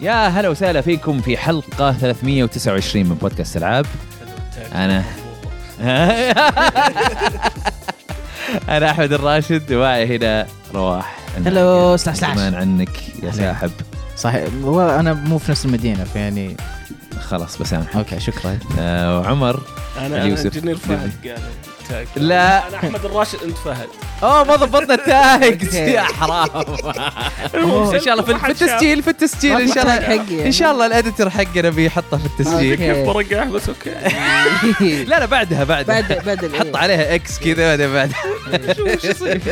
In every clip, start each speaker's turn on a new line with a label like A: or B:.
A: يا هلا وسهلا فيكم في حلقة 329 من بودكاست العاب أنا. أنا أحمد الراشد ومعي هنا رواح
B: هلو، سلاش سلاش.
A: زمان عنك يا
B: هلا.
A: ساحب
B: صحيح هو انا مو في نفس المدينه فيعني
A: خلاص بسامحك
B: اوكي شكرا
A: آه، وعمر
C: انا انا
A: يوسف.
C: انجنير فهد قال
A: لا.
C: انا احمد الراشد انت فهد
A: اوه ما ضبطنا التاج
B: يا
A: حرام
C: أوه.
A: ان شاء الله في- في التسجيل في التسجيل ان شاء الله ان شاء الله الاديتر حقنا بيحطها في التسجيل
B: أوكي.
C: كيف برقع بس اوكي
B: الله
A: لا لا بعدها بعدها
D: بعد بعد ال-
A: حط عليها اكس كذا بعدها بعدها
C: شو شو يصير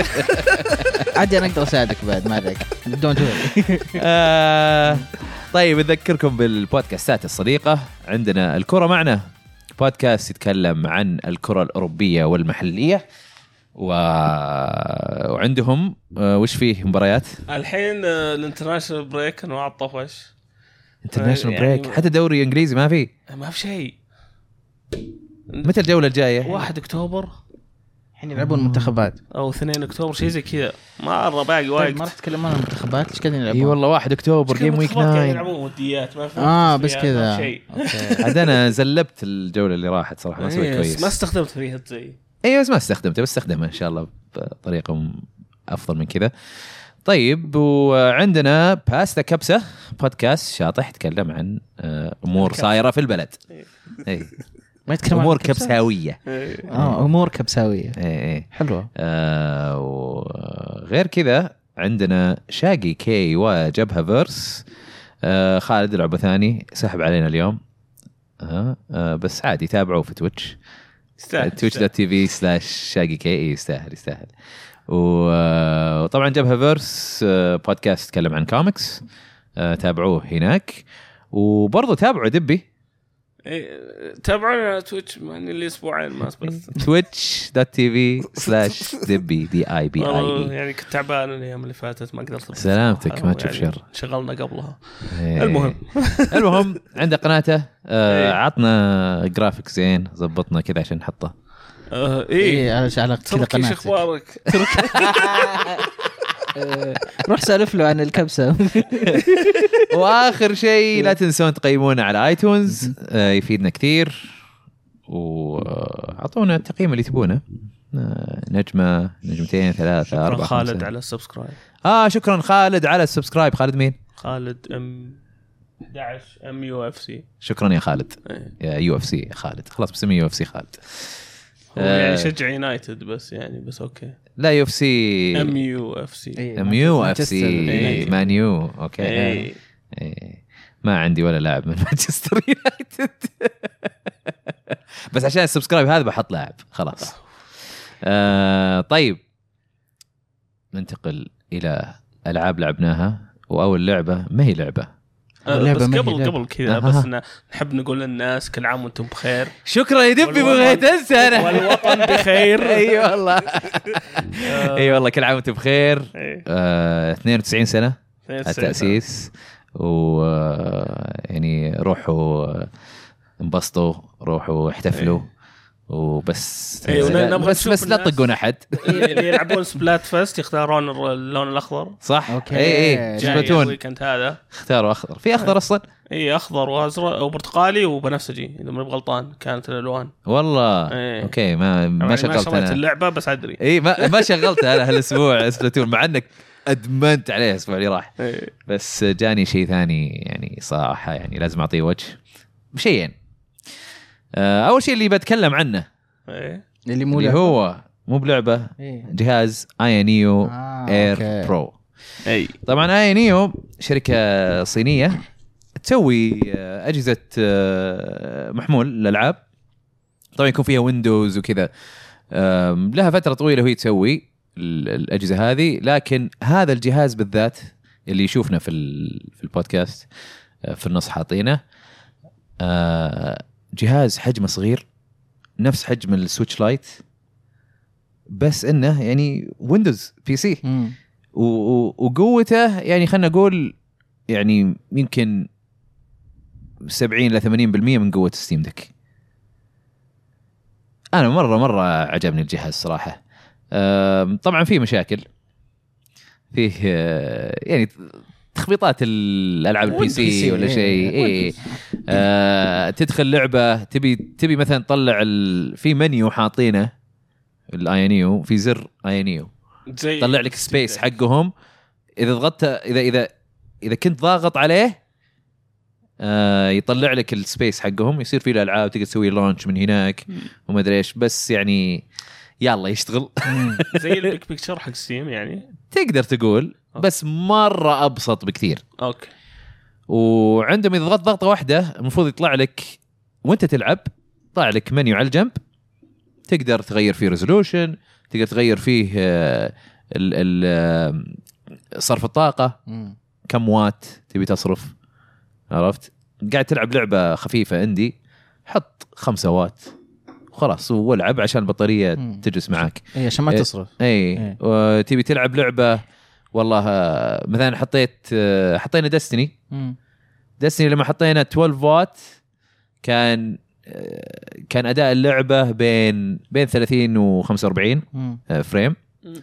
B: عادي انا اقدر اساعدك بعد ما عليك دونت وري
A: آه، طيب نذكركم بالبودكاستات الصديقة عندنا الكرة معنا بودكاست يتكلم عن الكرة الأوروبية والمحلية و... وعندهم آه، وش فيه مباريات
C: الحين آه، الانترناشونال بريك انه على الطفش
A: انترناشونال
C: يعني-
A: بريك حتى دوري انجليزي ما فيه
C: ما في شيء
A: متى الجولة الجاية
C: 1 اكتوبر
B: الحين يلعبون منتخبات
C: او 2 اكتوبر شيء زي كذا مره باقي
B: طيب ما راح
C: وقت
B: تتكلمون عن المنتخبات ايش قاعدين
A: اي
B: يلعبون؟
A: والله 1 اكتوبر
C: مشكلة
A: جيم ويك
C: المنتخبات قاعدين
A: 9
C: يلعبون وديات ما في
B: اه بس
C: تصفيات، ما في
B: كذا
C: شيء
B: أوكي.
A: عاد انا زلبت الجولة اللي راحت صراحة ما سويت
C: إيه، بس ما
A: كويس
C: استخدمت فيها زي
A: اي إيه، بس ما استخدمته بس استخدمه ان شاء الله بطريقه م- افضل من كذا طيب وعندنا باستا كبسه بودكاست شاطح يتكلم عن آه، امور
C: الكبسة.
A: صايره في البلد
C: إيه.
A: اي
B: ما يتكلمون عن
A: امور
B: الكبسة؟
A: كبساويه
C: إيه.
B: اه امور كبساويه
A: اي اي
B: حلوه
A: إيه، آه، وغير كذا عندنا شاقي كي وجبهه فيرس آه، خالد العبه ثاني سحب علينا اليوم آه، آه، بس عادي تابعوه في تويتش
C: يستاهل،
A: تويتش دوت
C: يستاهل.
A: تي في سلاش شاقي كي إي، إيه، يستاهل يستاهل و- آه، وطبعا جبهه فيرس آه، بودكاست يتكلم عن كوميكس آه، تابعوه هناك وبرضه تابعوا دبي
C: إيه، تابعونا على تويتش ماني لي اسبوعين ما اثبت
A: تويتش دوت تي في سلاش دبي دي اي بي
C: والله
A: اي
C: يعني كنت تعبان الايام اللي فاتت ما قدرت أبدأ.
A: سلامتك، ما
C: يعني
A: تشوف شر. إيه.
C: شغلنا قبلها المهم
A: المهم عنده قناته آه،
C: إيه.
A: عطنا جرافيك زين زبطنا كذا عشان نحطه
C: آه،
B: اي
C: ايه
B: على على إيه، كذا
C: تركي شو
B: قناتك
C: اخبارك؟
B: آه، روح سالف له عن الكبسه
A: واخر شيء لا تنسون تقيمونا على ايتونز آه، يفيدنا كثير واعطونا التقييم اللي تبونه آه، نجمه نجمتين ثلاثه
C: شكرا
A: اربعه
C: خالد
A: خمسة.
C: على السبسكرايب
A: اه شكرا خالد على السبسكرايب خالد مين
C: خالد ام 11 ام يو اف سي
A: شكرا يا خالد
C: إيه.
A: يا يو اف سي خالد خلاص بسميه يو اف سي خالد آه.
C: يعني يشجع يونايتد بس يعني بس اوكي
A: لا يو اف سي
C: ام يو اف سي
B: إيه،
A: ام يو اف
B: مانشستر
A: سي
B: يونايتد.
A: مانيو اوكي إيه. ما عندي ولا لاعب من مانشستر يونايتد بس عشان السبسكرايب هذا بحط لاعب خلاص آه طيب ننتقل الى العاب لعبناها واول لعبه ما هي لعبه
C: آه، بس
B: اللعبة ما هي
C: قبل
B: لعبة.
C: قبل كذا
A: آه.
C: بس إنه نحب نقول للناس كل عام وانتم بخير
A: شكرا يا دبي
C: والوطن-
A: بغيت انسى انا
C: والوطن بخير
A: اي والله اي والله كل عام وانتم بخير
C: إيه.
A: آه 92 سنه
C: 92 سنة.
A: التاسيس و آه، يعني روحوا آه، انبسطوا روحوا احتفلوا وبس
C: إيه، ون- نبغى
A: بس
C: نشوف
A: بس لا
C: الناس.
A: تطقون احد
C: اللي يلعبون سبلات فيست يختارون الر- اللون الاخضر
A: صح؟
B: أوكي.
A: اي اي
B: جاي
C: جاي
A: سبلاتون
C: الويكند هذا
A: اختاروا اخضر في اخضر اصلا
C: اي اخضر وازرق وبرتقالي وبنفسجي اذا ماني بغلطان كانت الالوان
A: والله
C: إيه.
A: اوكي ما ما
C: يعني
A: شغلت
C: شريت
A: انا
C: اللعبه بس ادري
A: اي ما ما شغلتها انا هالاسبوع سبلاتون مع انك ادمنت عليه الاسبوع اللي راح
C: إيه.
A: بس جاني شيء ثاني يعني صراحه يعني لازم اعطيه وجه شيئين آه، اول شيء اللي بتكلم عنه
C: إيه.
B: اللي مو
A: اللي
B: لعبة.
A: هو مو بلعبه
B: إيه.
A: جهاز اي نيو
B: آه،
A: اير
B: أوكي.
A: برو
C: اي
A: طبعا اي نيو شركه صينيه تسوي آه، اجهزه آه، محمول الالعاب طبعا يكون فيها ويندوز وكذا آم، لها فتره طويله وهي تسوي ال- الاجهزه هذه لكن هذا الجهاز بالذات اللي يشوفنا في ال- في البودكاست آه، في النص حاطينه آه، جهاز حجمه صغير نفس حجم السويتش لايت بس انه يعني ويندوز بي سي
B: مم.
A: و- و- وقوته يعني خلينا نقول يعني يمكن 70 ل 80% من قوه ستيم دك انا مره مره عجبني الجهاز صراحه أم، طبعا فيه مشاكل فيه آه، يعني تخبيطات الالعاب البي
B: والبي سي،
A: سي ولا شيء
B: إيه.
A: اي آه تدخل لعبه تبي تبي مثلا تطلع ال... في منيو حاطينه الاينيو E في زر اينيو
C: زي
A: يطلع لك سبيس حقهم اذا ضغطت اذا اذا اذا كنت ضاغط عليه آه يطلع لك السبيس حقهم يصير فيه الالعاب تقدر تسوي لونش من هناك
C: مم.
A: وما ادري ايش بس يعني يلا يشتغل
C: زي البيك بيكتشر حق ستيم يعني
A: تقدر تقول بس مره ابسط بكثير
C: اوكي
A: وعندهم اذا ضغطت ضغطه واحده المفروض يطلع لك وانت تلعب طلع لك منيو على الجنب تقدر تغير فيه ريزولوشن تقدر تغير فيه آه، ال- ال- آه، صرف الطاقه
B: مم.
A: كم وات تبي تصرف عرفت قاعد تلعب لعبه خفيفه عندي حط خمسة وات خلاص والعب عشان البطاريه
B: مم.
A: تجلس معاك
B: اي عشان ما
A: إيه.
B: تصرف
A: اي
B: إيه.
A: وتبي تلعب لعبه والله آه، مثلا حطيت آه، حطينا ديستني
B: مم.
A: دستني لما حطينا 12 فوات كان آه، كان اداء اللعبه بين بين 30 و 45
B: مم.
A: آه، فريم
C: مم.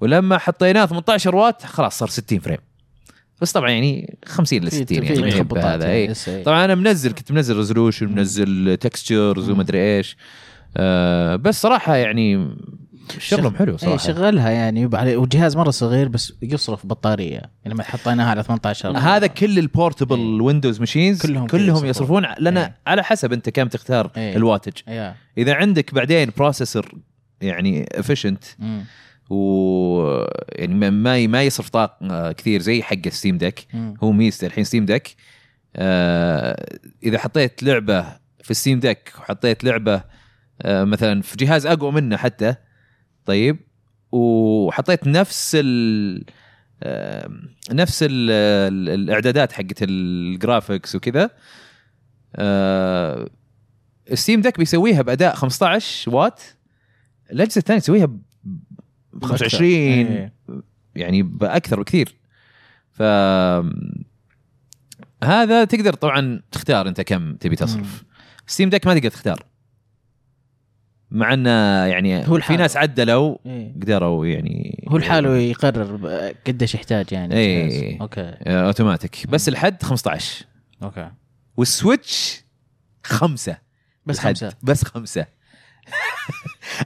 A: ولما حطيناه 18 وات خلاص صار 60 فريم بس طبعا يعني 50 ل
B: في-
A: 60
B: في
A: يعني
B: تخبطات
A: هذا
B: يعني،
A: اي
B: يس، إيه.
A: طبعا انا منزل كنت منزل ريزولوشن منزل تكستشرز وما ادري ايش آه، بس صراحه يعني شغلهم حلو
B: اي
A: صراحه
B: شغلها يعني وبعد- وجهاز مره صغير بس يصرف بطاريه يعني لما حطيناها على 18
A: آه، هذا كل البورتبل
B: إيه.
A: ويندوز ماشينز
B: كلهم
A: كلهم,
B: كذا
A: كلهم
B: يصرفون.
A: يصرفون لان
B: إيه.
A: على حسب انت كم تختار
B: إيه.
A: الواتج
B: يا
A: اذا عندك بعدين بروسيسور يعني افشنت
B: مم.
A: و يعني ما- ما ي- ما يصرف طاقه كثير زي حق ستيم دك
B: مم.
A: هو ميزته الحين ستيم دك آه اذا حطيت لعبه في ستيم دك وحطيت لعبه آه مثلا في جهاز اقوى منه حتى طيب وحطيت نفس ال آه، نفس ال ال- الاعدادات حقت الجرافيكس وكذا آه، الستيم دك بيسويها باداء 15 وات الاجهزه الثانيه تسويها ب ب 25
B: إيه.
A: يعني باكثر بكثير ف هذا تقدر طبعا تختار انت كم تبي تصرف ستيم دك ما تقدر تختار مع انه يعني
B: هو
A: هو
B: لحاله.
A: في ناس عدلوا
B: إيه.
A: قدروا يعني
B: هو لحاله يقرر ب- قديش يحتاج يعني
A: إيه.
B: الجهاز. اوكي
A: آه، اوتوماتيك بس الحد 15
B: اوكي
A: والسويتش خمسه
B: بس
A: الحد.
B: خمسه
A: بس خمسه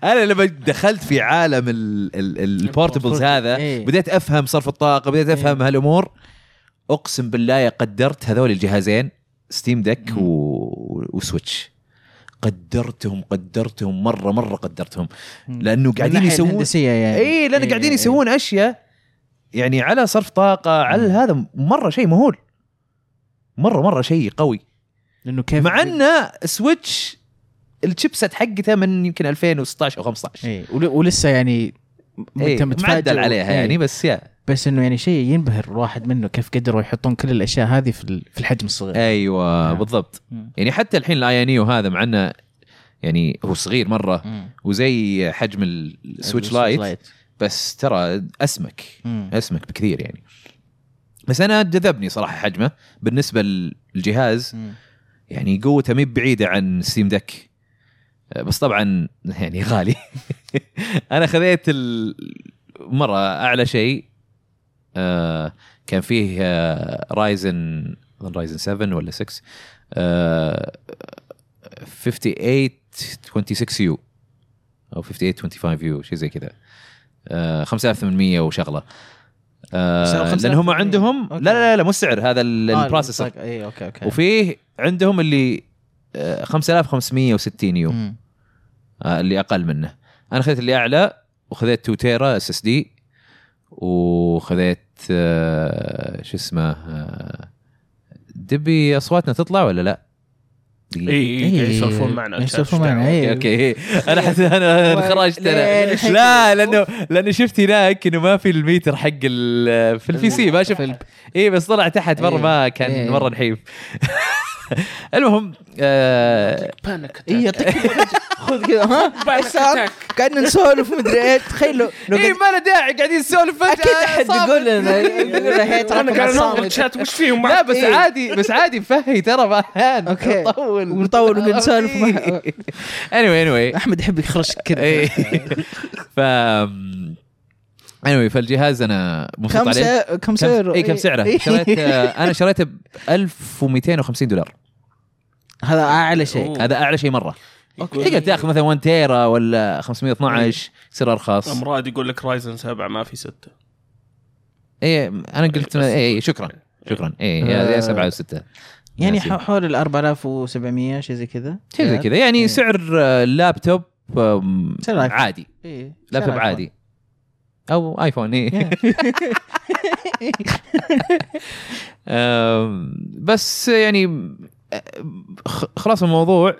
A: انا لما دخلت في عالم ال- ال- ال- البورتبلز هذا
B: إيه.
A: بديت افهم صرف الطاقه بديت افهم
B: إيه.
A: هالامور اقسم بالله قدرت هذول الجهازين ستيم دك
B: مم.
A: و... وسويتش قدرتهم قدرتهم مره مره قدرتهم
B: مم.
A: لانه
B: من
A: قاعدين
B: الناحية
A: يسوون
B: الهندسيه يعني
A: اي لان قاعدين
B: إيه.
A: يسوون اشياء يعني على صرف طاقه على
B: مم.
A: هذا مره شيء مهول مره مره شيء قوي
B: انه كيف
A: مع ان سويتش الشيبسات حقته من يمكن 2016 او 15
B: اي ول- ولسه يعني م-
A: إيه،
B: انت إيه. متفاجئ
A: معدل عليها
B: إيه.
A: يعني بس يا
B: بس انه يعني شيء ينبهر الواحد منه كيف قدروا يحطون كل الاشياء هذه في ال- في الحجم الصغير
A: ايوه
B: نعم.
A: بالضبط
B: مم.
A: يعني حتى الحين الايانيو هذا مع انه يعني هو صغير مره
B: مم.
A: وزي حجم ال- السويتش لايت بس ترى اسمك
B: مم.
A: اسمك بكثير يعني بس انا جذبني صراحه حجمه بالنسبه للجهاز
B: مم.
A: يعني قوته مي بعيده عن ستيم دك بس طبعا يعني غالي انا خذيت ال- مره اعلى شيء آه، كان فيه أه، رايزن رايزن 7 ولا 6 آه، 5826 يو او 5825 يو شيء زي كذا آه، 5800 وشغله
B: سعر
A: آه، لان
B: 5800.
A: هم عندهم لا
B: أوكي.
A: لا لا لا مو السعر هذا ال-
B: آه،
A: البروسيسور
B: البطاقة. اي اوكي اوكي
A: وفيه عندهم اللي آه، 5560 يو
B: مم.
A: آه، اللي اقل منه انا خذيت اللي اعلى وخذيت 2 تيرا اس اس دي وخذيت آه، شو اسمه آه، دبي اصواتنا تطلع ولا لا؟
C: اي اي قاعد يسولفون
B: إيه،
C: معنا
B: يسولفون معنا إيه.
C: إيش
B: اي
A: اوكي انا حس انا انخرجت انا لا لانه لانه شفت هناك انه ما في الميتر حق ال- في البي سي ما شفت اي بس طلع تحت مره ما
B: إيه.
A: كان مره نحيف المهم آه،
C: دعوة؟ بانك
B: اي إيه، يعطيك خذ كذا ها
C: بعد
B: إيش صار؟ قعدنا نسولف مدري ايش تخيل لو لو
A: اي
B: قد-
A: إيه، ما له داعي آه، قاعدين نسولف فجاه
B: اكيد احد
A: صامت.
B: بيقول لنا بيقول لنا هي
C: انا
B: ترى
C: قاعد اناظر
B: صامت
C: الشات وش فيهم
A: لا
C: بعد؟
A: بس
B: إيه.
A: عادي بس عادي فهي ترى ما كان
B: أوكي.
A: إيه، نطول إيه.
B: ونطول ونقعد نسولف مع-
A: اني واي اني إيه.
B: احمد يحب يخرش كذا
A: ف anyway فالجهاز انا مبسوط
B: كم
A: عليه
B: سعر كم سعره؟
A: اي كم
B: إيه.
A: سعره؟ شريت آه، انا شريته ب 1250 دولار
B: هذا اعلى شيء
C: أوه.
A: هذا اعلى شيء إيه، مره
C: يقول-
A: تقدر تاخذ مثلا 1 تيرا ولا 512 يصير ارخص
C: امراد يقول لك رايزن 7 ما في 6
A: اي انا إيه، قلت إيه، اي إي، شكرا شكرا اي إيه، يا يا
B: آه.
A: سبعه وسته
B: يعني
A: ناسي.
B: ح- حول ال 4700 شيء زي كذا
A: شيء زي كذا
B: إيه.
A: يعني سعر آه، اللابتوب آم،
B: سعر آيفون.
A: عادي
B: إيه.
A: لابتوب
B: سعر آيفون.
A: عادي إيه. او ايفون اي
B: إيه.
A: آم، بس يعني خ- خلاص الموضوع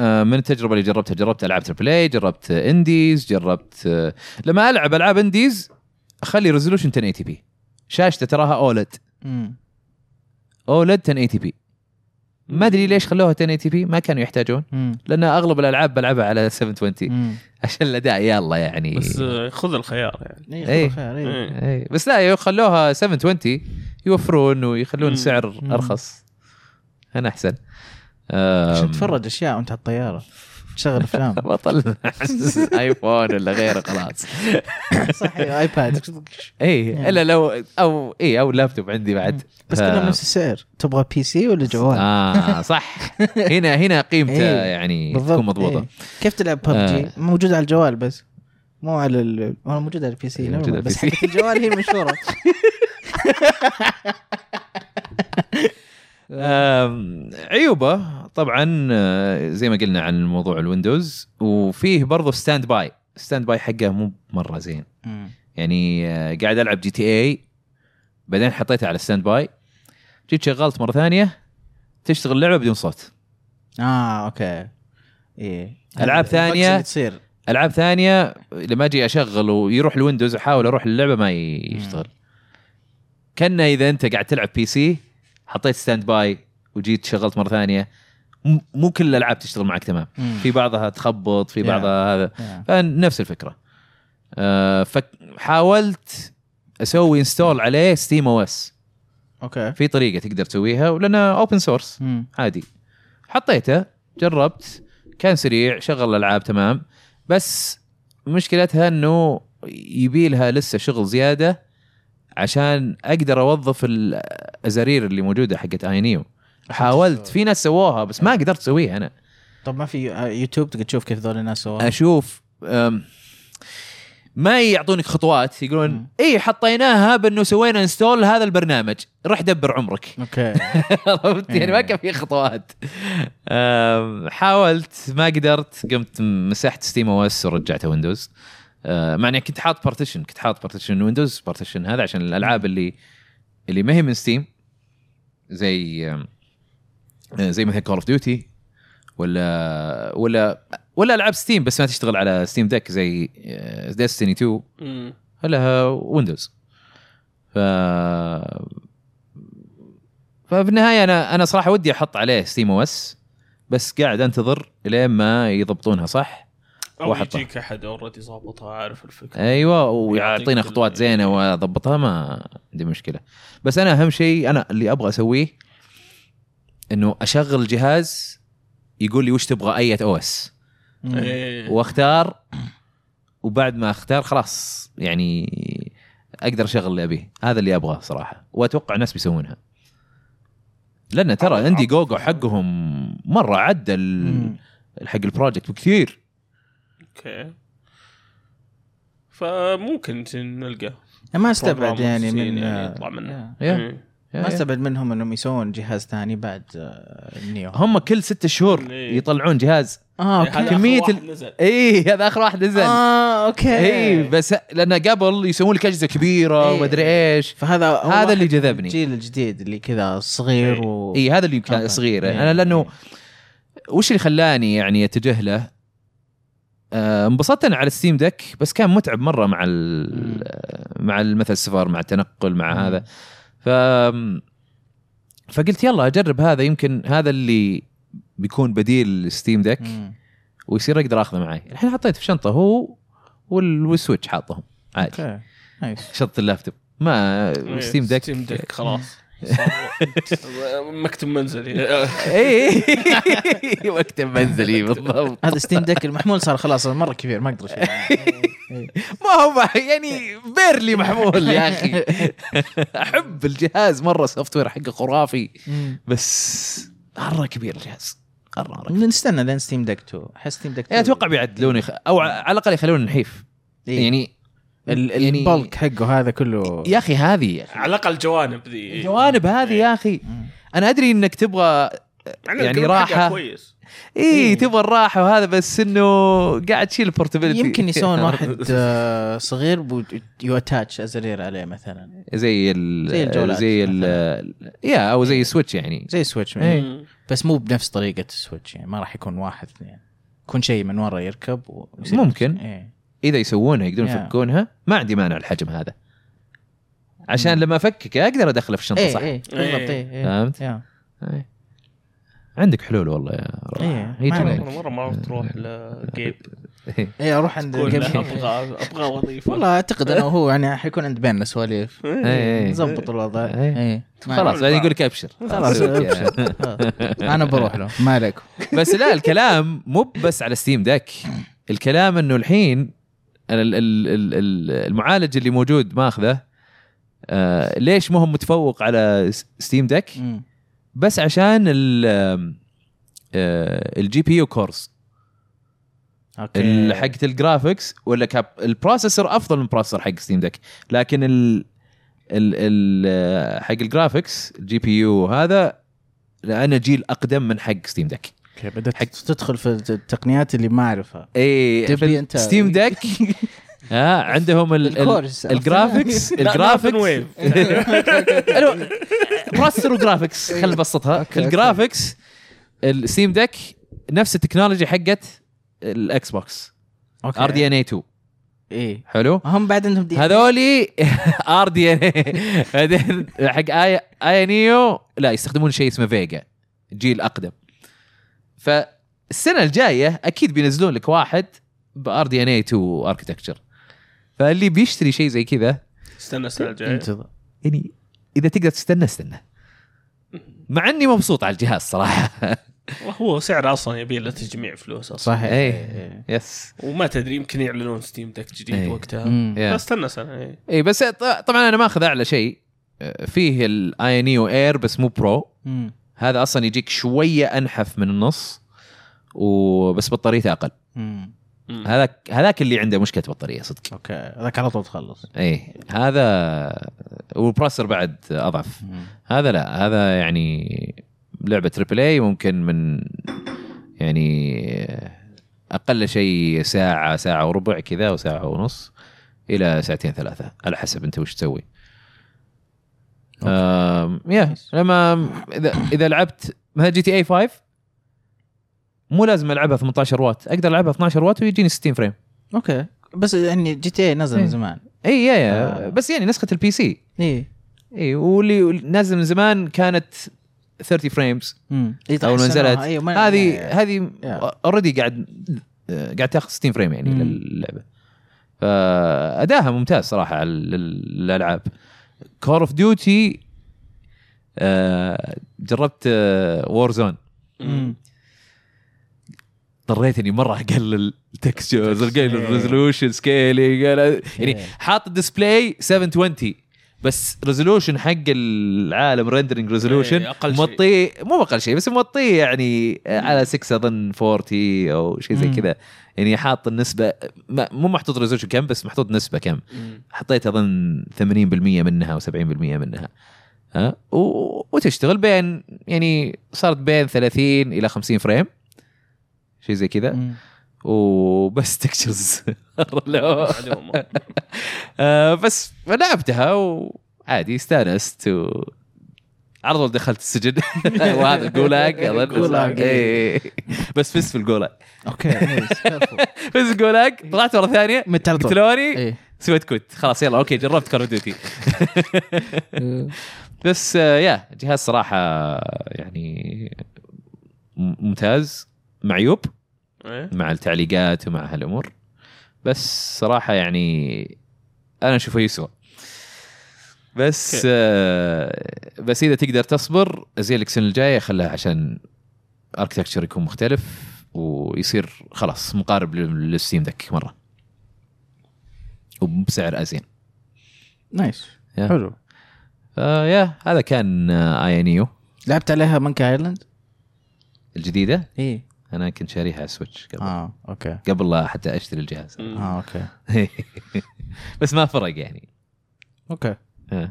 A: آه، من التجربه اللي جربتها جربت العاب تربل اي جربت آه، انديز جربت آه، لما العب العاب انديز اخلي ريزولوشن 1080 بي شاشته تراها اولد
B: مم.
A: اولد 1080 بي ما ادري ليش خلوها 1080 بي ما كانوا يحتاجون
B: مم.
A: لان اغلب الالعاب بلعبها على 720
B: مم.
A: عشان الاداء يلا يعني
C: بس آه، خذ الخيار يعني
A: إيه.
B: اي خير اي
C: إيه.
A: اي بس لا يو- خلوها 720 يوفرون ويخلون
C: مم.
A: سعر
B: مم.
A: ارخص انا احسن آم،
B: عشان تتفرج اشياء وانت على الطياره تشغل افلام
A: بطل ايفون ولا غيره خلاص
B: صح ايباد
A: اي الا لو او اي او لابتوب عندي بعد
B: بس
A: ف-
B: كلهم نفس السعر تبغى بي سي ولا جوال؟
A: اه صح هنا هنا قيمته
B: إيه،
A: يعني تكون آه. مضبوطه
B: إيه. كيف تلعب ببجي؟ موجود على الجوال بس مو على ال... والله موجود على البي سي
A: إيه، موجود على
B: نورمال، بس
A: البي سي.
B: حقت الجوال هي المشهوره
A: آم، عيوبه طبعا آه، زي ما قلنا عن موضوع الويندوز وفيه برضه ستاند باي ستاند باي حقه مو مره زين يعني آه، قاعد العب جي تي اي بعدين حطيتها على ستاند باي جيت شغلت مره ثانيه تشتغل اللعبه بدون صوت
B: اه اوكي ايه
A: ألعاب
B: البكس اللي
A: ثانية.
B: تصير
A: العاب ثانيه لما اجي اشغل ويروح الويندوز احاول اروح اللعبه ما يشتغل كنا اذا انت قاعد تلعب بي سي حطيت ستاند باي وجيت شغلت مره ثانيه م- مو كل الالعاب تشتغل معك تمام
B: مم.
A: في بعضها تخبط في
B: Yeah.
A: بعضها هذا
B: آه.
A: فنفس الفكره آه، فحاولت اسوي انستول عليه ستيم او اس
B: اوكي
A: في طريقه تقدر تسويها ولانها اوبن سورس
B: مم.
A: عادي حطيته جربت كان سريع شغل الالعاب تمام بس مشكلتها انه يبي لها لسه شغل زياده عشان اقدر اوظف الازارير اللي موجوده حقت اينيو حاولت في ناس سووها بس ما قدرت اسويها انا
B: طب ما في يوتيوب تقدر تشوف كيف ذول الناس سووا
A: اشوف أم، ما يعطونك خطوات يقولون
B: مم.
A: اي حطيناها بانه سوينا انستول هذا البرنامج روح دبر عمرك
B: اوكي
A: عرفت يعني ما
B: إيه.
A: كان في خطوات أم، حاولت ما قدرت قمت مسحت ستيم او اس ورجعته ويندوز أه، مع اني كنت حاط بارتيشن كنت حاط بارتيشن ويندوز بارتيشن هذا عشان الالعاب اللي اللي ما هي من ستيم زي أم، أه، زي مثلا كول اوف ديوتي ولا ولا ولا العاب ستيم بس ما تشتغل على ستيم ديك زي آه، ديستني 2
C: مم.
A: لها ويندوز ف ففي النهايه انا انا صراحه ودي احط عليه ستيم او اس بس قاعد انتظر لين ما يضبطونها صح
C: او
A: واحد طاح.
C: يجيك احد اوريدي ظابطها عارف الفكره
A: ايوه ويعطينا خطوات زينه واضبطها ما عندي مشكله بس انا اهم شيء انا اللي ابغى اسويه انه اشغل الجهاز يقول لي وش تبغى اية او اس
B: مم.
C: إيه.
A: واختار وبعد ما اختار خلاص يعني اقدر اشغل اللي ابيه هذا اللي ابغاه صراحه واتوقع الناس بيسوونها لان ترى عندي جوجو حقهم مره عدى ال-
B: مم.
A: حق البروجكت بكثير
C: اوكي فممكن نلقى
B: ما استبعد يعني
C: بروجرام
B: من
C: مهندسين يعني يطلع منه.
A: يا.
C: مم.
B: ما
A: إيه. يعني
B: استبعد منهم انهم يسوون جهاز ثاني بعد آه، النيو
A: هم كل ستة شهور
C: إيه.
A: يطلعون جهاز
B: اه
C: هذا آخر
B: اوكي
A: كمية
C: واحد
A: ال-
C: نزل
A: اي هذا اخر واحد نزل
B: اه اوكي
A: اي بس لان قبل يسوون لك اجهزه كبيره
B: إيه.
A: ومدري ايش
B: فهذا أول
A: هذا اللي
B: واحد من
A: جذبني. إيه.
B: الجيل الجديد اللي كذا صغير و
A: اي هذا اللي
B: أوكي.
A: كان صغير
B: إيه.
A: انا لانه وش اللي خلاني يعني اتجه له؟ آه، انبسطت انا على ستيم دك بس كان متعب مره مع ال آه،
B: مم.
A: مع ال- مثلا السفر مع التنقل مع
B: مم.
A: هذا ف فقلت يلا اجرب هذا يمكن هذا اللي بيكون بديل ستيم دك
B: مم.
A: ويصير اقدر اخذه معي الحين حطيت في شنطه هو وال- والسويتش حاطهم عادي
B: اوكي نايس
A: شنطه اللابتوب ما
B: إيه،
A: ستيم دك
C: ستيم ديك إيه، خلاص صار مكتب منزلي
A: اي إيه. وقت منزلي بالضبط
B: هذا ستيم ديك المحمول صار خلاص مرة كبير ما اقدر اشيله
A: ما هو ما- يعني بيرلي محمول يا اخي احب الجهاز مره السوفت وير حقه خرافي بس مره كبير الجهاز مره مره كبير.
B: نستنى لين ستيم دك 2 احس ستيم دك 2
A: يعني اتوقع بيعدلوني خ- او على الاقل يخلوني نحيف
B: إيه.
A: يعني
B: ال-
A: يعني-
B: البلك حقه هذا كله
A: يا اخي هذه يا أخي.
C: على الاقل الجوانب ذي
A: الجوانب هذه يا اخي انا ادري انك تبغى
C: يعني,
A: يعني راحة.
C: راحه كويس
A: اي تبغى الراحه وهذا بس انه قاعد تشيل البورتبيلتي
B: يمكن يسوون واحد آه، صغير يوتاتش ازرير عليه مثلا
A: زي ال
B: زي الجوالات
A: زي ال يا او زي سويتش يعني
B: زي سويتش
A: إيه.
C: مم.
B: بس مو بنفس طريقه السويتش يعني ما راح يكون واحد اثنين يكون شيء من ورا يركب ويصير-
A: ممكن.
B: إيه.
A: اذا يسوونها يقدرون
B: Yeah.
A: يفكونها ما عندي مانع الحجم هذا عشان لما افكك اقدر ادخله في الشنطه
B: ايه
A: إيه، صح آه.
B: ايه بالضبط ايه Mm. إيه.
A: فهمت؟
B: يا.
A: إيه. عندك حلول والله يا
B: إيه،
A: رب. يجي
B: ما
A: لك.
C: مره مره ما عرفت تروح لجيب
A: إيه.
B: ايه اروح عند
C: تقول لا،
B: قبل-
C: ابغى ابغى وظيفه
B: والله اعتقد انا وهو يعني حيكون عند بيننا سواليف
A: إيه، إيه.
B: نظبط الوضع
A: إيه.
B: ايه ما-
A: خلاص بعدين يقول لك ابشر
B: خلاص أبشر. انا بروح له ما عليكم
A: بس لا الكلام مو بس على ستيم دك الكلام انه الحين ال- ال- ال- ال- المعالج اللي موجود ماخذه آه ليش ما هو متفوق على ستيم دك
B: مم.
A: بس عشان ال آه، الجي بي يو كورس
B: اوكي
A: ال-
B: إيه.
A: حقت الجرافيكس ولا كاب البروسيسور افضل من البروسيسور حق ستيم دك لكن ال ال ال آه، حق الجرافيكس الجي بي يو هذا لانه جيل اقدم من حق ستيم دك
B: اوكي بدات تدخل في التقنيات اللي ما اعرفها تبي
A: اي
B: أنت-
A: ستيم دك ها عندهم ال- ال-
B: الكورس.
A: الجرافيكس
C: لا، Northern
A: الجرافيكس
C: Wave.
A: الو بروسيسور وجرافيكس خلينا نبسطها
B: أوكي، أوكي.
A: الجرافيكس الستيم دك نفس التكنولوجيا حقت الاكس بوكس
B: اوكي
A: ار دي ان اي 2
B: ايه
A: حلو
B: هم بعد انهم دي
A: هذولي ار دي ان اي بعدين حق اي اي نيو لا يستخدمون شيء اسمه فيجا جيل اقدم فالسنه الجايه اكيد بينزلون لك واحد بار دي ان اي 2 اركتكتشر فاللي بيشتري شيء زي كذا
C: استنى السنه الجايه
B: انتظر
A: يعني اذا تقدر تستنى استنى مع اني مبسوط على الجهاز صراحه
C: هو سعر اصلا يبي له تجميع فلوس اصلا
B: صحيح
A: إيه.
B: إيه.
A: يس
C: وما تدري يمكن يعلنون ستيم دك جديد
A: إيه.
C: وقتها
B: مم.
A: يا.
C: فاستنى سنه إيه.
A: اي بس ط- طبعا انا ماخذ اعلى شيء آه، فيه الاي نيو اير بس مو برو
B: مم.
A: هذا اصلا يجيك شويه انحف من النص وبس بطاريته اقل
B: مم.
C: مم.
A: هذاك هذاك اللي عنده مشكله بطاريه صدق
B: اوكي ذاك على طول تخلص
A: اي هذا والبروسر بعد اضعف
B: مم.
A: هذا لا هذا يعني لعبه تريبل اي ممكن من يعني اقل شيء ساعه ساعه وربع كذا وساعه ونص الى ساعتين ثلاثه على حسب انت وش تسوي آم، يا
B: Nice.
A: لما اذا اذا لعبت مثلا جي تي اي 5 مو لازم العبها 18 وات اقدر العبها 12 وات ويجيني 60 فريم
B: اوكي بس يعني جي تي اي نزل
A: إيه.
B: من زمان
A: اي يا
B: آه.
A: يا بس يعني نسخه البي سي
B: ايه
A: اي واللي نازل من زمان كانت 30 فريمز
B: مم. إيه،
A: اول ما
B: تحسنوها.
A: نزلت
B: أيوة، ما-
A: هذه هذه
B: Yeah.
A: اوريدي قاعد قاعد تاخذ 60 فريم يعني
B: مم.
A: للعبه فاداها ممتاز صراحه على ال- الالعاب كور اوف ديوتي آه، جربت آه، وور زون
B: مم.
A: اضطريت اني مره اقلل التكستشرز
B: إيه.
A: الريزولوشن سكيلينج يعني
B: إيه.
A: حاط الديسبلاي 720 بس ريزولوشن حق العالم ريندرنج ريزولوشن
C: إيه، أقل شيء.
A: موطيه مو اقل شيء بس موطيه يعني على 6 اظن 40 او شيء زي
B: مم.
A: كذا يعني حاط النسبه ما- مو محطوط ريزولوشن كم بس محطوط نسبه كم
C: مم.
A: حطيت اظن 80% منها و70% منها ها و... وتشتغل بين يعني صارت بين 30 الى 50 فريم شيء زي كذا
B: مم.
A: وبس تكشرز
C: عليهم.
A: آه، بس لعبتها وعادي استانست و... على طول دخلت السجن وهذا الجولاج
B: الجولاج.
A: اظن إيه. بس فزت في الجولاج
B: اوكي نايس، careful.
A: فزت في الجولاج طلعت مره ثانيه
B: مت على طول.
A: قتلوني
B: إيه.
A: سويت كوت خلاص يلا اوكي جربت كار ديوتي
B: إيه.
A: بس آه، يا جهاز صراحه يعني م- ممتاز معيوب
C: إيه.
A: مع التعليقات ومع هالامور بس صراحه يعني انا اشوفه يسوى بس
C: أوكي.
A: آه بس اذا تقدر تصبر زي السنه الجايه خلها عشان اركتكتشر يكون مختلف ويصير خلاص مقارب لل- للستيم دك مره وبسعر ازين
B: نايس
A: يا.
B: حلو
A: آه يا هذا كان آه، اي ان يو
B: لعبت عليها مانكي ايلاند؟
A: الجديده
B: اي
A: انا كنت شاريها على سويتش قبل آه.
B: اه اوكي
A: قبل لا حتى اشتري الجهاز
C: مم.
B: اه اوكي
A: بس ما فرق يعني
B: اوكي
A: آه.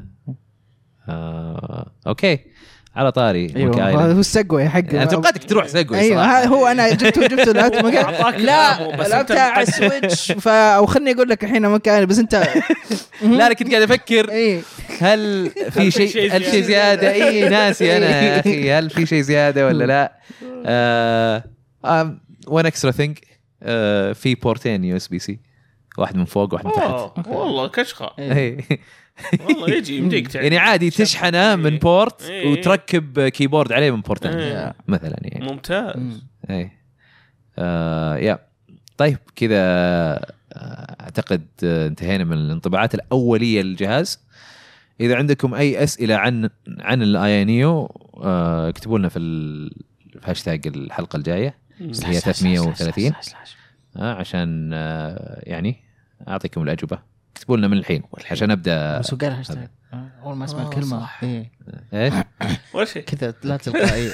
A: آه. اوكي على طاري Monkey
B: ايوه
A: Island.
B: هذا هو السجوي حقه
A: انا توقعتك تروح سقوي
B: ايوه ها- هو انا جبته جبته لعبت
C: أعطاك
B: مكان
C: إياه،
B: لا
C: بس
B: لعبتها
C: أنت
B: على السويتش ف او خليني اقول لك الحين مكان بس إيه. انت
A: لا انا كنت قاعد افكر
B: اي
A: هل في
C: شيء
A: شيء هل شيء زياده
C: زيادة؟
A: اي ناسي انا يا اخي هل في شيء زياده ولا لا آه، وان اكسترا ثينج آه، في بورتين يو اس بي سي واحد من فوق واحد من تحت
C: أوه، والله كشخه
A: إيه.
C: والله يجي يمديك تعيد.
A: يعني عادي تشحنه من بورت
C: إيه.
A: وتركب كيبورد عليه من بورت ثاني.
C: إيه.
A: مثلا يعني
C: ممتاز
A: اي آه يا طيب كذا آه، اعتقد آه، انتهينا من الانطباعات الاوليه للجهاز اذا عندكم اي اسئله عن عن الايانيو آه، اكتبوا لنا في ال- في هاشتاج الحلقه الجايه اللي هي 330 آه، عشان آه، يعني اعطيكم الاجوبه اكتبوا لنا من الحين عشان ابدا
B: بس هو قال هاشتاج آه، اول ما اسمع
C: آه،
B: الكلمه
C: صح.
B: إيه.
A: ايش
C: ولا شيء
B: كذا لا تلقائيه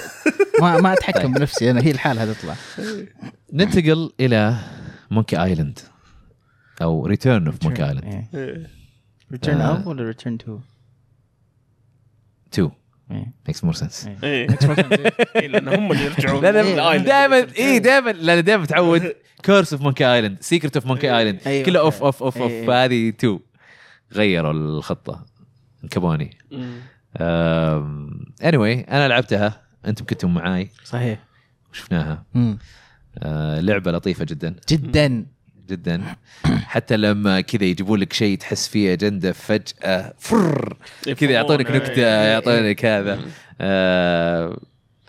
B: ما ما
A: طيب.
B: اتحكم بنفسي انا هي الحالة تطلع
A: ننتقل الى مونكي ايلاند او ريتيرن اوف مونكي ايلاند
B: إيه.
C: إيه.
B: ريتيرن
A: آه.
B: اب ولا ريتيرن تو؟
A: 2
B: إيه.
A: ميكس مور سنس
C: ايه إيه، لان هم اللي يرجعون
A: لا
B: إيه.
A: لا
C: للآيلاند.
A: دائما اي دائما لا دائما تعود كيرس اوف مونكي ايلاند سيكرت اوف مونكي ايلاند
B: أيوة.
A: كله اوف اوف اوف اوف
B: إيه.
A: فهذه تو غيروا الخطه انكبوني
C: مم.
A: اني واي انا لعبتها انتم كنتم معاي
B: صحيح
A: وشفناها
B: مم.
A: آه، لعبه لطيفه جدا
B: جدا
A: جدا حتى لما كذا يجيبون لك شيء تحس فيه اجنده فجاه فرر كذا يعطونك
C: يفهمون،
A: نكته
C: إيه.
A: يعطونك هذا
C: مم.
A: آه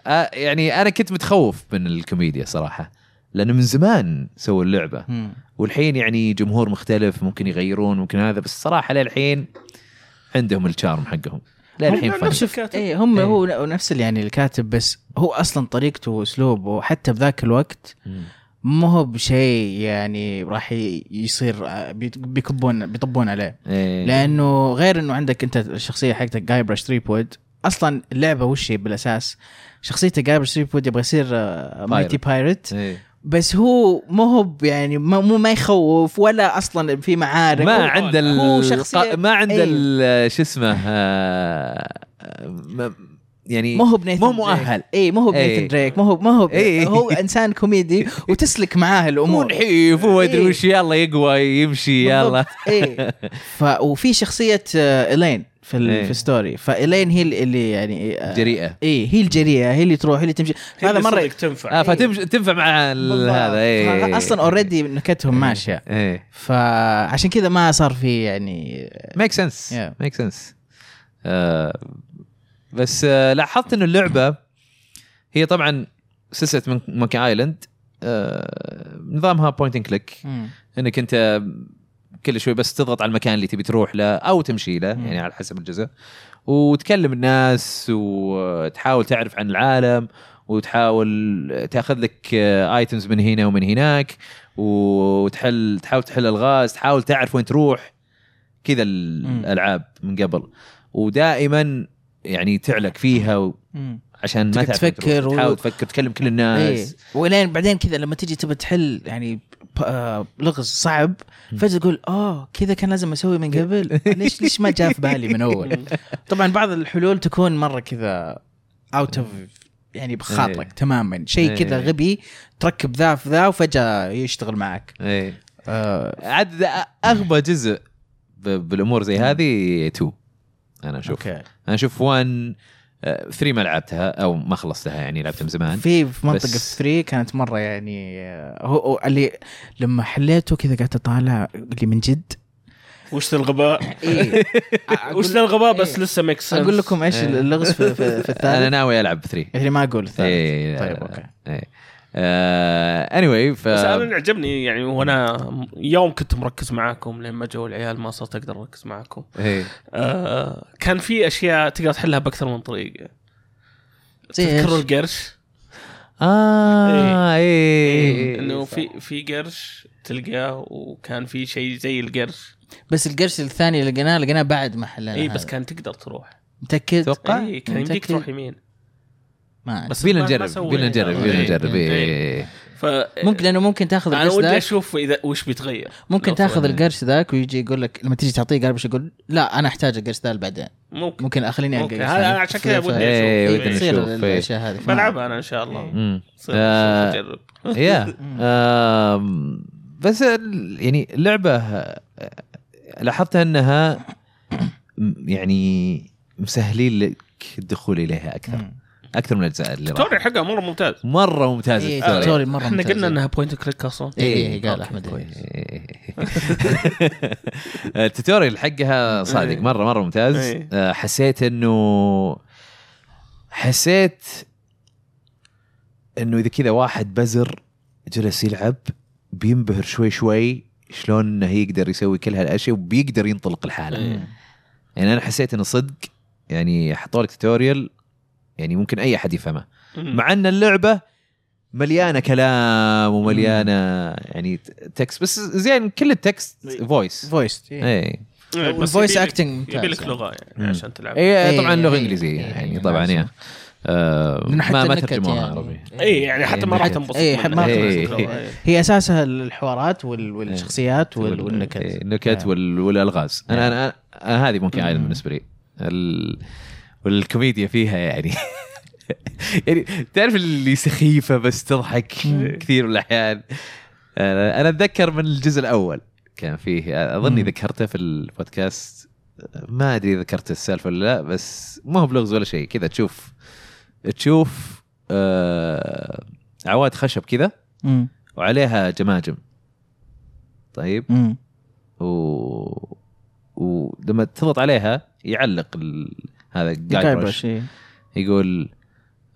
A: آه، يعني انا كنت متخوف من الكوميديا صراحه لانه من زمان سووا اللعبه
B: مم.
A: والحين يعني جمهور مختلف ممكن يغيرون ممكن هذا بس صراحه للحين عندهم الشارم حقهم للحين
C: هم
A: فن
C: نفس الكاتب
B: اي هم
A: إيه.
B: هو نفس اللي يعني الكاتب بس هو اصلا طريقته واسلوبه حتى بذاك الوقت ما هو بشيء يعني راح ي- يصير آه، بيت- بيكبون بيطبون عليه
A: إيه.
B: لانه غير انه عندك انت الشخصيه حقتك جاي براش تريبود اصلا اللعبه وش هي بالاساس شخصيته جاي براش تريبود يبغى يصير مايتي بايرت
A: إيه.
B: بس هو ما هو ب- يعني ما مو ما يخوف ولا اصلا في معارك
A: ما
B: هو-
A: عند ال...
B: هو شخصية-
A: ما عند
B: إيه.
A: ال... شو اسمه آه، ما- يعني
B: ما هو بنيثن
A: ما هو مؤهل
B: اي ما هو
A: إيه.
B: بنيثن دريك ما هو ما هو
A: إيه.
B: هو انسان كوميدي وتسلك معاه
A: مو
B: الامور
A: نحيف وما ادري
B: إيه.
A: وش يلا يقوى يمشي يلا
B: اي إيه. ف وفي شخصيه آه، الين في ال...
A: إيه.
B: في الستوري فالين هي اللي يعني آه،
A: جريئه
B: اي هي الجريئه هي اللي تروح هي اللي تمشي هذا مره
C: تنفع
A: اه فتمشي تنفع مع ال- هذا ايه
B: اصلا اوريدي نكتهم ماشيه
A: ايه
B: فعشان كذا ما صار في يعني
A: ميك سنس
B: Yeah.
A: ميك سنس آه، بس آه، لاحظت انه اللعبه هي طبعا سلسله مونكي ايلاند آه، نظامها بوينت اند كليك انك انت كل شوي بس تضغط على المكان اللي تبي تروح له او تمشي له
B: مم.
A: يعني على حسب الجزء وتكلم الناس وتحاول تعرف عن العالم وتحاول تاخذ لك ايتمز من هنا ومن هناك وتحل تحاول تحل الغاز تحاول تعرف وين تروح كذا الالعاب من قبل ودائما يعني تعلق فيها و- عشان ما
B: تقعد
A: تعرف وين تروح.
B: تفكر و-
A: تحاول تفكر تكلم كل
B: ايه
A: الناس
B: ولين بعدين كذا لما تجي تبى تحل يعني ب- آه، لغز صعب
A: مم.
B: فجاه تقول اه كذا كان لازم اسوي من قبل ليش ليش ما جاء في بالي من اول طبعا بعض الحلول تكون مره كذا اوت اوف يعني بخاطرك
A: إيه.
B: تماما شيء كذا
A: إيه.
B: غبي تركب ذا في ذا وفجاه يشتغل معك
A: ايه
B: آه،
A: عاد اغبى جزء ب- بالامور زي هذه 2 انا اشوف
B: اوكي
A: انا اشوف 1 3 آه، ما لعبتها او ما خلصتها يعني لعبتها من زمان
B: في في منطقه
A: بس-
B: 3 كانت مره يعني آه، هو هو اللي لما حليته كذا قعدت اطالع اللي من جد
C: وش ذا الغباء
B: إيه.
C: وش ذا الغباء بس
B: إيه.
C: لسه ميك سنس
B: اقول لكم ايش
A: إيه.
B: اللغز في, في, في
A: انا
B: الثالث
A: ناوي العب 3
B: يعني ما اقول الثالث
A: إيه،
B: طيب
A: لا، لا.
B: اوكي
A: اني واي ف
C: بس انا اللي عجبني يعني وانا يوم كنت مركز معاكم لما جو العيال ما صرت اقدر اركز معاكم
A: إيه.
C: آه كان في اشياء تقدر تحلها باكثر من طريقه
B: زي
C: تذكروا
B: إيش؟
C: القرش
B: آه،
A: اه اي
B: إيه.
C: انه في في قرش تلقاه وكان في شيء زي القرش
B: بس القرش الثاني اللي لقيناه لقيناه بعد ما حلنا
C: اي إيه، بس
B: هذا.
C: كان تقدر تروح
B: متاكد؟
A: توقع؟
C: اي كان يمديك
B: آه. طيب، متأكد؟
C: تروح يمين
B: ما بس
C: بس
A: بينا
C: ما- ما
A: نجرب
C: سوينا.
A: بينا نجرب بينا
C: إيه.
A: نجرب إيه.
C: إيه. ف
B: ممكن لانه ممكن تاخذ
C: انا
B: القرش
C: ودي
B: ذاك
C: اشوف اذا وش بيتغير
B: ممكن
C: لو
B: تاخذ
C: سوينا.
B: القرش ذاك ويجي يقول لك لما تيجي تعطيه قرش يقول لا انا احتاج القرش ذا بعدين
C: ممكن
B: ممكن يعني اخليني
C: أوكي،
B: القى قرش
C: هذا
B: ثاني.
C: أنا عشان كذا
B: ف-
C: ودي
B: ف-
A: إيه،
C: أشوف.
A: ودنا
C: إيه.
B: تصير
A: نشوف، إيه.
B: الاشياء هذه فما-
C: بلعبها انا ان شاء
B: إيه.
C: الله
A: مم.
C: صير-
A: آه.
C: صير اجرب
A: يا آم، Um, بس ال- يعني اللعبه آه، لاحظت انها م- يعني مسهلين لك الدخول اليها اكثر
B: مم.
A: اكثر من الاجزاء اللي
C: التوتوريال
A: راحت.
C: حقها مره ممتاز
A: مره ممتاز
B: إيه،
A: التوتوريال.
B: التوتوريال مره
C: احنا
B: ممتازة.
C: قلنا انها بوينت كليك اصلا
B: إيه، قال
C: أوكي،
B: أحمد. إيه.
C: كويس.
A: التوتوريال حقها صادق
C: إيه.
A: مره مره ممتاز
C: إيه.
A: آه، حسيت انه حسيت انه اذا كذا واحد بزر جلس يلعب بينبهر شوي شوي شلون انه يقدر يسوي كل هالاشياء وبيقدر ينطلق الحاله
C: إيه.
A: يعني انا حسيت انه صدق يعني حطوا لك توتوريال يعني ممكن اي احد يفهمه
C: مم.
A: مع ان اللعبه مليانه كلام ومليانه يعني تكست بس زين كل التكست
B: إيه.
A: فويس
B: فويس
A: اي
C: إيه، بس
B: الفويس
C: يبيلك-
B: اكتنج ممتاز
C: يبيلك
B: يعني.
C: لغه يعني
A: مم.
C: عشان تلعب
A: اي
B: إيه،
A: طبعا
B: إيه،
A: لغه
B: إيه،
A: انجليزيه
B: إيه،
A: يعني
B: إيه،
A: طبعا
B: لازم.
A: يا آه،
B: لأنه حتى
A: ما ما
B: النكت
A: ترجموها
B: يعني.
A: عربي
C: اي يعني حتى ما راح
A: إيه.
C: تنبسط
B: إيه،
C: منها.
B: ما
A: راح تنبسط.
C: إيه.
B: هي اساسها الحوارات وال- والشخصيات وال-
A: إيه. والنكت
B: والنكت
A: إيه، النكت
B: يعني.
A: وال- والالغاز انا انا, أنا هذه ممكن عائله
B: مم.
A: بالنسبه لي ال... والكوميديا فيها يعني يعني تعرف اللي سخيفه بس تضحك
B: مم.
A: كثير من الاحيان انا أنا اتذكر من الجزء الاول كان فيه اظني
B: مم.
A: ذكرته في البودكاست ما ادري ذكرت السالفه ولا لا بس ما هو بلغز ولا شيء كذا تشوف تشوف آه عواد خشب كذا
B: مم.
A: وعليها جماجم طيب
B: مم.
A: و ولما تضغط عليها يعلق ال... هذا جاي
B: جايبرش
A: بروش
B: إيه.
A: يقول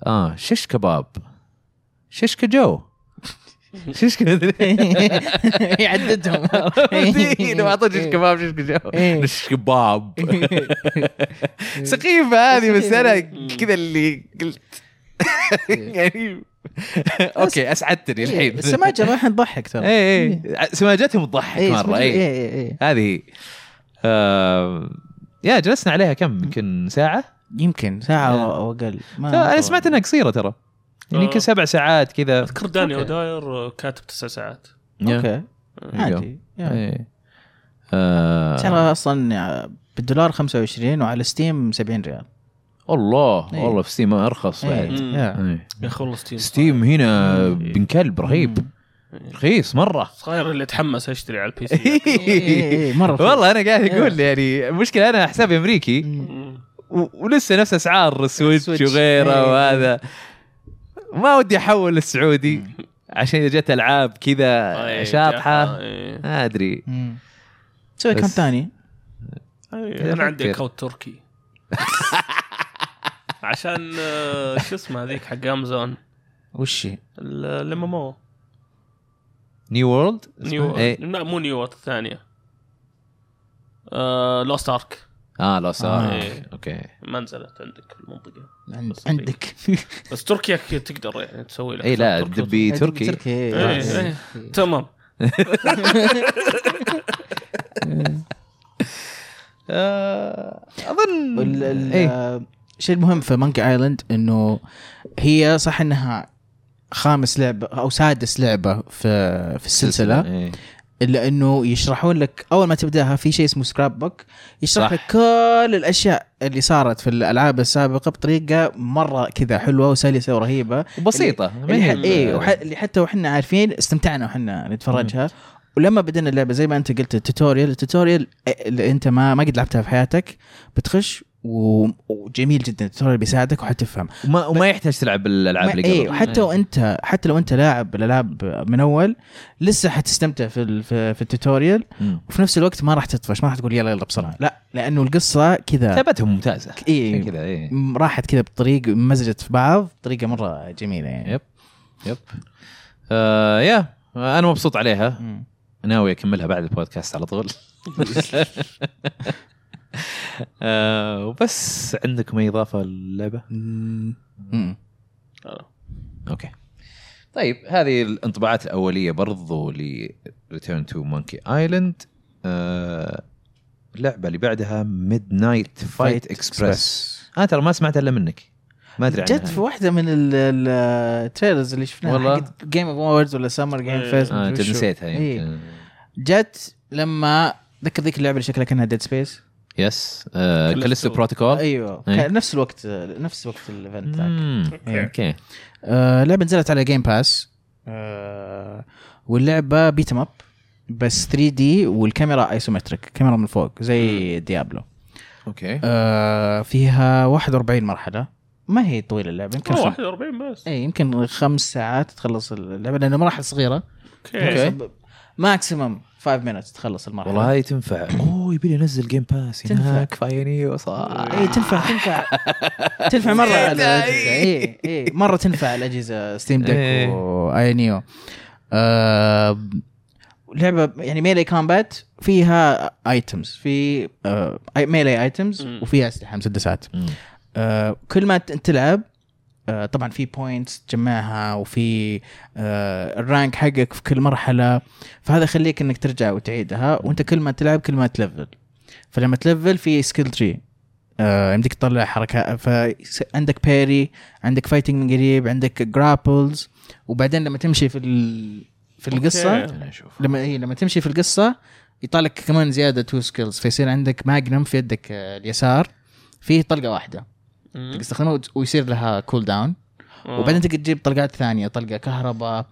A: اه شش كباب شش كجو شش كذا
B: يعددهم
A: لو اعطيت شش كباب شش كجو
B: إيه.
A: شش كباب سخيفه هذه بس انا كذا اللي قلت يعني اوكي اسعدتني
B: إيه،
A: يعني الحين إيه،
B: السماجه راح نضحك ترى إيه،
A: اي اي سماجتهم تضحك إيه. مره
B: اي
A: اي
B: اي
A: هذه آه يا جلسنا عليها كم يمكن
B: آه،
A: ساعه
B: يمكن ساعه
A: آه.
B: أو- او اقل ما-
A: لا انا سمعت انها قصيره ترى يعني
C: آه.
A: يمكن سبع ساعات كذا
C: اذكر داني
B: أوكي.
C: وداير كاتب تسع ساعات
B: اوكي
A: أيوه.
B: عادي يعني.
A: إيه. آه.
B: سعرها اصلا بالدولار 25 وعلى ستيم 70 ريال
A: الله
B: إيه.
A: والله في ستيم ارخص
B: إيه.
A: بعد
C: مم.
B: يا.
A: إيه.
C: يا اخي والله ستيم
A: ستيم هنا
C: إيه.
A: بن كلب رهيب رخيص مره
C: صاير اللي اتحمس اشتري على البي سي
B: إيه، إيه، إيه، مره رخيص.
A: والله انا قاعد اقول يعني المشكله انا حسابي امريكي
B: مم.
C: مم.
A: و- ولسه نفس اسعار السويتش
B: السويتش.
A: وغيره
B: إيه.
A: وهذا ما ودي احول للسعودي عشان اذا جت العاب كذا
B: آه،
C: إيه،
A: شاطحه
C: إيه.
A: ما ادري
B: مم. تسوي
A: بس-
B: كم ثاني
C: إيه، انا عندي
A: أفكر.
C: اكونت تركي عشان آه، شو اسمه هذيك حق امازون
B: وش هي؟
C: لما مو
A: نيو وورلد
C: نيو
A: إيه.
C: لا مو نيو وات، الثانيه آه لوست ارك
A: اه لو صار
B: آه.
A: إيه. اوكي
C: ما نزلت عندك في المنطقه
B: عند-
C: بس-
B: عندك
C: بس تركيا ك- تقدر يعني تسوي لك
A: اي إيه، لا
C: تركي
A: دبي تركي
B: تركي إيه.
C: إيه،
B: إيه.
C: وت- تمام
A: آه، إيه. اظن
B: وال- ال-
A: اي
B: الشيء المهم في مانجا ايلاند انه هي صح انها خامس لعبه او سادس لعبه في في السلسله
A: إيه.
B: الا انه يشرحون لك اول ما تبداها في شيء اسمه سكراب بوك يشرح
A: صح.
B: لك كل الاشياء اللي صارت في الالعاب السابقه بطريقه مره كذا حلوه وسلسه ورهيبه
A: بسيطه
B: اللي, ح- إيه وح... اللي حتى واحنا عارفين استمتعنا واحنا نتفرجها ولما بدينا اللعبه زي ما انت قلت التوتوريال التوتوريال إيه، اللي انت ما ما قد لعبتها في حياتك بتخش و... وجميل جدا التوتوريال بيساعدك وحتفهم
A: وما, وما يحتاج تلعب الالعاب اللي قبل
B: اي إيه، وحتى وانت حتى لو انت لاعب الالعاب من اول لسه حتستمتع في ال... في, في التوتوريال
A: مم.
B: وفي نفس الوقت ما راح تطفش ما راح تقول يلا يلا بسرعه لا لانه القصه كذا
A: ثبتها ممتازه
B: إيه.
A: كذا اي
B: م- راحت كذا بطريق مزجت في بعض بطريقه مره جميله يعني
A: يب يب آه يا انا مبسوط عليها
B: مم.
A: ناوي اكملها بعد البودكاست على طول آه وبس عندكم اي اضافه للعبه؟
C: آه.
B: مم.
A: اوكي طيب هذه الانطباعات الاوليه برضو ل ريتيرن تو مونكي ايلاند اللعبه آه، اللي بعدها ميد نايت فايت
B: Fight
A: اكسبرس انا آه، ترى ما سمعت الا منك ما ادري عنها
B: جت في واحده من ال- ال- التريلرز اللي شفناها
A: والله؟
B: حقت جيم اووردز ولا سمر جيم
C: إيه.
B: فيست
A: آه انت نسيتها يمكن
B: إيه. جت لما ذكر ذيك اللعبه اللي شكلها كانها ديد سبيس
A: يس آه
C: Callisto.
A: كاليستو بروتوكول
B: ايوه
A: إيه.
B: كان نفس الوقت نفس وقت الايفنت ذاك إيه.
A: اوكي
B: آه، لعبه نزلت على جيم باس آه، واللعبه بيت اب بس 3 دي والكاميرا ايسومتريك كاميرا من فوق زي ديابلو
A: اوكي
B: آه، فيها 41 مرحله ما هي طويله اللعبه يمكن خم...
C: 41 بس
B: اي يمكن خمس ساعات تخلص اللعبه لانه مراحل صغيره إيه،
C: اوكي
B: ماكسيمم 5 مينتس تخلص المرحله
A: والله هاي تنفع اوه يبي لي انزل جيم باس
B: تنفع.
A: هناك فايني صح
B: اي إيه، تنفع تنفع تنفع مره على الاجهزه اي اي مره تنفع على الاجهزه ستيم ديك
A: إيه.
B: واي نيو آه، لعبه يعني ميلي كومبات فيها ايتمز في آه، ميلي ايتمز
C: مم.
B: وفيها اسلحه مسدسات آه، كل ما ت- تلعب آه، طبعا في بوينتس تجمعها وفي آه، الرانك حقك في كل مرحله فهذا يخليك انك ترجع وتعيدها وانت كل ما تلعب كل ما تلفل فلما تلفل في سكيل تري آه، يمديك تطلع حركات فعندك بيري عندك فايتنج من قريب عندك جرابلز وبعدين لما تمشي في ال... في القصه
C: أوكي.
A: اشوف
B: لما إيه لما تمشي في القصه يطلع لك كمان زياده تو سكيلز فيصير عندك ماجنم في يدك آه، اليسار فيه طلقه واحده تقدر تستخدمها وت- ويصير لها كول داون وبعدين تقدر تجيب طلقات ثانيه طلقه كهرباء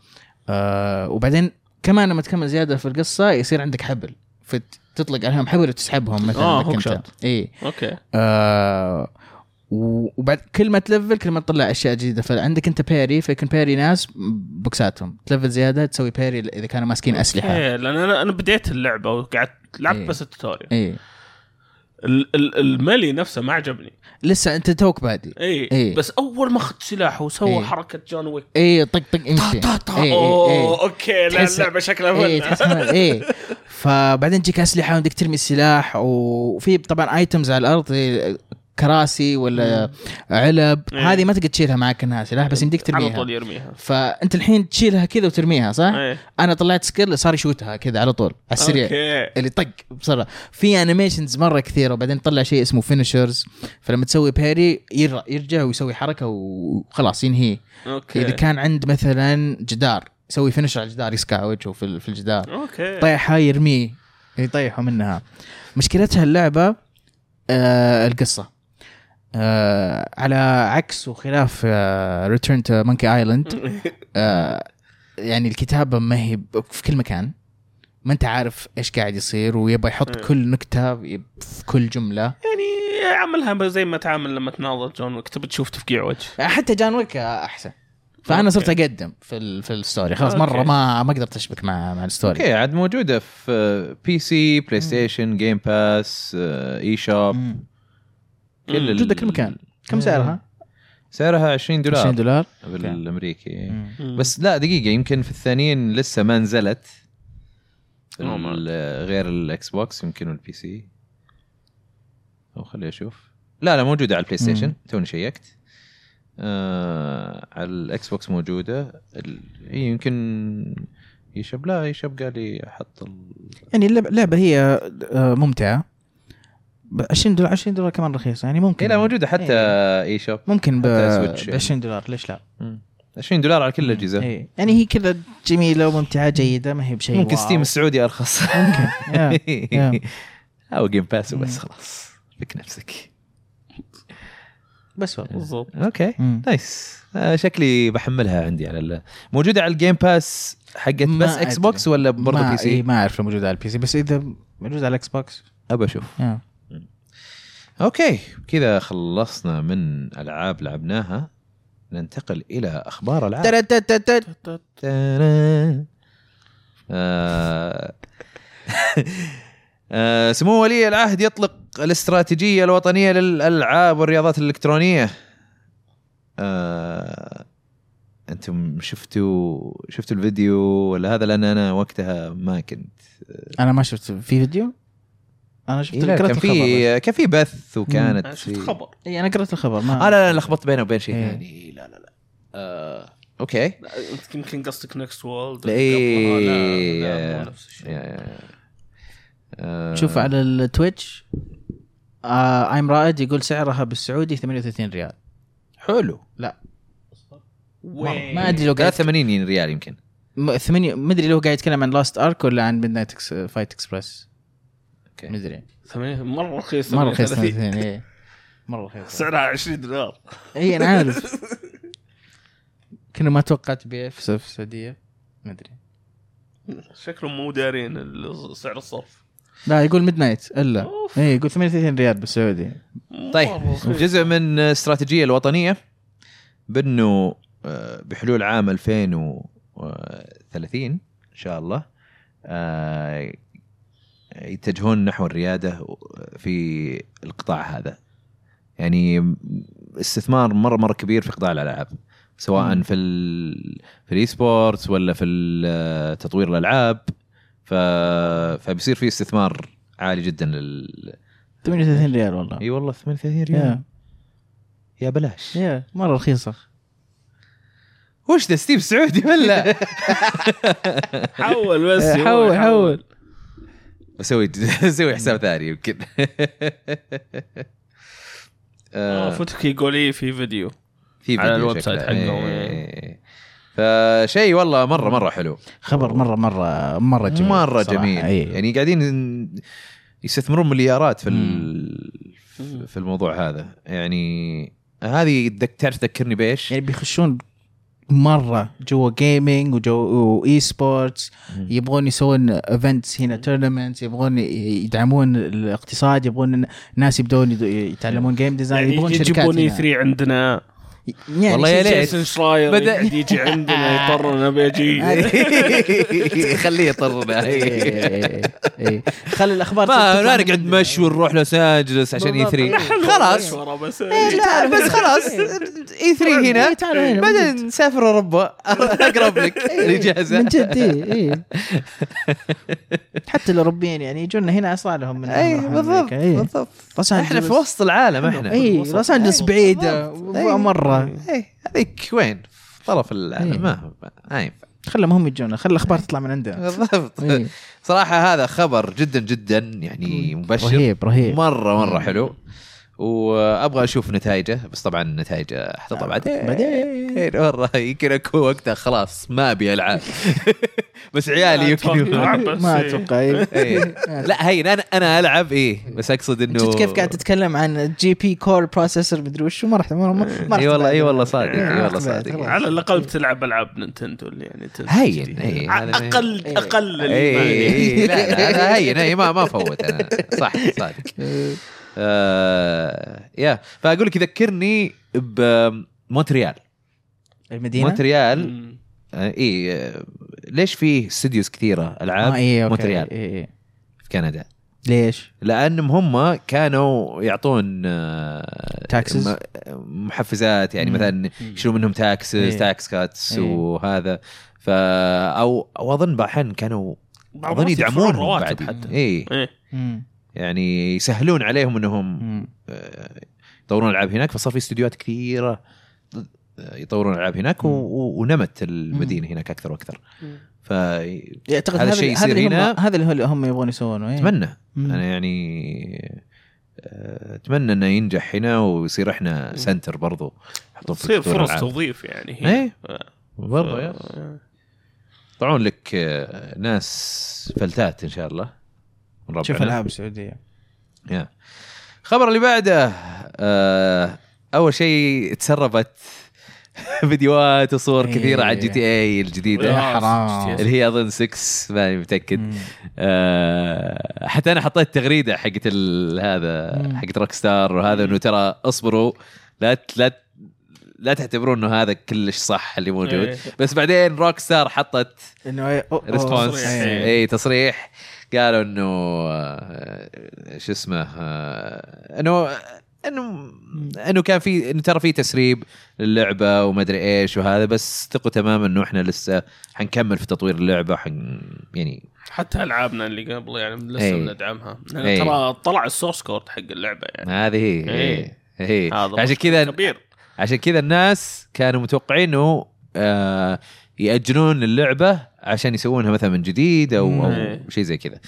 B: آه وبعدين كمان لما تكمل زياده في القصه يصير عندك حبل فتطلق عليهم حبل وتسحبهم مثلا
C: آه،
B: إنك
C: هوك
B: أنت.
C: شوت.
B: اي
C: اوكي
B: آه و- وبعد كل ما تلفل كل ما تطلع اشياء جديده فعندك انت بيري فيكون بيري ناس بوكساتهم تلفل زياده تسوي بيري اذا كانوا ماسكين اسلحه
C: إيه، لان انا انا بديت اللعبه وقعدت
B: إيه.
C: لعبت بس التوتوريال
B: اي
C: ال- ال- الملي نفسه ما عجبني
B: لسه انت توك بادي
C: اي
B: إيه.
C: بس اول ما اخذت سلاحه
B: إيه.
C: وسوى حركه جون ويك
B: اي طق طق يمشي
C: طا- طا-
B: إيه، إيه، إيه.
C: اوه اوكي لا
B: تحس-
C: اللعبه شكلها
B: ايه
C: فل
B: تحس إنها- ايه فبعدين تجيك اسلحه وعندك ترمي السلاح وفي طبعا ايتمز على الارض زي كراسي ولا علب
C: إيه.
B: هذه ما تقدر تشيلها معك انها سلاح بس يمديك
C: على
B: ترميها
C: طول يرميها
B: فانت الحين تشيلها كذا وترميها صح؟
C: إيه.
B: انا طلعت سكيل صار يشوتها كذا على طول على السريع
C: اوكي
B: اللي طق بسرعه في انيميشنز مره كثيره وبعدين طلع شيء اسمه فينشرز فلما تسوي بيري ير- يرجع ويسوي حركه وخلاص ينهيه اذا
C: اوكي
B: كان عند مثلا جدار يسوي فينشر على الجدار يسكع وجهه في ال- في الجدار
C: اوكي
B: طيحه يرميه يطيحوا منها مشكلتها اللعبه آه القصه آه على عكس وخلاف آه، ريتيرن تو مونكي ايلاند يعني الكتابه ما هي ب- في كل مكان ما انت عارف ايش قاعد يصير ويبغى يحط
C: إيه.
B: كل نكته في في كل جمله
C: يعني عملها زي ما تعامل لما تناظر جون ويك تبي تشوف تفقيع وجه
B: حتى جان ويك احسن فانا صرت اقدم في ال- في الستوري خلاص مره
C: أوكي.
B: ما ما قدرت اشبك مع مع الستوري
A: اوكي عاد موجوده في بي سي بلاي ستيشن جيم باس آه، اي شوب
B: مم.
A: كل ال-
B: موجوده كل مكان كم
A: إيه.
B: سعرها؟
A: سعرها 20 دولار
B: 20 دولار
A: بالامريكي
B: مم.
A: بس لا دقيقه يمكن في الثانيين لسه ما نزلت في
C: Oh my.
A: ال- غير الاكس بوكس يمكن والبي سي او خليني اشوف لا لا موجوده على البلاي ستيشن
B: مم.
A: توني شيكت آه على الاكس بوكس موجوده ال- هي يمكن يشب لا يشب قال لي احط ال-
B: يعني اللعبة, اللعبة هي آه، ممتعة ب 20 دولار 20 دولار كمان رخيصة يعني ممكن
A: هي
B: إيه،
A: إيه، لا موجوده حتى اي شوب
B: ممكن ب
A: حتى سويتش.
B: ب 20 دولار ليش لا؟
A: 20 دولار على كل الاجهزه
B: إيه. يعني هي كذا جميلة وممتعة جيدة ما هي بشيء
A: ممكن
B: واو.
A: ستيم السعودي ارخص
B: يا. يا.
A: او جيم باس وبس
B: مم.
A: خلاص فك نفسك
B: بس والله
C: بالضبط
A: اوكي
B: مم.
A: نايس آه، شكلي بحملها عندي على ال... موجوده على الجيم باس حقت
B: ما
A: بس اكس
B: أدري.
A: بوكس ولا برضه
B: ما-
A: بي سي
B: إيه، ما اعرف لو موجودة على البي سي بس اذا موجودة على الاكس بوكس
A: ابى اشوف
B: يا.
A: اوكي كذا خلصنا من العاب لعبناها ننتقل الى اخبار العاب
B: آه. ترى- ترى- ترى- ترى.
A: تانا. آه. آه، سمو ولي العهد يطلق الاستراتيجية الوطنية للألعاب والرياضات الإلكترونية آه، أنتم شفتوا شفتوا الفيديو ولا هذا لأن أنا وقتها ما كنت
B: انا ما شفت في فيديو انا شفت
A: إيه، لا،
B: قرأت
A: كان
B: الخبر
A: في كان في بث وكانت
C: أنا
A: في-
C: شفت خبر
B: بس. اي انا قرأت الخبر ما
A: آه لا لا لخبطت بينه وبين شيء
B: إيه.
A: ثاني لا لا لا آه، اوكي
C: أنت يمكن قصدك نكست وولد
A: إيه.
C: لا مو نفس الشيء.
A: آه،
B: شوف على التويتش آه ايم رائد يقول سعرها بالسعودي 38 ريال حلو لا
C: وين؟
B: ما ادري لو قاعد
A: 83 آه، ريال يمكن
B: م- ثمانية ما ادري لو قاعد يتكلم عن لاست ارك ولا عن ميد نايت فايت اكسبرس
A: اوكي
B: ما ادري
C: ثمانية- مره رخيص
B: مره رخيص
C: 38.
B: 38 إيه. مره رخيص
C: سعرها 20 دولار
B: اي انا عارف كنا ما توقعت بيع في الس- في السعوديه ما ادري
C: شكلهم مو دارين ال- سعر الصرف
B: لا يقول ميد نايت الا
C: أوف.
B: اي يقول 38 ريال بالسعودي
A: طيب
C: مرة رخيص.
A: جزء من الاستراتيجيه الوطنيه بانه آه، بحلول عام 2030 ان شاء الله آه، يتجهون نحو الرياده في القطاع هذا يعني استثمار مره مره كبير في قطاع الالعاب سواء
B: مم.
A: في ال في الاي سبورتس ولا في ال- آه، تطوير الالعاب ف فبيصير في استثمار عالي جدا لل
B: 38 ريال والله
A: اي والله 38 ريال
B: يا
A: يا بلاش
B: يا مره رخيصه
A: وش ذا ستيف سعودي ولا
C: حول بس يا
B: حول-
C: ولد،
B: حول.
A: بسوي بسوي حساب ثاني يمكن
C: آه،
A: آه،
C: فتك يقول لي في فيديو
A: في
C: على
A: فيديو
C: الويب سايت
A: شكله.
C: حقهم،
A: إيه.
C: إيه.
A: فشيء والله مره مره حلو
B: خبر مره مره مره جميل
A: مره
B: صراحة. إيه.
A: جميل
B: اي
A: يعني قاعدين يستثمرون مليارات في ال-
C: مم.
A: في الموضوع هذا يعني هذه تذك- تعرف تذكرني بايش؟
B: يعني بيخشون مره جوا جيمنج وجو واي سبورتس
A: مم.
B: يبغون يسوون ايفنتس هنا تورنمنتس يبغون ي- يدعمون الاقتصاد يبغون إن الناس يبدون يد- يتعلمون جيم ديزاين
C: يعني
B: يبغون شركات
C: يجيبون اي
B: هنا.
C: 3 عندنا
B: يعني
A: E والله يا
B: شيء-
A: ليت.
C: جيسون شراير
A: بدأ-
C: بدأ يجي عندنا يضطر انا بيجي
A: خليه يطرنا
B: إيه. إيه. خلي الاخبار
A: ما
B: تطلع
A: نرقد
B: من-
A: مشي ونروح لوس انجلس عشان اي
B: بالضبط.
A: 3
C: نحن
A: خلاص إيه،
C: ورا بس
A: لا بس خلاص اي 3 هنا
B: إيه، تعالوا هنا، من
A: بعدين نسافر اوروبا اقرب لك الاجازه
B: من جد إيه، إيه. حتى الاوروبيين يعني يجونا هنا اسرع لهم من
A: اي
B: أمريكا.
A: بالضبط
B: إيه.
A: بالضبط
B: لوس
A: احنا في
B: أنجلوس.
A: وسط العالم احنا
B: اي
C: وسط.
B: لوس انجلس
A: إيه،
B: بعيده
A: بالضبط. إيه.
B: مره
A: اي هذيك وين؟ في طرف
B: إيه.
A: العالم ما هو- ما ينفع
B: خلهم هم يجونا خلي الاخبار تطلع من عندنا
A: إيه. بالضبط
B: إيه.
A: صراحه هذا خبر جدا جدا يعني مبشر
B: رهيب رهيب
A: مره مره حلو وابغى اشوف نتائجه بس طبعا نتائجه احطها بعدين
B: بعدين.
A: مره يمكن اكون وقتها خلاص ما ابي العاب بس عيالي يمكن
C: بس
B: ما
C: إيه.
B: اتوقع إيه.
A: إيه. لا هين انا انا العب ايه بس اقصد انه
B: شفت كيف قاعد تتكلم عن جي بي كور بروسيسور مدري وش ما راح ما راح- ما
A: اي إيه، والله اي والله صادق اي
B: ما
A: والله
B: رحت بعد،
A: صادق
B: خلاص.
C: على الاقل بتلعب العاب نينتندو اللي يعني تنزل
A: هين،
C: جديد.
A: هين،
C: ع-
A: هذا ما- إيه،
C: اقل
B: إيه.
C: اقل
A: اي
C: اللي-
A: إي، لا لا هذا هين اي ما ما فوت انا صح صادق آه يا فاقول لك يذكرني بمونتريال
B: المدينه
A: مونتريال
C: مم.
A: آه، اي آه، ليش في استديوز كثيره العاب
B: آه، إيه، أوكي.
A: مونتريال
B: إيه، إيه.
A: في كندا
B: ليش؟
A: لانهم هم كانوا يعطون آه،
B: Taxes.
A: م- محفزات يعني
B: مم.
A: مثلا يشيلون منهم تاكسز
B: إيه.
A: تاكس كاتس
B: إيه.
A: وهذا ف او او اظن احيانا كانوا
C: بعض
A: اظن
C: الناس يدفعون
A: يدعمونهم
C: رواتب
A: بعد
C: حتى.
A: اي
C: إيه.
B: مم.
A: يعني يسهلون عليهم انهم
B: مم.
A: آه، يطورون العاب هناك فصار في استديوهات كثيره آه، يطورون العاب هناك و-
B: مم.
A: و- ونمت المدينه هناك اكثر واكثر
C: إيه.
A: ف
B: اعتقد
A: هذا
B: إيه،
A: الشيء
B: هذا الشيء
A: يصير
B: يصير
A: هنا.
B: هنا هذا اللي هم يبغون يسوونه إيه.
A: اتمنى
B: مم.
A: انا يعني آه، اتمنى انه ينجح هنا ويصير احنا سنتر برضو يحطون في
C: تصير
A: صدور
C: فرص
A: العاب.
C: توظيف يعني هي.
A: ايه
C: ف- إيه.
A: برضو يا. يطلعون لك آه، ناس فلتات ان شاء الله من ربعنا.
B: شوف العاب السعوديه
A: يا. الخبر اللي بعده آه، اول شيء تسربت فيديوهات وصور
B: إيه.
A: كثيره على جي تي اي
B: يا
A: الجديده
C: إيه.
B: حرام.
A: إيه، اللي هي اظن 6 ماني متاكد آه، حتى انا حطيت تغريده حقت ال- هذا
B: مم.
A: حقت روك ستار وهذا انه ترى اصبروا لا ت- لا ت- لا تعتبروا انه هذا كلش صح اللي موجود
C: إيه.
A: بس بعدين روك ستار حطت
B: انه إيه، أو- أو-
A: ريسبونس
C: تصريح.
B: إيه.
A: اي تصريح قالوا انه آه، شو اسمه آه، انه انه انه كان في انه ترى في تسريب للعبه وما ادري ايش وهذا بس ثقوا تماما انه احنا لسه حنكمل في تطوير اللعبه حن يعني
C: حتى العابنا اللي قبل يعني لسه
A: إيه.
C: بندعمها لأن
A: إيه.
C: ترى طلع السورس كود حق اللعبه يعني
A: هذه هي
C: إيه.
A: هي
C: هذا
A: عشان
C: مشكلة
A: كذا
C: كبير
A: عشان كذا الناس كانوا متوقعين انه آه، ياجلون اللعبه عشان يسوونها مثلا من جديد او, أو
C: مم.
A: شيء زي كذا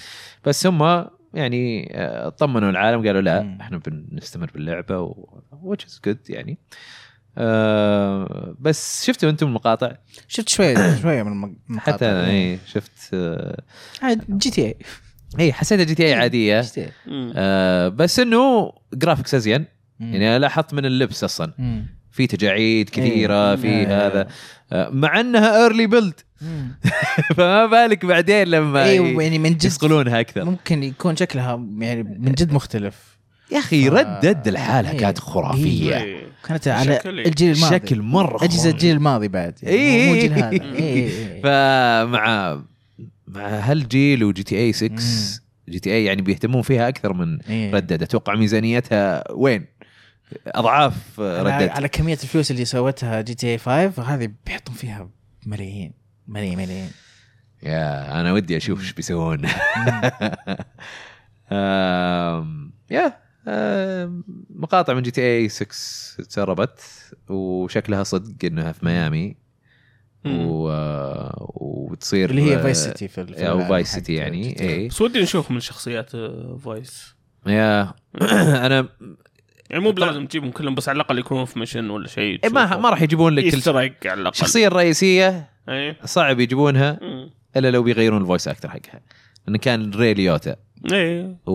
A: بس هم يعني آه، طمنوا العالم قالوا لا
B: مم.
A: احنا بنستمر باللعبه و... which is good يعني آه بس شفتوا انتم المقاطع
B: شفت شويه شويه من المقاطع
A: حتى إيه. انا اي شفت آه،
B: جي تي إيه. اي
A: اي حسيتها جي تي اي عاديه
B: إيه.
C: مم.
A: آه بس انه جرافكس ازين يعني انا لاحظت من اللبس اصلا في تجاعيد كثيره
B: إيه.
A: في
B: إيه.
A: هذا آه، مع انها ايرلي بيلد فما بالك بعدين لما
B: ايوه
A: ي-
B: يعني من جد
A: يصقلونها اكثر
B: ممكن يكون شكلها يعني من جد مختلف
A: يا اخي
B: آه،
A: ردد لحالها
B: إيه.
A: كانت خرافيه
C: إيه.
B: كانت على
C: شكل-
B: الجيل الماضي
A: شكل مره
B: اجهزه
A: خرافي.
B: الجيل الماضي بعد يعني،
A: إيه.
B: مو- مو جيل هذا
A: إيه.
B: إيه.
A: فمع مع هالجيل وجي تي اي 6
B: مم.
A: جي تي اي يعني بيهتمون فيها اكثر من
B: إيه.
A: ردد اتوقع ميزانيتها وين؟ اضعاف آه،
B: على-
A: ردد
B: على كميه الفلوس اللي سوتها جي تي اي 5 هذه بيحطون فيها ملايين ملايين ملايين
A: يا انا ودي اشوف ايش بيسوون آم، يا آم، مقاطع من جي تي اي 6 تسربت وشكلها صدق انها في ميامي
C: مم.
A: و... آه، وتصير آه،
B: اللي هي فايس سيتي في ال- في
A: او
B: العالم
A: فايس
B: حق
A: سيتي
B: جي
A: يعني
B: تي إيه.
A: اي
C: بس ودي نشوف من شخصيات آه، فويس
A: يا انا
C: يعني مو بلازم تجيبهم كلهم بس على الاقل يكونون في ميشن ولا شيء
A: إيه، ما ما راح يجيبون لك
C: يسترق
A: ال-
C: على الاقل
A: الشخصيه الرئيسيه
C: اي
A: صعب يجيبونها
C: مم.
A: الا لو بيغيرون الفويس اكتر حقها لانه كان ري ليوتا
C: اي
A: و...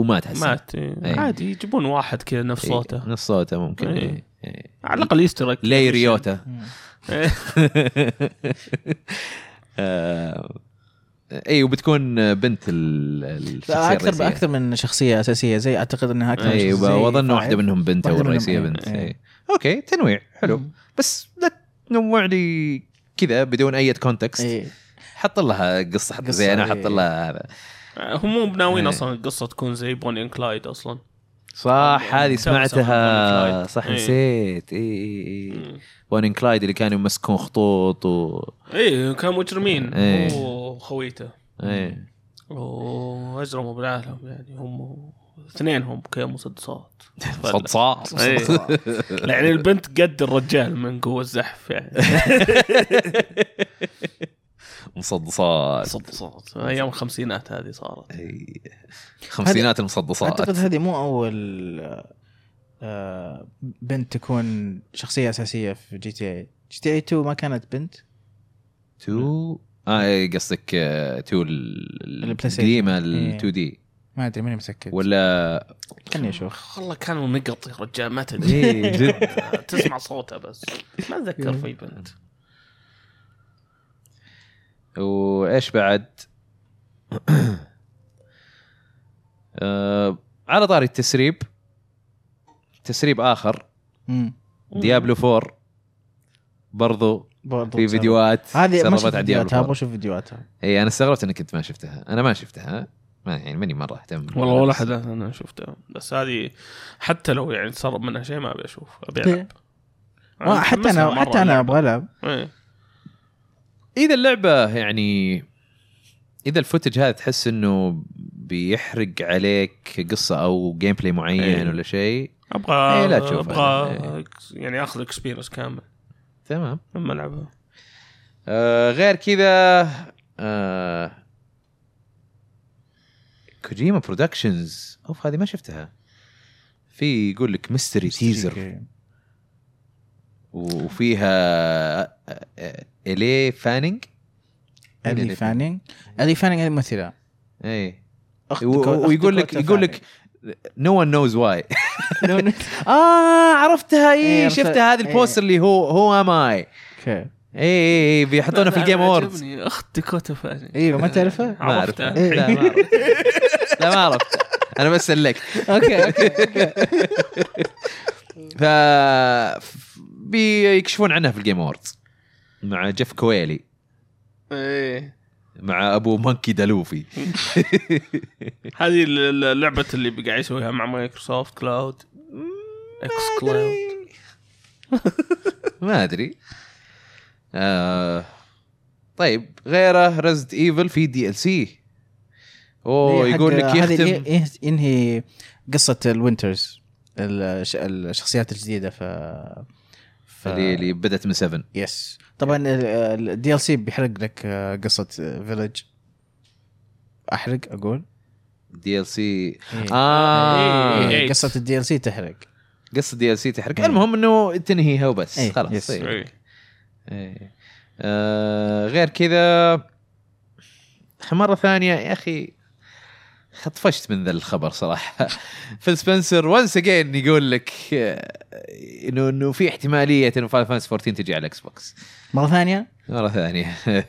A: ومات حسن
C: مات إيه.
A: إيه.
C: عادي يجيبون واحد كذا نفس صوته
A: نص صوته ممكن
C: إيه.
A: إيه. إيه.
C: على الاقل يسترق
A: ليريوتا
B: مم.
A: آه، اي وبتكون بنت ال- الشخصيه
B: اكثر
A: الرئيسيه
B: اكثر من شخصيه اساسيه زي اعتقد انها اكثر من
A: اي
B: شخصية
A: واظن
B: فاعل.
A: واحده منهم بنت او
B: واحدة منهم
A: الرئيسيه
B: إيه.
A: بنت
B: إيه.
A: إيه. اوكي تنويع حلو
B: مم.
A: بس لا تنوع لي كذا بدون اي كونتكست
B: إيه.
A: حط لها قصه حط زي
B: قصة،
A: انا حط
B: إيه.
A: لها هذا
C: آه، هم مو بناويين
A: إيه.
C: اصلا القصه تكون زي بوني اند كلايد اصلا
A: صح
B: إيه.
A: هذه
C: سوى- سوى Bonnie
A: سمعتها
C: and Clyde.
A: صح
C: إيه.
A: نسيت اي اي
C: مم.
A: وان كلايد اللي كانوا يمسكون خطوط و
C: ايه كانوا مجرمين
A: إيه.
C: هو وخويته
A: ايه
C: واجرموا بالعالم يعني هم اثنينهم كمسدسات
A: صوت صار
C: إيه. يعني البنت قد الرجال من قوه الزحف يعني
A: مصدصات
C: مصدسات ايام الخمسينات هذه صارت
A: إي. خمسينات المصدصات
B: اعتقد هذه مو اول آه، بنت تكون شخصيه اساسيه في جي تي اي جي تي اي 2 ما كانت بنت
A: تو اه إي، قصدك آه، تو
B: البلايستيشن.
A: القديمه ال
B: إيه.
A: 2 دي
B: ما ادري ماني مسكت
A: ولا
B: خليني اشوف
C: والله كانوا نقط يا رجال ما تدري
A: اي إيه، جد
C: تسمع صوتها بس ما اتذكر في بنت
A: وايش بعد؟ آه على طاري التسريب تسريب اخر
B: مم.
A: ديابلو 4 برضو
B: برضو
A: في
B: تسرب.
A: فيديوهات
B: هذه ما
A: سربت
B: شفت
A: عن ديابلو
B: فيديوهاتها
A: 4.
B: ابغى اشوف فيديوهاتها
A: اي انا استغربت انك انت ما شفتها انا ما شفتها ما يعني ماني مره اهتم
C: والله ولا حد انا شفته بس هذه حتى لو يعني صار منها شيء ما ابي اشوف ابي
A: إيه.
C: العب
A: آه،
B: ما آه، حتى
C: متحمس لها
B: انا
C: مرة
B: حتى انا
C: ألعب.
B: ابغى العب
C: إيه.
A: اذا اللعبه يعني اذا الفوتج هذا تحس انه بيحرق عليك قصه او جيم بلاي معين
C: إيه.
A: ولا شيء
C: ابغى
A: إيه، لا إيه. تشوف
C: ابغى
A: هذا.
C: يعني اخذ اكسبيرينس كامل
A: تمام
C: لما العبها
A: آه غير كذا آه كوجيما برودكشنز اوف هذه ما شفتها في يقول لك ميستري تيزر وفيها آه، آه، الي فانينج
B: الي فانينج الي فانينج هذه ممثله
A: اي
B: أخت
A: إيه. و-
B: ديكو- أخت
A: ويقول لك
B: ديكوتا
A: يقول لك نو ون نوز واي
B: فانينج.
A: اه عرفتها
B: إيه،
A: اي
B: عرفتها.
A: شفتها هذه البوست اللي هو هو ام اي
B: اوكي
A: اي اي إيه، بيحطونه في
C: لا،
A: الجيم
C: أنا
A: اووردز
C: عجبني. اخت ديكوتا فاني
B: ايوه ما تعرفها؟
A: ما
C: عرفت.
A: اعرف
C: إيه.
A: لا ما أعرف. لا ما اعرف انا بس لك
B: اوكي اوكي
A: ف ف- بيكشفون عنها في الجيم اووردز مع جيف كويلي
C: ايه
A: مع ابو مونكي دالوفي
C: هذه ال- ال- اللعبه اللي قاعد يسويها مع مايكروسوفت كلاود اكس كلاود
A: ما ادري آه طيب غيره ريزد ايفل في دي ال سي اوه
B: هي حق-
A: يقول لك
B: هذه
A: يختم
B: اللي يه- ينهي قصه الوينترز الش- الشخصيات الجديده في في
A: ف... اللي اللي بدات من 7
B: يس طبعا الدي ال سي بيحرق لك آه، قصه فيلج احرق اقول
A: دي ال سي
B: إيه.
A: اه
C: إيه.
B: إيه، قصه الدي ال سي تحرق
A: قصه دي ال سي تحرق
B: إيه.
A: المهم انه تنهيها وبس
B: إيه،
A: خلاص
B: يس.
A: إيه.
C: إيه.
A: إيه. آه غير كذا مرة ثانية يا أخي خطفشت من ذا الخبر صراحة فيل سبنسر وانس اجين يقول لك آه، انه انه في احتمالية انه فاينل فانس 14 تجي على الاكس بوكس
B: مره ثانيه
A: مرة ثانية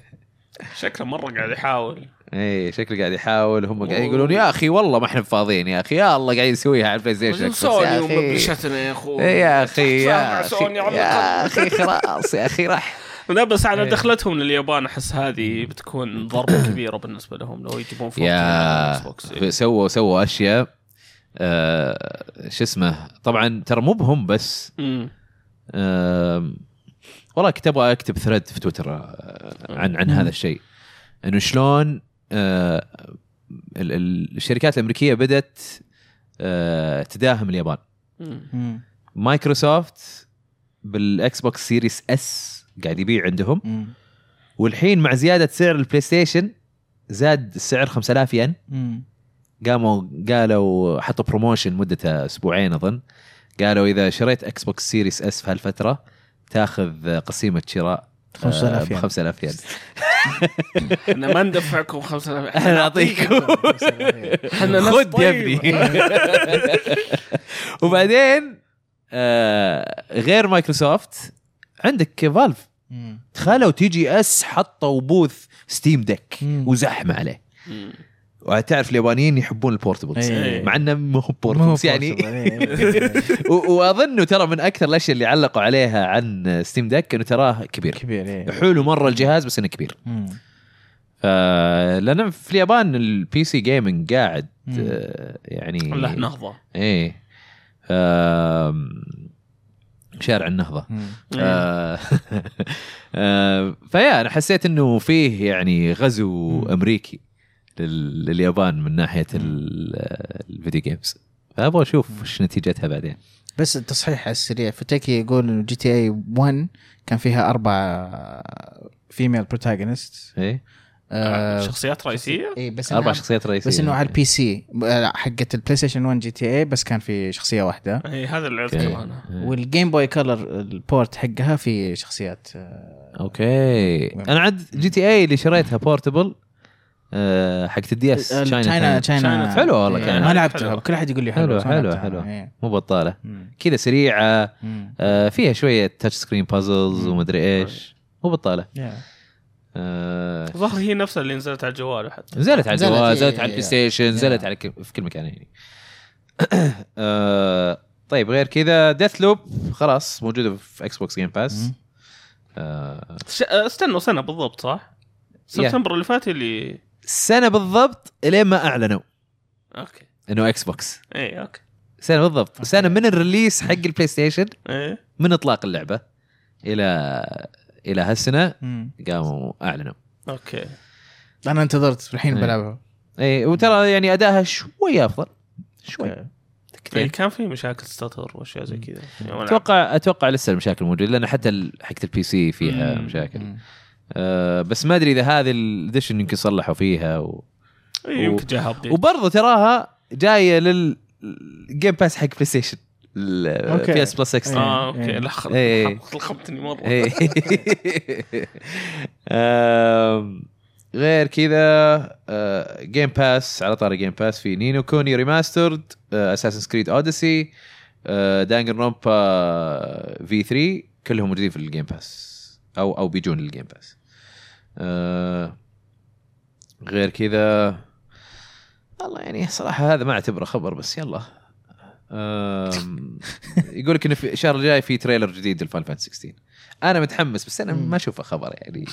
C: شكله مره قاعد يحاول
A: اي إيه، شكله قاعد يحاول هم قاعد يقولون يا اخي والله ما احنا فاضيين يا اخي يا الله قاعد يسويها على البلاي ستيشن
C: رجل
A: Xbox يا
C: سوني
A: أخي.
C: ومبلشتنا يا اخو
A: إيه يا اخي يا
C: تفاهم مع
A: اخي
C: سوني على
A: يا
C: الأقل.
A: اخي خلاص يا اخي راح
C: لا بس على
A: إيه.
C: دخلتهم لليابان احس هذه بتكون ضربه كبيره بالنسبه لهم لو يجيبون فورتين على الإكس بوكس.
A: يا سووا سووا اشياء آه شو اسمه طبعا ترى مو بهم بس
C: أمم.
A: آه والله كنت ابغى اكتب ثريد في تويتر آه عن عن هذا الشيء انه شلون آه ال- ال- الشركات الامريكيه بدات آه تداهم اليابان
C: أمم.
B: مم.
A: مايكروسوفت بالاكس بوكس سيريس اس قاعد يبيع عندهم
B: مم.
A: والحين مع زياده سعر البلاي ستيشن زاد السعر 5000 ين
B: مم.
A: قاموا قالوا حطوا بروموشن مدته اسبوعين اظن قالوا اذا شريت اكس بوكس سيريس اس في هالفتره تاخذ قسيمه شراء
B: 5000
A: ب
B: ين
A: 5000 ين
C: احنا ما ندفعكم 5000
A: احنا نعطيكم
C: احنا ناس
A: خذ يا
B: طيب.
C: طيبة.
A: ابني وبعدين آه، غير مايكروسوفت عندك فالف
B: مم.
A: دخلوا تي جي اس حطوا بوث ستيم ديك
B: مم.
A: وزحمه عليه
C: أمم.
A: وتعرف اليابانيين يحبون البورتبلز
B: إيه.
A: مع انه مو
B: ما هو
A: بورتبلز يعني
B: portable. إيه.
A: و- واظنه ترى من اكثر الاشياء اللي علقوا عليها عن ستيم دك انه تراه كبير
B: كبير ايه
A: حلو مره الجهاز بس انه كبير
B: مم.
A: آه، لان في اليابان البي سي جيمنج قاعد آه، يعني
C: له نهضه
A: ايه آم، شارع النهضه
B: مم.
A: آه، آه، فيا انا حسيت انه فيه يعني غزو
B: مم.
A: امريكي لل- لليابان من ناحيه ال- الفيديو جيمز فابغى اشوف وش نتيجتها بعدين
B: بس التصحيح على السريع فتاكي يقول انه جي تي اي 1 كان فيها اربع فيميل بروتاغونست
A: ايه
C: آه، شخصيات رئيسيه
B: اي آه، إيه، بس
A: اربع
B: إنها-
A: شخصيات رئيسيه
B: بس انه على البي سي آه، حقت البلاي ستيشن 1 جي تي اي بس كان في شخصيه واحده
C: اي إيه، هذا اللي
A: أوكي.
C: اذكره انا
A: إيه.
B: والجيم بوي كلر البورت حقها في شخصيات آه،
A: اوكي انا عاد جي تي اي اللي شريتها بورتبل آه، حقت الدي اس
B: آه،
A: تشاينا تايم.
B: تشاينا
C: China-
A: حلوة والله
B: إيه،
A: كانت.
B: ما لعبتها
C: حلوة.
B: كل احد يقول لي
A: حلوة،
B: حلوة بس ما
A: حلوة،
B: لعبتها.
A: حلوة.
B: إيه.
A: مو بطاله
B: مم.
A: كذا سريعه
B: مم.
A: آه، فيها شويه تاتش سكرين بازلز
B: مم.
A: ومدري ايش مو بطاله
B: Yeah.
A: آه،
C: ظهر هي نفسها اللي نزلت على الجوال حتى
A: نزلت على
B: نزلت، إيه،
A: الجوال نزلت
B: إيه،
A: على البلاي
B: إيه.
A: ستيشن نزلت
B: نعم.
A: على كل- في كل مكان يعني آه، طيب غير كذا ديث لوب خلاص موجوده في اكس بوكس جيم باس
B: مم.
A: آه،
C: ش- استنوا سنه بالضبط صح؟ سبتمبر اللي فات اللي
A: سنه بالضبط لين ما اعلنوا
C: اوكي
A: انه اكس بوكس
C: اي اوكي
A: سنه بالضبط سنه من الريليس حق البلاي ستيشن
C: اي
A: من اطلاق اللعبه الى الى هالسنه
B: مم.
A: قاموا اعلنوا
C: اوكي
B: انا انتظرت الحين
A: إيه.
B: بلعبها
A: اي وترى يعني ادائها شوي افضل شوي
C: إيه،
A: تكتير.
C: كان في مشاكل ستر واشياء زي كذا يعني
A: اتوقع اتوقع لسه المشاكل موجوده لان حتى ال- حقت البي سي فيها
C: مم.
A: مشاكل
B: مم.
A: أه بس ما ادري اذا هذه الديشن يمكن صلحوا فيها و...
C: إيه، يمكن جاها update.
A: وبرضه تراها جايه لل جيم باس حق بلاي ستيشن
B: أوكي.
A: بي اس بلس اكسترا
C: اه
B: إيه.
C: اوكي لا خ-
A: إيه.
C: خلخبتني مره
A: إيه. آم، غير كذا جيم باس على طاري جيم باس في نينو كوني ريماسترد اساسن كريد اوديسي دانجر رومبا في 3 كلهم موجودين في الجيم باس او او بيجون للجيم باس آه، غير كذا والله يعني صراحه هذا ما اعتبره خبر بس يلا آم، يقول لك انه في الشهر الجاي في تريلر جديد لفاين فانت 16 انا متحمس بس انا ما اشوفه خبر يعني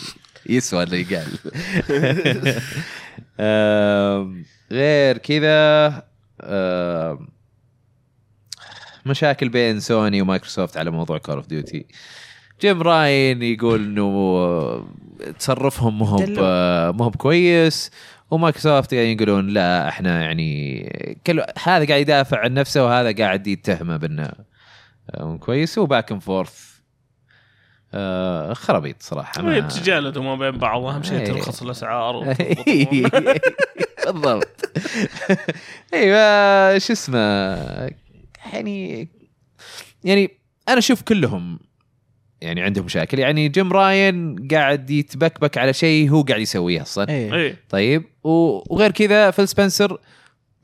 A: يسوى اللي قال آم، غير كذا آم، مشاكل بين سوني ومايكروسوفت على موضوع كول اوف ديوتي جيم راين يقول انه تصرفهم مو هو ب- مو هو بكويس ومايكروسوفت يعني يقولون لا احنا يعني كل هذا قاعد يدافع عن نفسه وهذا قاعد يتهمه بانه آه، مو كويس وباك اند فورث آه خرابيط صراحه ما-
C: هي بتجالدوا ما بين بعض اهم شيء
A: إيه.
C: ترخص الاسعار وتضبط الأمور.
A: بالضبط ايوه شو اسمه يعني يعني انا اشوف كلهم يعني عندهم مشاكل يعني جيم راين قاعد يتبكبك على شيء هو قاعد يسويه اصلا
B: ايه
C: ايه
A: طيب و- وغير كذا فيل سبنسر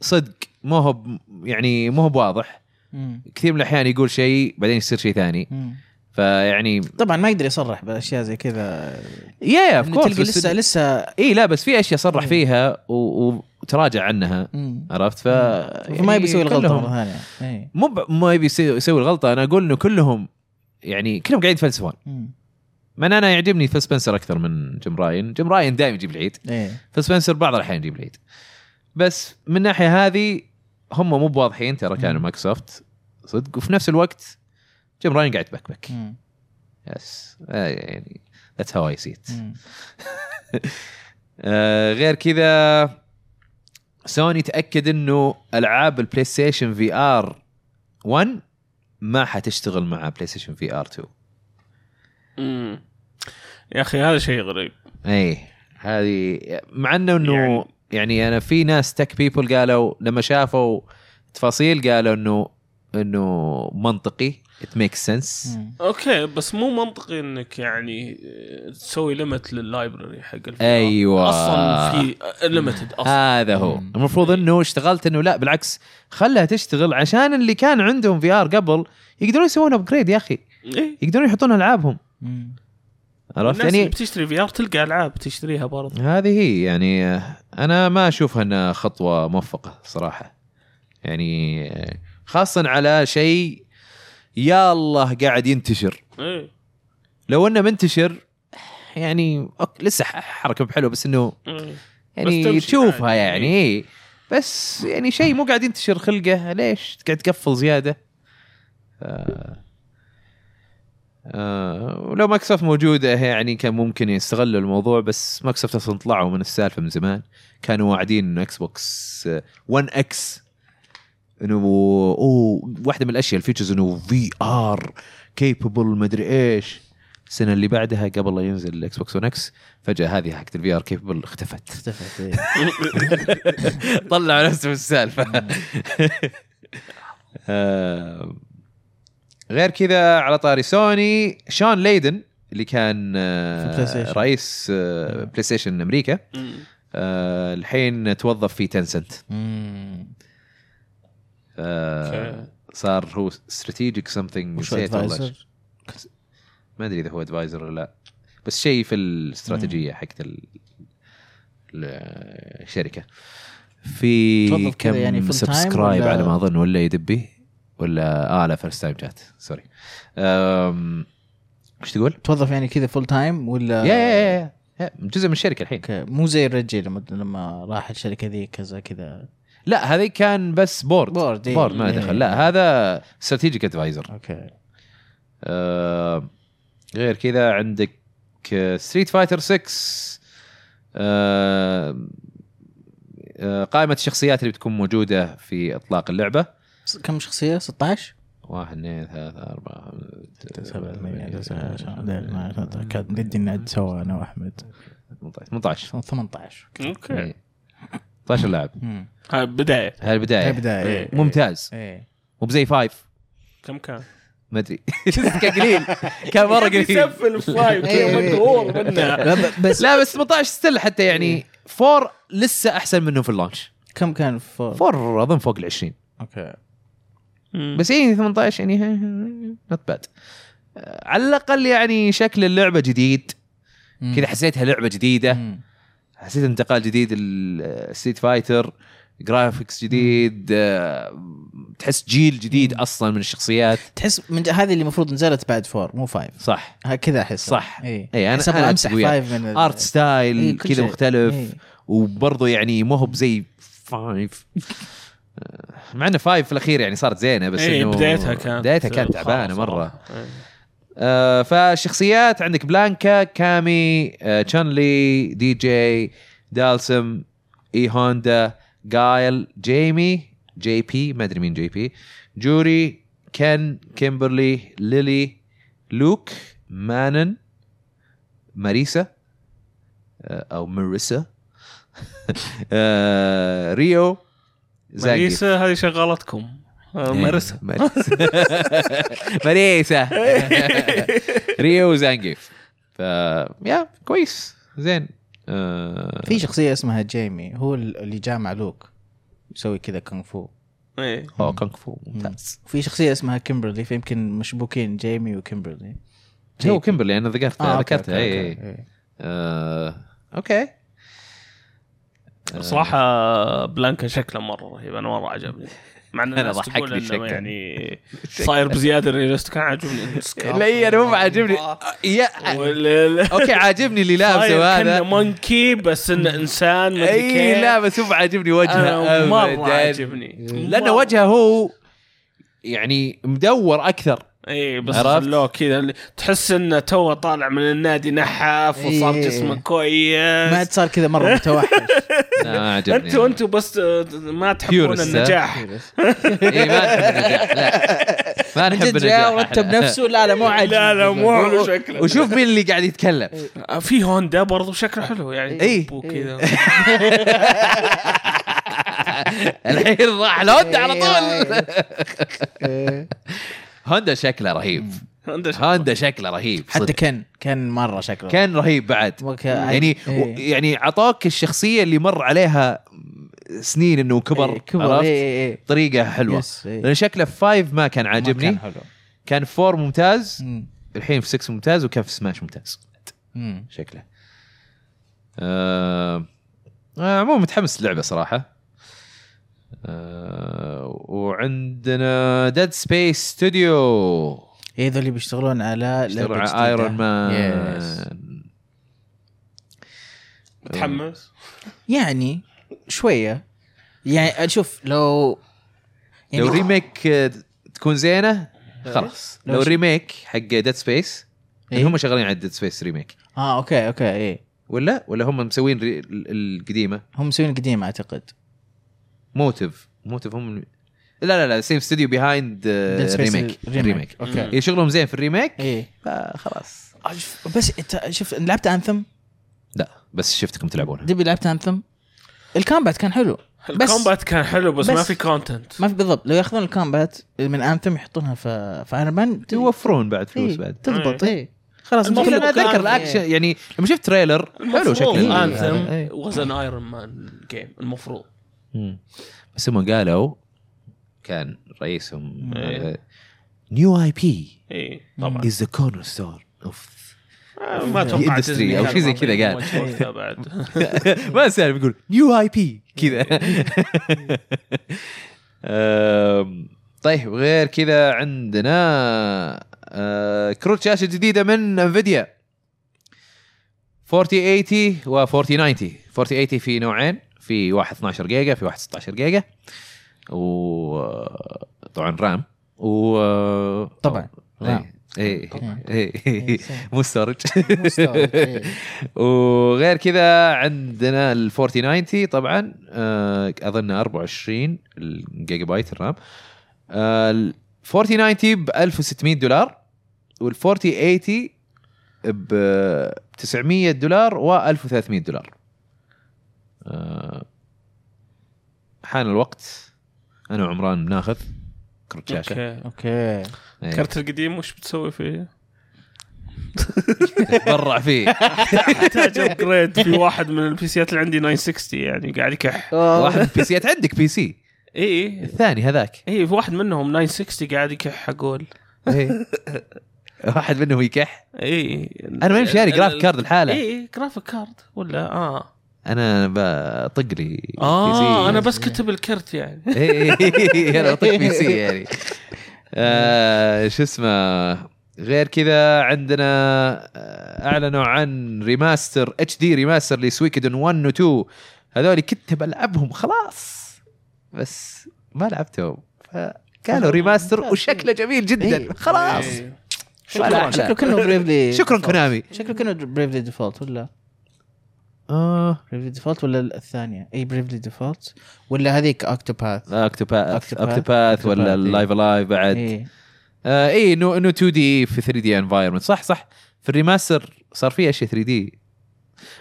A: صدق مو هو ب- يعني مو هو بواضح
B: مم.
A: كثير من الاحيان يقول شيء بعدين يصير شيء ثاني
B: مم.
A: فيعني
B: طبعا ما يقدر يصرح باشياء زي كذا
A: يا يا
B: إنه تلقى لسه
A: اوف
B: لسه
A: اي لا بس في اشياء صرح
B: إيه.
A: فيها و- وتراجع عنها
B: مم. يعني
A: عرفت ف
B: إيه.
A: يعني
B: فما يبي يسوي الغلطه
A: كلهم-
B: مره ثانيه ايه
A: مو ب... ما يبي يسوي يسوي الغلطه انا اقول انه كلهم يعني كلهم قاعدين يتفلسفون
B: مم.
A: من انا يعجبني فيل سبنسر اكثر من جيم راين جيم راين دائما يجيب العيد
B: ايه
A: فيل سبنسر بعض الاحيان يجيب العيد بس من الناحيه هذه هم مو بواضحين ترى كانوا
B: مم.
A: مايكروسوفت صدق وفي نفس الوقت جيم راين قاعد يبكبك
B: مم.
A: يس آه، يعني ذاتس هاو اي سي ات
B: مم.
A: آه، غير كذا سوني تاكد انه العاب البلاي ستيشن في ار 1 ما حتشتغل مع بلاي ستيشن في ار 2
C: مم. يا اخي هذا شيء غريب
A: اي إيه، هذه مع انه انه يعني,
C: يعني-
A: يعني انا في ناس تك بيبل قالوا لما شافوا تفاصيل قالوا انه انه منطقي ات ميك سنس
B: مم.
C: اوكي بس مو منطقي انك يعني آه، تسوي ليمت لللايبرري حق الفي آر.
A: أيوة. آه.
C: اصلا في إيه. ليمتد اصلا
A: هذا هو
B: مم.
A: المفروض انه اشتغلت انه لا بالعكس خلها تشتغل عشان اللي كان عندهم في ار قبل يقدرون يسوون ابجريد يا اخي
C: إيه.
A: يقدرون يحطون العابهم
B: مم.
A: عرفت
C: الناس اللي
A: يعني
C: بتشتري في ار تلقى العاب تشتريها برضه
A: هذه هي يعني آه، انا ما اشوفها انها خطوه موفقه صراحه يعني آه، خاصه على شيء يا الله قاعد ينتشر
C: ايه
A: لو انه منتشر يعني أوك لسه ح- حركه حلوه بس انه
C: إيه.
A: يعني
C: تمشي
A: تشوفها
C: عادي.
A: يعني إيه. بس يعني شيء مو قاعد ينتشر خلقه ليش قاعد تقفل زياده آه. آه. ولو مايكروسوفت موجوده يعني كان ممكن يستغلوا الموضوع بس مايكروسوفت اصلا طلعوا من السالفه من زمان كانوا واعدين انه اكس بوكس 1 اكس انه اوه واحده من الاشياء الفيتشرز انه في ار كيبل مدري ايش السنه اللي بعدها قبل لا ينزل الاكس بوكس 1 اكس فجاه هذه حقت الفي ار كيبل اختفت
B: اختفت ايه
A: طلعوا نفسهم السالفه آم، آه، غير كذا على طاري سوني شون ليدن اللي كان آه،
B: في بلاي ستيشن.
A: رئيس آه، بلاي ستيشن امريكا
C: مم.
A: آه، الحين توظف في تنسنت
B: مم.
A: آه،
C: أوكي.
A: صار هو استراتيجيك سمثينج
B: وشو
A: نسيت والله
B: advisor؟
A: ما ادري اذا هو ادفايزر ولا لا بس شيء في الاستراتيجيه حقت ال- ال- الشركه في
B: توظف
A: كم
B: كذا يعني full time
A: سبسكرايب
B: ولا-
A: على ما اظن ولا يدبي ولا اه لا فيرست تايم جات سوري أم، ايش تقول؟
B: توظف يعني كذا فول تايم
A: يا
B: ولا
A: يا يا- يا يا جزء من الشركه الحين
B: اوكي مو زي الرجل لما لما راح الشركه ذي كذا كذا
A: لا هذه كان بس بورد
B: Board، إيه.
A: بورد ما
B: إيه.
A: دخل لا هذا استراتيجيك ادفايزر
B: اوكي
A: آه، غير كذا عندك آه، ستريت فايتر 6 آه، آه، قائمة الشخصيات اللي بتكون موجودة في إطلاق اللعبة
B: س- كم شخصية 16
A: واحد اثنين ثلاثة أربعة خمسة، ستة،
B: إيه،
A: ثمانية،
B: ندي نعد سوا انا واحمد
A: 18
B: إيه. 18
A: آه،
C: اوكي
A: 18 إيه. لاعب
B: امم
C: هاي بدايه
A: هاي
B: إيه.
A: البداية
B: بداية
A: ممتاز
B: ايه
A: مو بزي فايف
C: كم كان؟
A: ما ادري كان قليل كان مره قليل
C: يسفل فايف
B: إيه.
C: كذا مقهور منها
B: لا، ب- بس
A: لا بس 18 ستيل حتى يعني فور لسه احسن منه في اللانش
B: كم كان فور
A: فور اظن فوق ال 20
B: اوكي
C: إيه،
A: بس اي 18 يعني نوت باد آه، على الاقل يعني شكل اللعبه جديد كذا حسيتها لعبه جديده
B: مم.
A: حسيت انتقال جديد آه، الستيت فايتر جرافيكس جديد آه، تحس جيل جديد اصلا من الشخصيات
B: تحس من ج- هذه اللي المفروض نزلت بعد فور مو فايف
A: صح
B: هكذا احس
A: صح.
B: اي
A: إيه، أنا-
B: أحس أبغى
A: أنا
B: امسح
A: أتفق وياك.
B: فايف من ال-
A: ارت
B: إيه،
A: ستايل
B: كل
A: كذا
B: شيء.
A: مختلف
B: إيه.
A: وبرضه يعني مو هو بزي فايف آه، مع انه فايف في الاخير يعني صارت زينه بس
B: إيه،
C: ايه
A: انه
C: بدايتها كانت
A: بدايتها كانت
C: خرا
A: تعبانه مره
C: صراحة. إيه.
A: آه، فالشخصيات عندك بلانكا كامي آه، تشانلي دي جي دالسم اي هوندا جايل جيمي جي بي ما ادري مين جي بي جوري كن كيمبرلي ليلي لوك مانن ماريسا آه، او ماريسا آه، ريو زاجي.
C: ماريسا هذه شغالتكم
A: إيه.
C: آه، ماريسا
A: ماريسا ماريسا ريو وزانجيف ف يا كويس زين آه،
B: في شخصيه اسمها جيمي هو ال- اللي جاء مع لوك يسوي كذا كونغ فو
C: إيه.
A: أوه، كونغ فو ممتاز
B: وفي شخصيه اسمها كيمبرلي فيمكن مشبوكين جيمي وكيمبرلي
A: هو كيمبرلي انا ذكرتها
B: آه،
A: ذكرتها
B: أوكي،
A: اي
B: أوكي،
A: إي.
B: أوكي.
A: إيه، آه، اوكي آه.
C: صراحة بلانكا شكله مرة رهيب أنا مرة عجبني مع أن
A: أنا
C: الناس
A: ضحكني
C: تقول إنه
A: شكله.
C: يعني صاير بزيادة الريلست كان عاجبني السكارف.
A: لا انا مو عاجبني
B: آه.
A: يا
C: وال-
A: اوكي عاجبني اللي
C: صاير
A: لابسه
C: كأنه
A: هذا
C: مونكي بس انه انسان ما أدري كيف.
A: اي لا بس مو عاجبني
B: آه،
C: أنا
A: وجهه
C: مره
A: ابدا
C: عاجبني
A: لانه وجهه هو يعني مدور اكثر
C: اي إيه، بس
A: عرفت؟
C: خلوه كذا اللي- تحس انه توه طالع من النادي نحف وصار
B: إيه.
C: جسمه
B: ما
C: كويس
B: عاد صار كذا مره متوحش
A: لا، ما عجبني
C: انتوا انتوا بس آه، ما تحبون
A: Purist، ها؟
C: النجاح
A: إي، إيه، ما نحب النجاح لا ما
B: من
A: نحب
B: جد
A: النجاح
B: جاء ورتب نفسه لا لا مو عاجبني
C: لا لا مو حلو شكله
A: وشوف مين اللي قاعد يتكلم
C: آه، في هوندا برضو شكله حلو يعني
A: إيه.
C: جبه كذا
A: الحين راح لهوندا على طول
B: إيه.
A: إيه. هوندا شكله رهيب
C: هوندا شكله.
A: هوندا شكله رهيب
B: حتى
A: صدق.
B: كان كان مره شكله
A: كان رهيب بعد
B: وك-
A: يعني و-
B: إيه.
A: يعني عطاك الشخصيه اللي مر عليها سنين انه كبر
B: إيه،
A: عرفت؟
B: إيه، إيه، إيه.
A: طريقه حلوه
B: يس، إيه.
A: لان شكله في فايف ما كان عاجبني
B: كان
A: كان,
B: حلو
A: كان فور ممتاز
B: مم.
A: الحين في 6 ممتاز وكان في سماش ممتاز
B: مم.
A: شكله آه آه، عموما متحمس للعبه صراحه آه وعندنا ديد سبيس ستوديو
B: ايه ذول اللي بيشتغلون على
A: يشتغلوا على ايرون
B: يس.
A: مان
C: متحمس
B: يعني شويه يعني شوف لو يعني
A: لو ريميك آه، تكون زينه خلاص
B: لو
A: لو
B: ش-
A: ريميك حق ديد سبيس
B: إيه؟
A: هم شغالين على ديد سبيس ريميك
B: اه اوكي اوكي ايه
A: ولا ولا هم مسوين ري... ال- القديمه
B: هم مسوين القديم اعتقد
A: موتيف موتيف هم لا لا لا سيم ستوديو بيهايند
B: Dead Space
A: ريميك ريميك
B: اوكي
A: إيه، شغلهم زين في الريميك
B: ايه
A: خلاص
B: بس انت آه، شوف لعبت انثم
A: لا بس شفتكم تلعبونها
B: دبي لعبت انثم الكامبات كان حلو بس-
C: الكومبات كان حلو بس, ما
B: بس-
C: في كونتنت
B: ما في بالضبط لو ياخذون الكامبات من انثم يحطونها في في ايرون مان
A: يوفرون بعد فلوس
B: إيه،
A: بعد
B: تضبط ايه خلاص
A: المفروض
B: كله
A: انا اتذكر
B: كان-
A: الاكشن يعني لما شفت تريلر حلو شكله
C: انثم
A: إيه.
C: واز ان ايرون مان جيم المفروض
A: مم. بس هم قالوا كان رئيسهم آه،
C: إيه.
A: نيو اي بي
C: اي طبعا
A: از ذا كورنر ستون اوف
C: إيه،
B: Mm.
C: آه، ما اتوقع
A: Industry
C: ديزني
A: أو
C: كان
A: شيء زي
C: راضي
A: كذا قال.
C: يموت وقتها بعد
A: ما يعني سالم يقول نيو اي بي كذا أم، طيب غير كذا عندنا أه، كروت شاشه جديده من انفيديا 4080 و 4090 4080 في نوعين في واحد 12 جيجا في واحد 16 جيجا و طبعا رام و
B: طبعا، رام.
A: رام ايه
B: طبعاً.
A: إيه،
B: إيه،
A: إيه
B: صح.
A: مو ستورج
B: مستوعب، إيه.
A: وغير كذا عندنا ال 4090 طبعا آه، اظن 24 الجيجا بايت الرام آه، ال 4090 ب 1600 دولار وال 4080 ب 900 دولار و 1300 دولار آه، حان الوقت انا وعمران بناخذ كرت شاشه
C: اوكي
B: اوكي
A: إيه.
C: الكرت القديم وش بتسوي فيه؟
A: نتبرع فيه
C: احتاج ابجريد في واحد من البيسيات اللي عندي 960 يعني قاعد يكح
A: واحد بيسيات عندك بي سي
C: اي
A: الثاني هذاك
C: اي إيه، في واحد منهم 960 قاعد يكح اقول
A: إيه. واحد منهم يكح
C: اي
A: انا ماني شاري جرافيك كارد لحاله
C: اي جرافيك كارد إيه، ولا اه
A: انا بطق لي
C: اه انا بس كتب الكرت يعني
A: إيه، إيه، انا بطق بي سي يعني آه، شو اسمه غير كذا عندنا آه، اعلنوا عن ريماستر اتش دي ريماستر لسويكدن 1 و 2 هذول كنت بلعبهم خلاص بس ما لعبتهم فقالوا ريماستر وشكله جميل
B: إيه.
A: جدا خلاص
C: إيه.
A: ولا
B: شكله
A: أحلى.
B: شكله كانه بريفلي
A: شكرا كونامي
B: شكله كانه بريفلي ديفولت ولا
A: اه
B: بريفلي ديفولت ولا الثانيه اي بريفلي ديفولت ولا هذيك اوكتوباث
A: اكتوباث
B: Octopath.
A: اكتوباث ولا
B: Octopath، إيه.
A: اللايف الايف بعد
B: اي
A: آه اي انه انه 2 دي في 3 دي انفايرمنت صح صح في الريماستر صار في اشياء 3 دي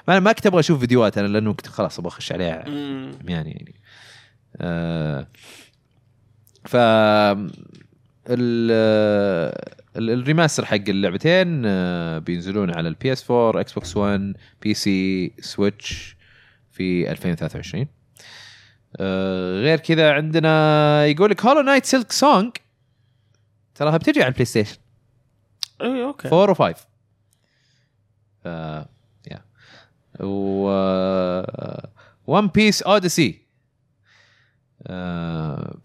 A: ما انا ما كنت ابغى اشوف فيديوهات انا لانه كنت خلاص ابغى اخش عليها
C: مم.
A: عميان يعني آه ف ال- ال- الريماستر حق اللعبتين آه، بينزلون على البي اس 4 اكس بوكس 1 بي سي سويتش في 2023 آه، غير كذا عندنا يقول لك هولو نايت سيلك سونج تراها بتجي على البلاي ستيشن
C: اي اوكي
A: 4 و 5 آه يا و uh, ون بيس اوديسي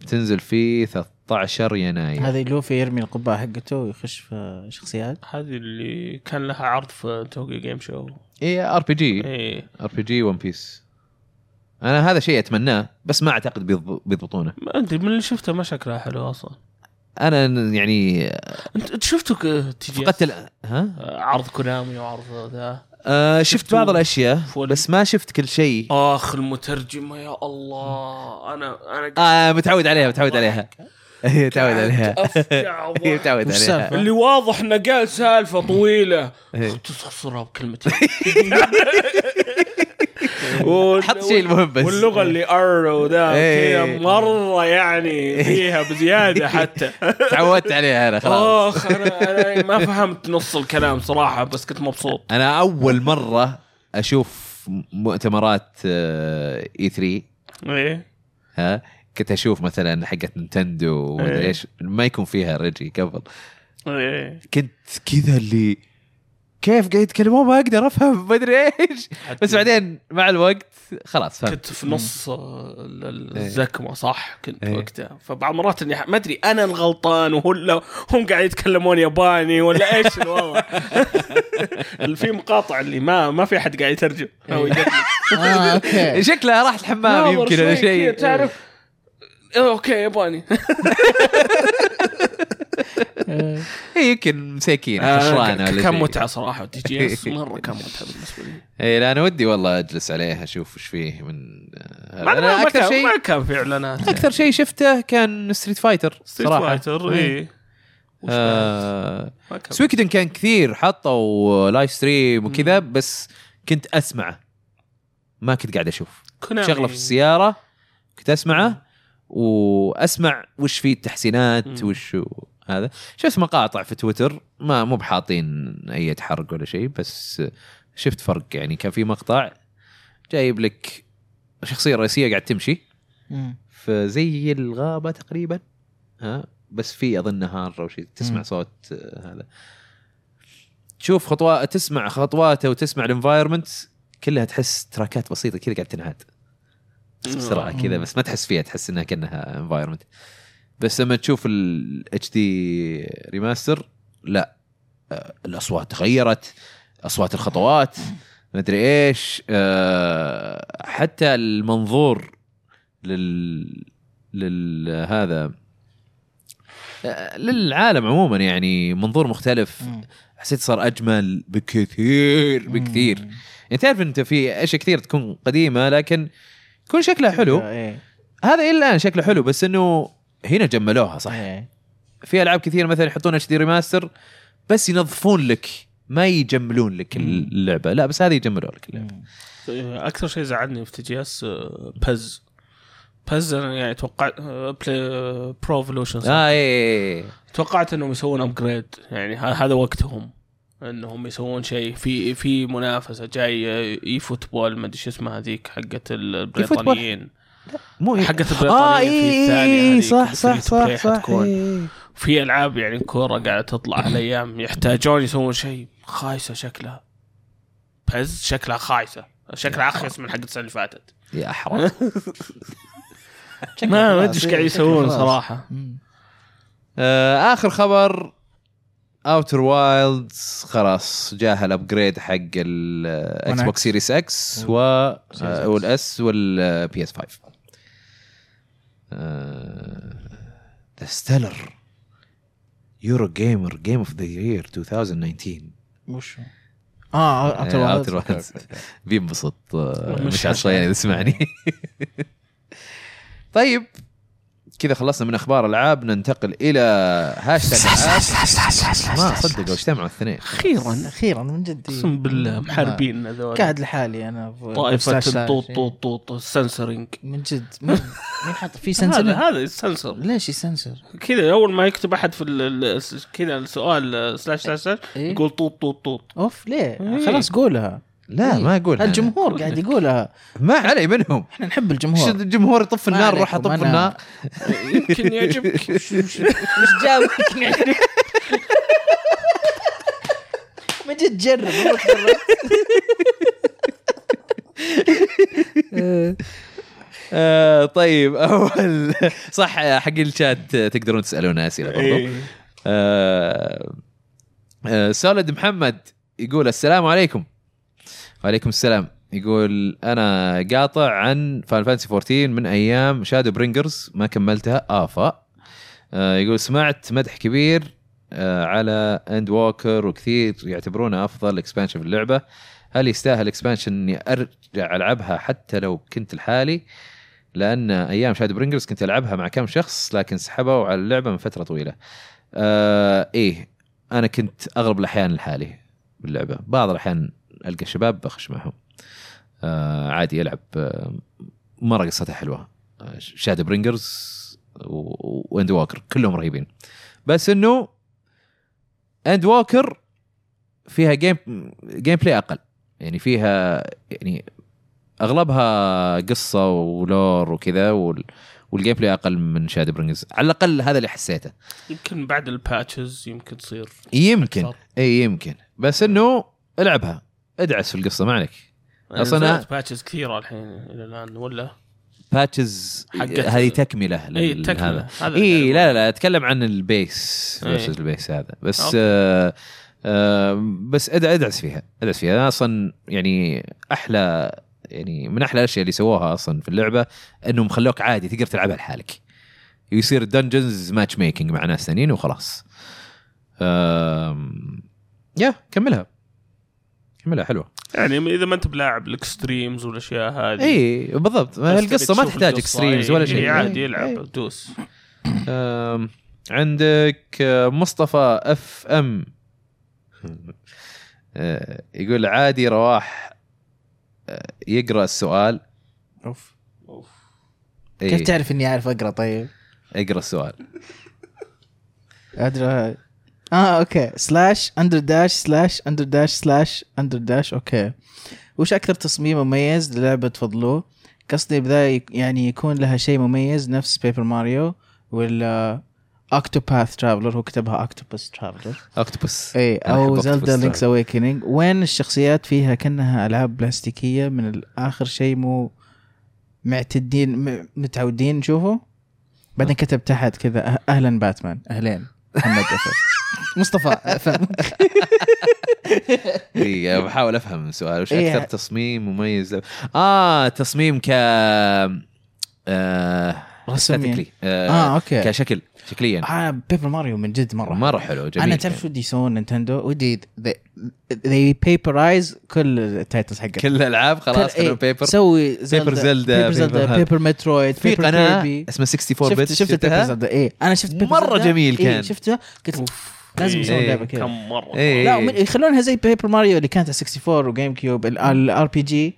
A: بتنزل Uh, في 13 يناير
B: هذا لوفي يرمي القبعه حقته ويخش في شخصيات
C: هذه اللي كان لها عرض في توكيو جيم شو
A: اي ار بي جي
C: اي
A: ار بي جي ون بيس انا هذا شيء اتمناه بس ما اعتقد بيض- بيضبطونه
C: ما ادري من اللي شفته ما شكلها حلو اصلا
A: انا يعني
C: انت انت شفته ك- تجي
A: فقدت ال- ها
C: آه، عرض كونامي وعرض ذا
A: آه شفت
C: شفتوا
A: بعض الاشياء
C: فول؟
A: بس ما شفت كل شيء
C: اخ المترجمه يا الله انا انا
A: آه متعود عليها متعود عليها متعود عليها
C: أفجع وضحك.
A: متعود
B: وش
A: عليها
B: السالفة؟
C: اللي واضح انه قال سالفه طويله
A: إيه.
C: اختصرها بكلمتين
A: حط شيء المهم بس
C: واللغه اللي ار وذا
A: إيه.
C: كذا مره يعني فيها بزياده حتى
A: تعودت عليها انا خلاص
C: اخ انا انا ما فهمت نص الكلام صراحه بس كنت مبسوط
A: انا اول مره اشوف مؤتمرات اي 3 إيه.
C: ايه
A: ها كنت اشوف مثلا حقت نينتندو ومدري
C: إيه.
A: ايش ما يكون فيها ريجي قبل
C: ايه
A: كنت كذا اللي كيف قاعد يتكلمون ما اقدر افهم ما ادري ايش بس بعدين مع الوقت خلاص فهمت
C: إيه. كنت في نص آه، ال- ال-
A: طيب. إيه.
C: الزكمه صح كنت
A: إيه.
C: وقتها فبعض المرات اني ح- ما ادري انا الغلطان وهو لا هم قاعد يتكلمون ياباني ولا ايش الوضع في مقاطع اللي ما ما في احد قاعد يترجم او يدرس
A: آه،
B: اه
C: إيه.
B: اوكي
A: شكلها راح الحمام إيه. يمكن ولا شيء
C: تعرف إيه، اوكي ياباني
A: إيه، يمكن مساكين
C: آه،
A: حشرانه ولا شيء.
C: كان متعه صراحه تي جي اس مره كان متعه بالنسبه لي
A: اي لا انا ودي والله اجلس عليها اشوف ايش فيه من
C: ما
A: آه، أنا
C: ما كان ما كان في اعلانات
A: اكثر شيء شفته كان ستريت فايتر
C: ستريت
A: صراحه
C: فايتر اي وش
A: إيه. آه
C: بعد؟ ما كان-
A: سويكدن كان كثير حطوا لايف ستريم وكذا بس كنت اسمعه ما كنت قاعد اشوف
C: كونامي.
A: شغله في السياره كنت اسمعه واسمع وش فيه التحسينات
C: مم.
A: وش هو هذا شفت مقاطع في تويتر ما مو بحاطين اي تحرق ولا شيء بس شفت فرق يعني كان في مقطع جايب لك الشخصيه الرئيسيه قاعد تمشي
B: مم.
A: في زي الغابه تقريبا ها بس في اظن نهار او شيء تسمع
B: مم.
A: صوت آه، هذا تشوف خطوات تسمع خطواته وتسمع الانفايرمنت كلها تحس تراكات بسيطه كذا قاعد تنعاد بسرعه كذا بس ما تحس فيها تحس انها كانها انفايرمنت بس لما تشوف الاتش دي ريماستر لا آه، الاصوات تغيرت اصوات الخطوات مدري ايش آه، حتى المنظور لل للهذا آه، للعالم عموما يعني منظور مختلف
B: مم.
A: حسيت صار اجمل بكثير بكثير
B: مم.
A: يعني تعرف انت في اشياء كثير تكون قديمه لكن يكون شكلها حلو
B: إيه.
A: هذا الى الان شكله حلو بس انه هنا جملوها صح
B: إيه.
A: في العاب كثير مثلا يحطون اتش دي ريماستر بس ينظفون لك ما يجملون لك
B: مم.
A: اللعبه لا بس هذه يجملون لك اللعبه
B: مم.
C: اكثر شيء زعلني في تي جي اس آه، بز بز انا يعني توقعت برو
B: آه.
C: ايفولوشن
A: اه اي
C: آه، توقعت انهم يسوون ابجريد يعني ه- هذا وقتهم انهم يسوون شيء في في منافسه جاي اي فوتبول ما ادري شو اسمها هذيك حقت البريطانيين
A: مو
C: حقت
A: اه
C: البريطانيين في
A: اي
C: الثانيه
A: اي
C: هذيك
A: صح صح
C: الفري تو بلاي
A: صح صح
C: حتكون.
A: إيه.
C: في العاب يعني كوره قاعده تطلع هالايام يحتاجون يسوون شيء خايسه شكلها بز شكلها خايسه شكلها اخيس من حق السنه اللي فاتت
A: يا حرام
C: ما ما ادري
B: خلاص،
C: ايش
B: إيه،
C: قاعد
B: شكله
C: يسوون
B: خلاص.
C: صراحه
B: مم.
A: آه، اخر خبر اوتر وايلدز خلاص جاه الابجريد حق الاكس
B: One
A: بوكس
B: X.
A: سيريس اكس و آه،
B: Series X.
A: والاس والبي اس 5 آه، ذا ستيلر يورو جيمر جيم اوف ذا يير 2019
B: وش هو؟ اه اوتر
A: آه،
B: وايلدز.
A: Outer Wilds. بينبسط آه،
C: مش
A: مش عطشان اذا سمعني طيب كذا خلصنا من اخبار العاب ننتقل الى هاشتاج ألعاب. ما صدقوا اجتمعوا الاثنين
C: اخيرا
B: اخيرا من جد إيه.
C: اقسم بالله محاربين هذول
B: قاعد لحالي انا في
C: طائفة
B: سلاش سلاش.
C: الطوط طوط طوط السنسرنج
B: من جد مين مين حاط في
C: هذا
B: سنسر
C: هذا السنسر
B: ليش يسنسر؟
C: كذا اول ما يكتب احد في ال- ال- س- كذا السؤال آه، سلاش سلاش سلاش
B: إيه؟
C: يقول طوط طوط طوط
B: اوف ليه؟
C: إيه.
B: خلاص قولها
A: لا
B: إيه.
A: ما اقول الجمهور
B: الجمهور قاعد يقولها
A: ما علي منهم
B: احنا نحب
A: إيش
B: الجمهور
A: الجمهور يطف
B: ما
A: النار روح
B: عليكم،
A: اطف
B: أنا-
A: النار
C: يمكن يعجبك
B: مش جابك يعني ما جيت تجرب والله تجرب.
A: آه طيب اول صح حق الشات تقدرون تسالونا اسئله برضو
C: إيه.
A: آه، آه، سولد محمد يقول السلام عليكم وعليكم السلام يقول انا قاطع عن فان فانسي 14 من ايام شادو برينجرز ما كملتها افا آه، يقول سمعت مدح كبير آه، على اند ووكر وكثير يعتبرونه افضل اكسبانشن في اللعبه هل يستاهل اكسبانشن اني ارجع العبها حتى لو كنت لحالي لان ايام شادو برينجرز كنت العبها مع كم شخص لكن سحبوا على اللعبه من فتره طويله آه ايه انا كنت اغلب الاحيان لحالي باللعبه بعض الاحيان القى شباب بخش معهم آه عادي العب آه مره قصتها حلوه آه شاد برينجرز واند ووكر كلهم رهيبين بس انه اند ووكر فيها جيم جيم بلاي اقل يعني فيها يعني اغلبها قصه ولور وكذا وال والجيم بلاي اقل من شاد برينجرز على الاقل هذا اللي حسيته
C: يمكن بعد الباتشز يمكن تصير
A: يمكن
C: أكثر.
A: اي يمكن بس انه العبها ادعس في القصه ما عليك أصلاً أنا-
C: أصلا باتشز كثيرة الحين إلى الآن ولا
A: باتشز
C: حقت-
A: هذه تكمله
C: إي،
A: لل-
C: تكملة.
A: هذا.
C: هذا اللي
A: اي
C: أقول.
A: لا لا اتكلم عن البيس
C: إي.
A: فيرسز البيس هذا بس
C: أوكي.
A: آه آه بس أد- ادعس فيها ادعس فيها أنا اصلا يعني احلى يعني من احلى الاشياء اللي سووها اصلا في اللعبه انهم خلوك عادي تقدر تلعبها لحالك يصير الدنجنز ماتش ميكنج مع ناس ثانيين وخلاص آم، يا كملها كملها حلوه
C: يعني إذا ما أنت بلاعب الإكستريمز والأشياء هذه
A: اي بالضبط ما هي
C: بس
A: القصه
C: تبي
A: إيه. ما
C: تشوف
A: تحتاج
C: القصة.
A: اكستريمز ولا
C: إي، يعني
A: شيء
C: إي، عادي
A: إي. إي.
C: يلعب دوس
A: أم، عندك أه، مصطفى اف ام أه، يقول عادي رواح أه، يقرا السؤال
B: اوف
C: أوف.
A: إي،
B: كيف تعرف اني عارف اقرا طيب؟
A: اقرا السؤال
B: ادري اه اوكي سلاش اندر داش سلاش اندر داش سلاش اندر داش اوكي وش اكثر تصميم مميز للعبه تفضلوه؟ قصدي بذا يك- يعني يكون لها شيء مميز نفس بيبر ماريو ولا اوكتوباث ترافلر هو كتبها اوكتوباس ترافلر
A: اوكتوبس
B: اي
A: أنا أحب
B: او
A: Octopus
B: زلدا لينكس
A: Traveler.
B: اويكننج وين الشخصيات فيها كانها العاب بلاستيكيه من اخر شيء مو معتدين م- متعودين نشوفه بعدين كتب تحت كذا أه- اهلا باتمان اهلين محمد أفر. مصطفى فهم
A: أه، اي إيه، يعني بحاول افهم السؤال وش
B: إي.
A: اكثر تصميم مميز اه تصميم ك آه
B: رسميا
A: aesthetically. آه
B: اه اوكي
A: كشكل شكليا
B: آه بيبر ماريو من جد مره
A: مره حلو جميل
B: انا آه، تعرف شو بدي يسوون نينتندو ودي they بيبرايز كل التايتلز حقتهم
A: كل الالعاب خلاص
B: كل- إيه،
A: كلهم بيبر
B: سوي
A: بيبر زلدا،
B: بيبر
A: بيبر
B: زلدا
A: هذا.
B: بيبر مترويد
A: في
B: بيبر
A: قناه
B: كيربي.
A: اسمها 64
B: شفت
A: بت
B: شفت بيبر
A: شفتها
B: زلدا ايه انا شفت بيبر
A: إيه. مرة
B: زلدا،
A: جميل كان.
B: إيه شفتها قلت لازم
C: إيه.
B: يسوون
A: إيه.
B: لعبه كذا
C: كم مرة
A: إيه.
B: لا ومن- يخلونها زي بيبر ماريو اللي كانت على 64 وجيم كيوب الار بي جي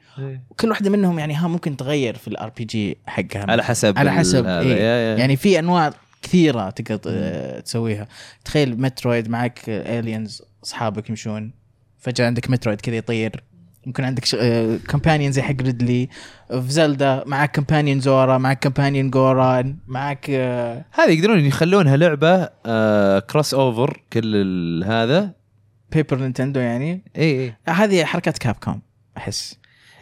B: كل واحده منهم يعني ها ممكن تغير في الار بي جي حقها
A: على حسب
B: على حسب
A: ال- هذا.
B: إيه.
A: يا- يا.
B: يعني في انواع كثيره تقدر آه، تسويها تخيل مترويد معك الينز اصحابك يمشون فجاه عندك مترويد كذا يطير ممكن عندك كومبانيون زي حق ريدلي في زلدا معك كومبانيون زورا معك كومبانيون جوران معك آه،
A: هذه يقدرون يخلونها لعبه آه كروس اوفر كل ال- هذا
B: بيبر نينتندو يعني
A: اي اي
B: هذه حركات كاب كوم احس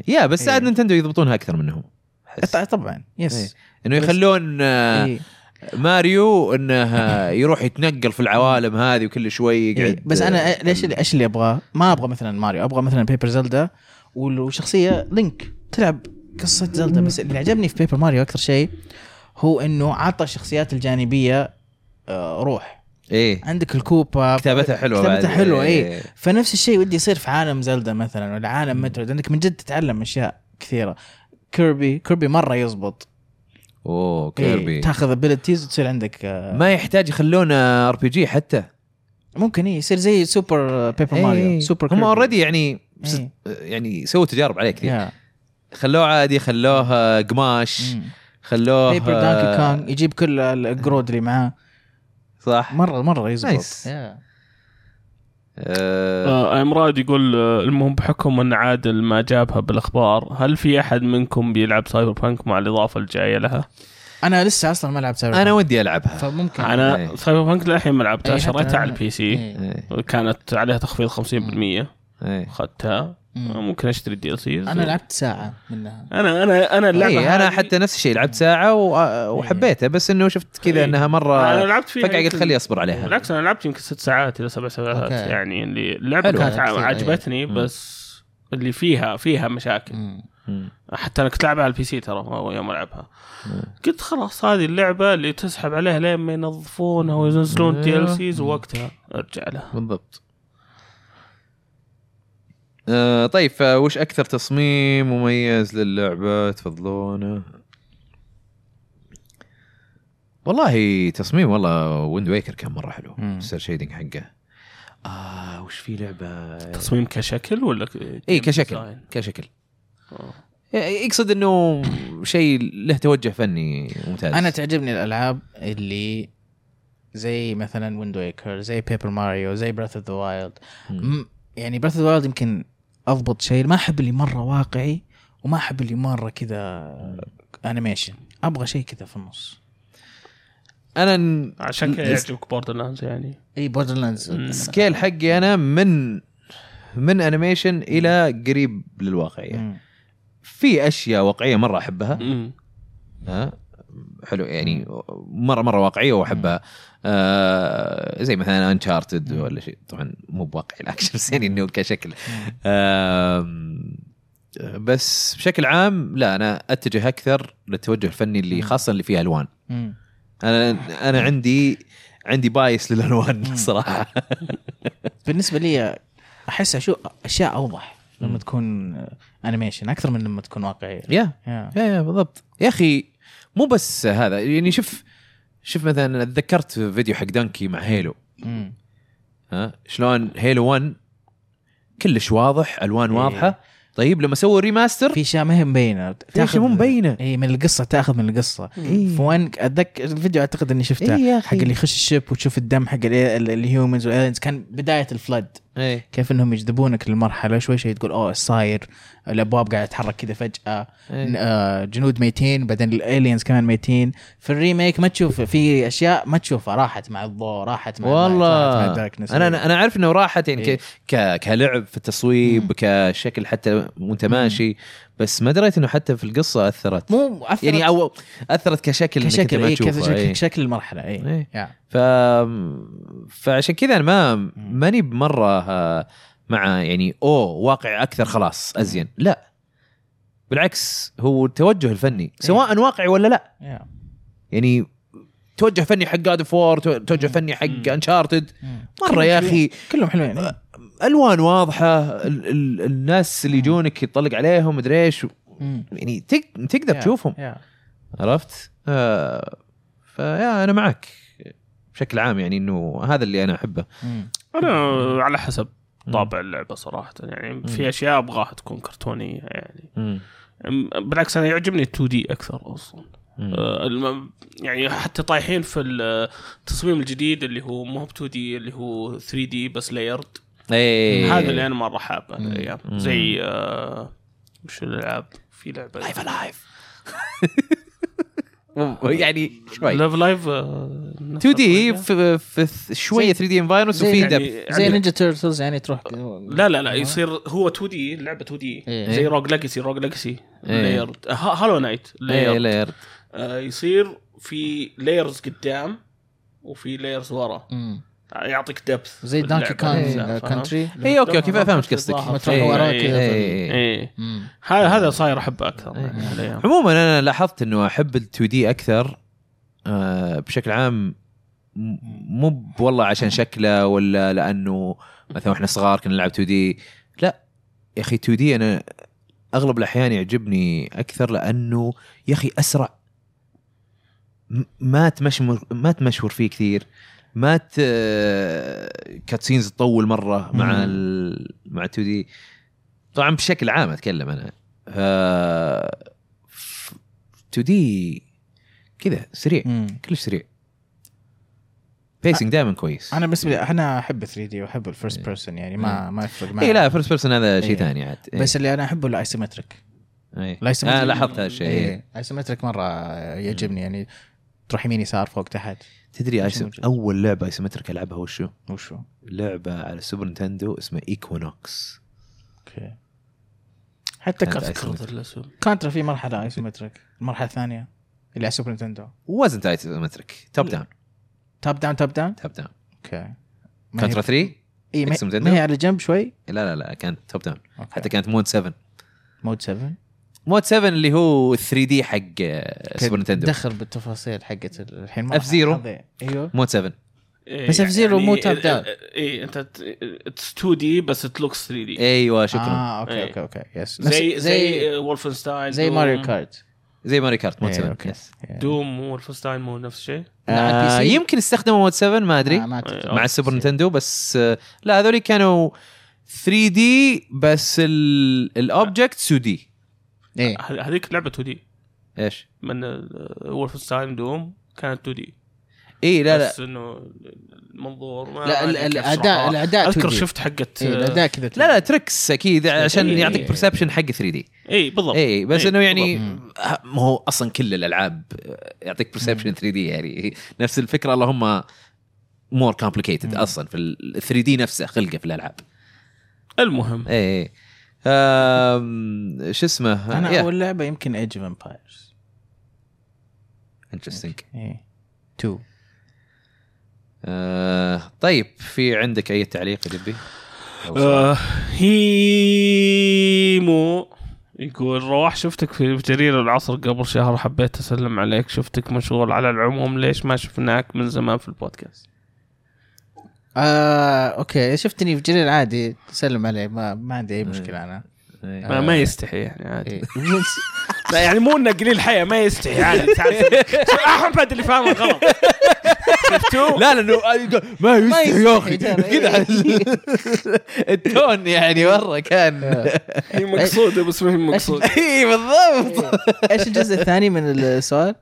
A: يا بس ساعد
B: إيه.
A: نينتندو يضبطونها اكثر منهم أحس.
B: ط- طبعا يس
A: انه
B: بس-
A: يخلون آه
B: إيه.
A: ماريو انه يروح يتنقل في العوالم هذه وكل شوي
B: إيه.
A: يقعد
B: بس انا
A: آه،
B: ليش
A: ال-
B: ايش اللي ابغاه؟ ما ابغى مثلا ماريو ابغى مثلا بيبر زلدا وشخصيه لينك تلعب قصه زلدا بس اللي عجبني في بيبر ماريو اكثر شيء هو انه عطى الشخصيات الجانبيه آه، روح
A: ايه
B: عندك الكوبا
A: كتابتها حلوه
B: كتابتها إيه.
A: بعد. إيه.
B: حلوه اي فنفس الشيء ودي يصير في عالم زلدا مثلا ولا عالم مترويد انك من جد تتعلم اشياء كثيره كيربي كيربي مره يزبط
A: اوه
B: إيه
A: كيربي
B: تاخذ ابيلتيز وتصير عندك آه،
A: ما يحتاج آه، يخلونا ار بي جي حتى
B: ممكن إيه يصير زي آه، سوبر بيبر ماريو
A: إيه.
B: سوبر
A: هم
B: كيربي.
A: اوريدي يعني
B: إيه.
A: يعني سووا تجارب عليه كثير
B: يا.
A: خلوه عادي خلوه آه، قماش
B: مم.
A: خلوه
B: بيبر دانكي كونغ يجيب كل القرود اللي معاه
A: صح
B: مره مره يزبط
A: نايس.
B: يا.
A: آه،
C: آه، امراد يقول آه، المهم بحكم ان عادل ما جابها بالاخبار هل في احد منكم بيلعب سايبر بانك مع الاضافه الجايه لها؟
B: انا لسه اصلا ما لعبت سايبر
A: انا
B: بانك،
A: ودي العبها
B: فممكن
A: إيه.
C: انا سايبر بانك للحين ما لعبتها
B: إيه،
C: شريتها
B: حتى
C: على
B: أنا-
C: البي سي
B: إيه.
A: إيه،
C: كانت عليها تخفيض 50%
A: إيه.
C: اخذتها
B: مم.
C: ممكن اشتري الدي ال سيز
B: انا لعبت ساعه منها
C: انا انا انا اللعبه
A: اي انا
C: هذه-
A: إيه، حتى نفس الشيء لعبت ساعه و- آه، وحبيتها بس انه شفت كذا
C: إيه.
A: انها
C: انا
A: مره
C: لعبت فيها
A: فجاه قلت
C: يمكن-
A: خلي اصبر عليها
C: بالعكس انا لعبت يمكن ست ساعات الى سبع ساعات
B: أوكي.
C: يعني اللي اللعبه
A: حلو.
C: كانت
B: كانت كثير،
C: عجبتني
A: مم.
C: بس اللي فيها فيها مشاكل
B: مم.
A: مم.
C: حتى انا كنت لعبها على البي سي ترى ما- يوم العبها
A: مم.
C: قلت خلاص هذه اللعبه اللي تسحب عليها لين ما ينظفونها وينزلون دي
A: أيوه.
C: ال سيز ووقتها ارجع لها
A: بالضبط آه طيب وش اكثر تصميم مميز للعبه تفضلونه والله تصميم والله ويند ويكر كان مره حلو
B: مم.
A: السير شيدنج حقه اه وش في لعبه
C: تصميم كشكل ولا
A: اي إيه، كشكل كشكل
C: آه.
A: يقصد انه شيء له توجه فني ممتاز
B: انا تعجبني الالعاب اللي زي مثلا ويند ويكر زي بيبر ماريو زي براث اوف ذا وايلد
A: مم.
B: يعني براث اوف ذا وايلد يمكن اضبط شيء ما احب اللي مره واقعي وما احب اللي مره كذا انيميشن ابغى شيء كذا في النص
A: انا ن-
C: عشان كذا
A: ال-
C: يعجبك بوردر لاندز يعني
B: اي بوردر لاندز
C: مم.
A: السكيل حقي انا من من انيميشن الى قريب للواقعيه في اشياء واقعيه مره احبها
C: مم.
A: ها حلو يعني مره مره واقعيه واحبها آه زي مثلا انشارتد
B: مم.
A: ولا شيء طبعا مو بواقعي الاكشن بس يعني انه كشكل آم، بس بشكل عام لا انا اتجه اكثر للتوجه الفني اللي
B: مم.
A: خاصه اللي فيه الوان انا انا عندي عندي بايس للالوان
B: مم.
A: الصراحه
B: بالنسبه لي احس اشوف اشياء اوضح لما
A: مم.
B: تكون انيميشن اكثر من لما تكون واقعيه
A: يا
B: يا.
A: يا يا بالضبط يا اخي مو بس هذا يعني شوف شوف مثلا تذكرت فيديو حق دانكي مع هيلو
B: مم.
A: ها شلون هيلو 1 كلش واضح الوان
B: إيه.
A: واضحه طيب لما سووا ريماستر
B: في اشياء ما هي مبينه
A: في اشياء مو مبينه
B: اي من القصه تاخذ من القصه
A: إيه.
B: فوان اتذكر الفيديو اعتقد اني شفته
A: إيه يا أخي.
B: حق اللي يخش الشيب وتشوف الدم حق ال- ال- الهيومنز والالينز كان بدايه الفلد
A: ايه
B: كيف انهم يجذبونك للمرحله شوي شوي تقول اوه ايش صاير الابواب قاعده تتحرك كذا فجاه ن-
A: إيه.
B: آه، جنود ميتين بعدين الالينز كمان ميتين في الريميك ما تشوف في اشياء ما تشوفها راحت مع الضوء راحت مع
A: والله انا
B: انا
A: انا أنا عارف انه راحت يعني
B: إيه.
A: ك- ك... كلعب في التصويب كشكل حتى وانت ماشي بس ما دريت انه حتى في القصه اثرت
B: مو أثرت
A: يعني او اثرت كشكل إنك أنت
B: كشكل
A: ما
B: اي
A: تشوفه،
B: كشكل
A: إيه.
B: شكل المرحله اي
A: إيه. ف فعشان كذا انا ما ماني بمره آه، مع يعني اوه واقع اكثر خلاص ازين لا بالعكس هو التوجه الفني
B: إيه.
A: سواء واقعي ولا لا يعني توجه فني حق جاد فور توجه فني حق انشارتد مره يا اخي
B: كلهم حلوين إيه.
A: الوان واضحه ال- ال- الناس اللي يجونك يطلق عليهم مدري ايش
B: مم.
A: يعني تق- تقدر
B: يا-
A: تشوفهم
B: يا.
A: عرفت؟ آه فيا انا معك بشكل عام يعني انه هذا اللي انا احبه
B: مم.
A: Mm.
C: انا على حسب طابع اللعبه صراحه يعني في اشياء ابغاها تكون كرتونيه يعني
A: مم.
C: أم- بالعكس انا يعجبني 2 دي اكثر اصلا آه، الم- يعني حتى طايحين في التصميم الجديد اللي هو مو 2 دي اللي هو 3 دي بس لايرد
A: ايه
C: هذا اللي انا مره حابه الايام
A: مم.
C: زي آه، وش الالعاب في لعبه لايف
A: لايف يعني شوي
C: لايف لايف آه،
A: 2 دي
C: يعني.
A: في, في th- شويه
B: زي-
A: 3 دي انفايرمنت
B: زي-
A: وفي
B: يعني
A: دب
B: زي نينجا تيرتلز يعني تروح
C: لا لا لا يصير
A: آه.
C: هو 2 دي لعبه 2 دي
B: إيه.
C: زي روج ليجاسي روج ليجاسي
A: إيه.
C: لايرد هالو نايت
A: ايه
C: لايرد
A: لاير
C: آه، يصير في لايرز قدام وفي لايرز ورا
A: Mm.
C: آه،
B: مم.
C: يعطيك دبث
B: زي دانكي كان
C: كونتري
B: كونتري
A: اي اوكي اوكي
C: ما
A: إيه، فهمت
C: تروح
A: قصدك
C: للظاهر.
B: ما تروح
A: إيه،
B: وراك
A: إيه،
B: كذا.
A: إيه، إيه.
C: ايه
B: Mm.
C: هذا هذا صاير احبه اكثر يعني هالأيام.
A: عموما انا لاحظت انه احب ال 2 دي اكثر آه، بشكل عام م- مو ب- والله عشان شكله ولا لانه مثلا احنا صغار كنا نلعب 2 دي لا يا اخي 2 دي انا اغلب الاحيان يعجبني اكثر لانه يا اخي اسرع م- ما تمشمر ما تمشور فيه كثير ما ت... كاتسينز تطول مره مع
B: مم.
A: ال... مع 2 دي طبعا بشكل عام اتكلم انا ف... 2 دي كذا سريع
B: مم.
A: كلش سريع بيسنج دائما كويس
B: انا بالنسبه لي انا احب 3 دي واحب الفيرست بيرسون يعني ما ما يفرق معي
A: اي إيه. لا فيرست بيرسون هذا شيء
B: إيه.
A: ثاني عاد إيه.
B: بس اللي انا احبه الايسومتريك
A: إيه.
B: الايسومتريك
A: انا لاحظت هالشيء إيه.
B: الايسومتريك مره يعجبني يعني تروح يمين يسار فوق تحت
A: تدري
B: مش
A: آيسو-
B: موجود.
A: اول لعبه ايسومتريك العبها وشو؟
B: وشو
A: لعبه على سوبر نتندو اسمها ايكونوكس
B: اوكي حتى
A: كانت
B: كانت
A: آيسومتريك.
B: كانترا في مرحله ايسومتريك المرحله الثانيه اللي على سوبر نتندو
A: وزنت ايسومتريك توب داون
B: توب داون توب داون
A: توب داون
B: اوكي ما هي-
A: كونترا 3
B: إيه، ما
A: Super
B: هي-
A: Nintendo؟
B: ما هي على جنب شوي
A: لا لا لا كانت توب داون
B: أوكي.
A: حتى كانت مود 7
B: مود 7
A: مود 7 اللي هو 3 دي حق آه، سوبر نتندو
B: دخل بالتفاصيل حقت الحين ما
A: F Zero.
B: هذا- ايوه
A: مود 7
C: إيه،
B: بس F-Zero
C: يعني
B: مو top down.
C: اي انت اتس 2 دي بس ات لوكس 3
B: إيه،
C: دي
A: ايوه شكرا
B: اه اوكي
C: إيه.
B: اوكي اوكي يس
C: زي
B: نفس-
C: زي آه، وولفنستاين
B: زي ماريو كارت
A: زي ماري كارت مود
B: إيه،
A: 7
B: أوكي.
A: يس.
C: دوم وولفنستاين مو نفس الشيء
B: إيه.
A: آه،
B: على PC.
A: يمكن استخدموا مود 7 ما ادري
B: آه، ما أعتقد.
A: مع السوبر نتندو بس آه، لا هذول كانوا 3 دي بس الاوبجكت 2 دي
B: إيه.
C: ه- هذيك لعبه 2 دي
A: ايش؟
C: من وولفنستاين دوم كانت 2 دي
A: اي إيه، لا لا
C: بس انه المنظور ما
B: لا ال-
C: ما كيف
B: الاداء
C: أشرحها.
B: الاداء
C: اذكر
B: 2D.
C: شفت حقت
B: إيه، الاداء كذا
A: آه، لا لا تركس اكيد عشان
C: إيه.
A: يعطيك برسبشن حق 3 دي
C: اي إيه، بالضبط
B: إيه.
A: اي بس انه يعني
B: بالضبط. مم.
A: آه، ما هو اصلا كل الالعاب آه، يعطيك برسبشن 3 دي يعني نفس الفكره اللهم مور كومبليكيتد اصلا في ال 3 دي نفسه خلقه في الالعاب
C: المهم
A: اي اي آم، شو اسمه
B: انا اول لعبه يمكن ايج اوف امبايرز
A: انترستنج
B: 2
A: طيب في عندك اي تعليق يا دبي؟ أو سؤال؟
C: آه، هيمو يقول روح شفتك في جرير العصر قبل شهر حبيت اسلم عليك شفتك مشغول على العموم ليش ما شفناك من زمان في البودكاست
B: آه، اوكي شفتني في جرير عادي سلم علي ما, ما عندي اي مشكله انا
A: إيه.
C: ما, ما يستحي يعني عادي
B: آه. إيه.
C: لا يعني مو انه قليل حياه ما يستحي عادي تعرف احمد اللي فاهم غلط شفتوه
A: لا لانه ما إيه. يستحي يا اخي
B: يستحي.
A: كذا التون يعني مره كان
C: هي مقصوده بس ما هي مقصوده
A: اي إيه، بالضبط
B: ايش إيه. الجزء الثاني من السؤال؟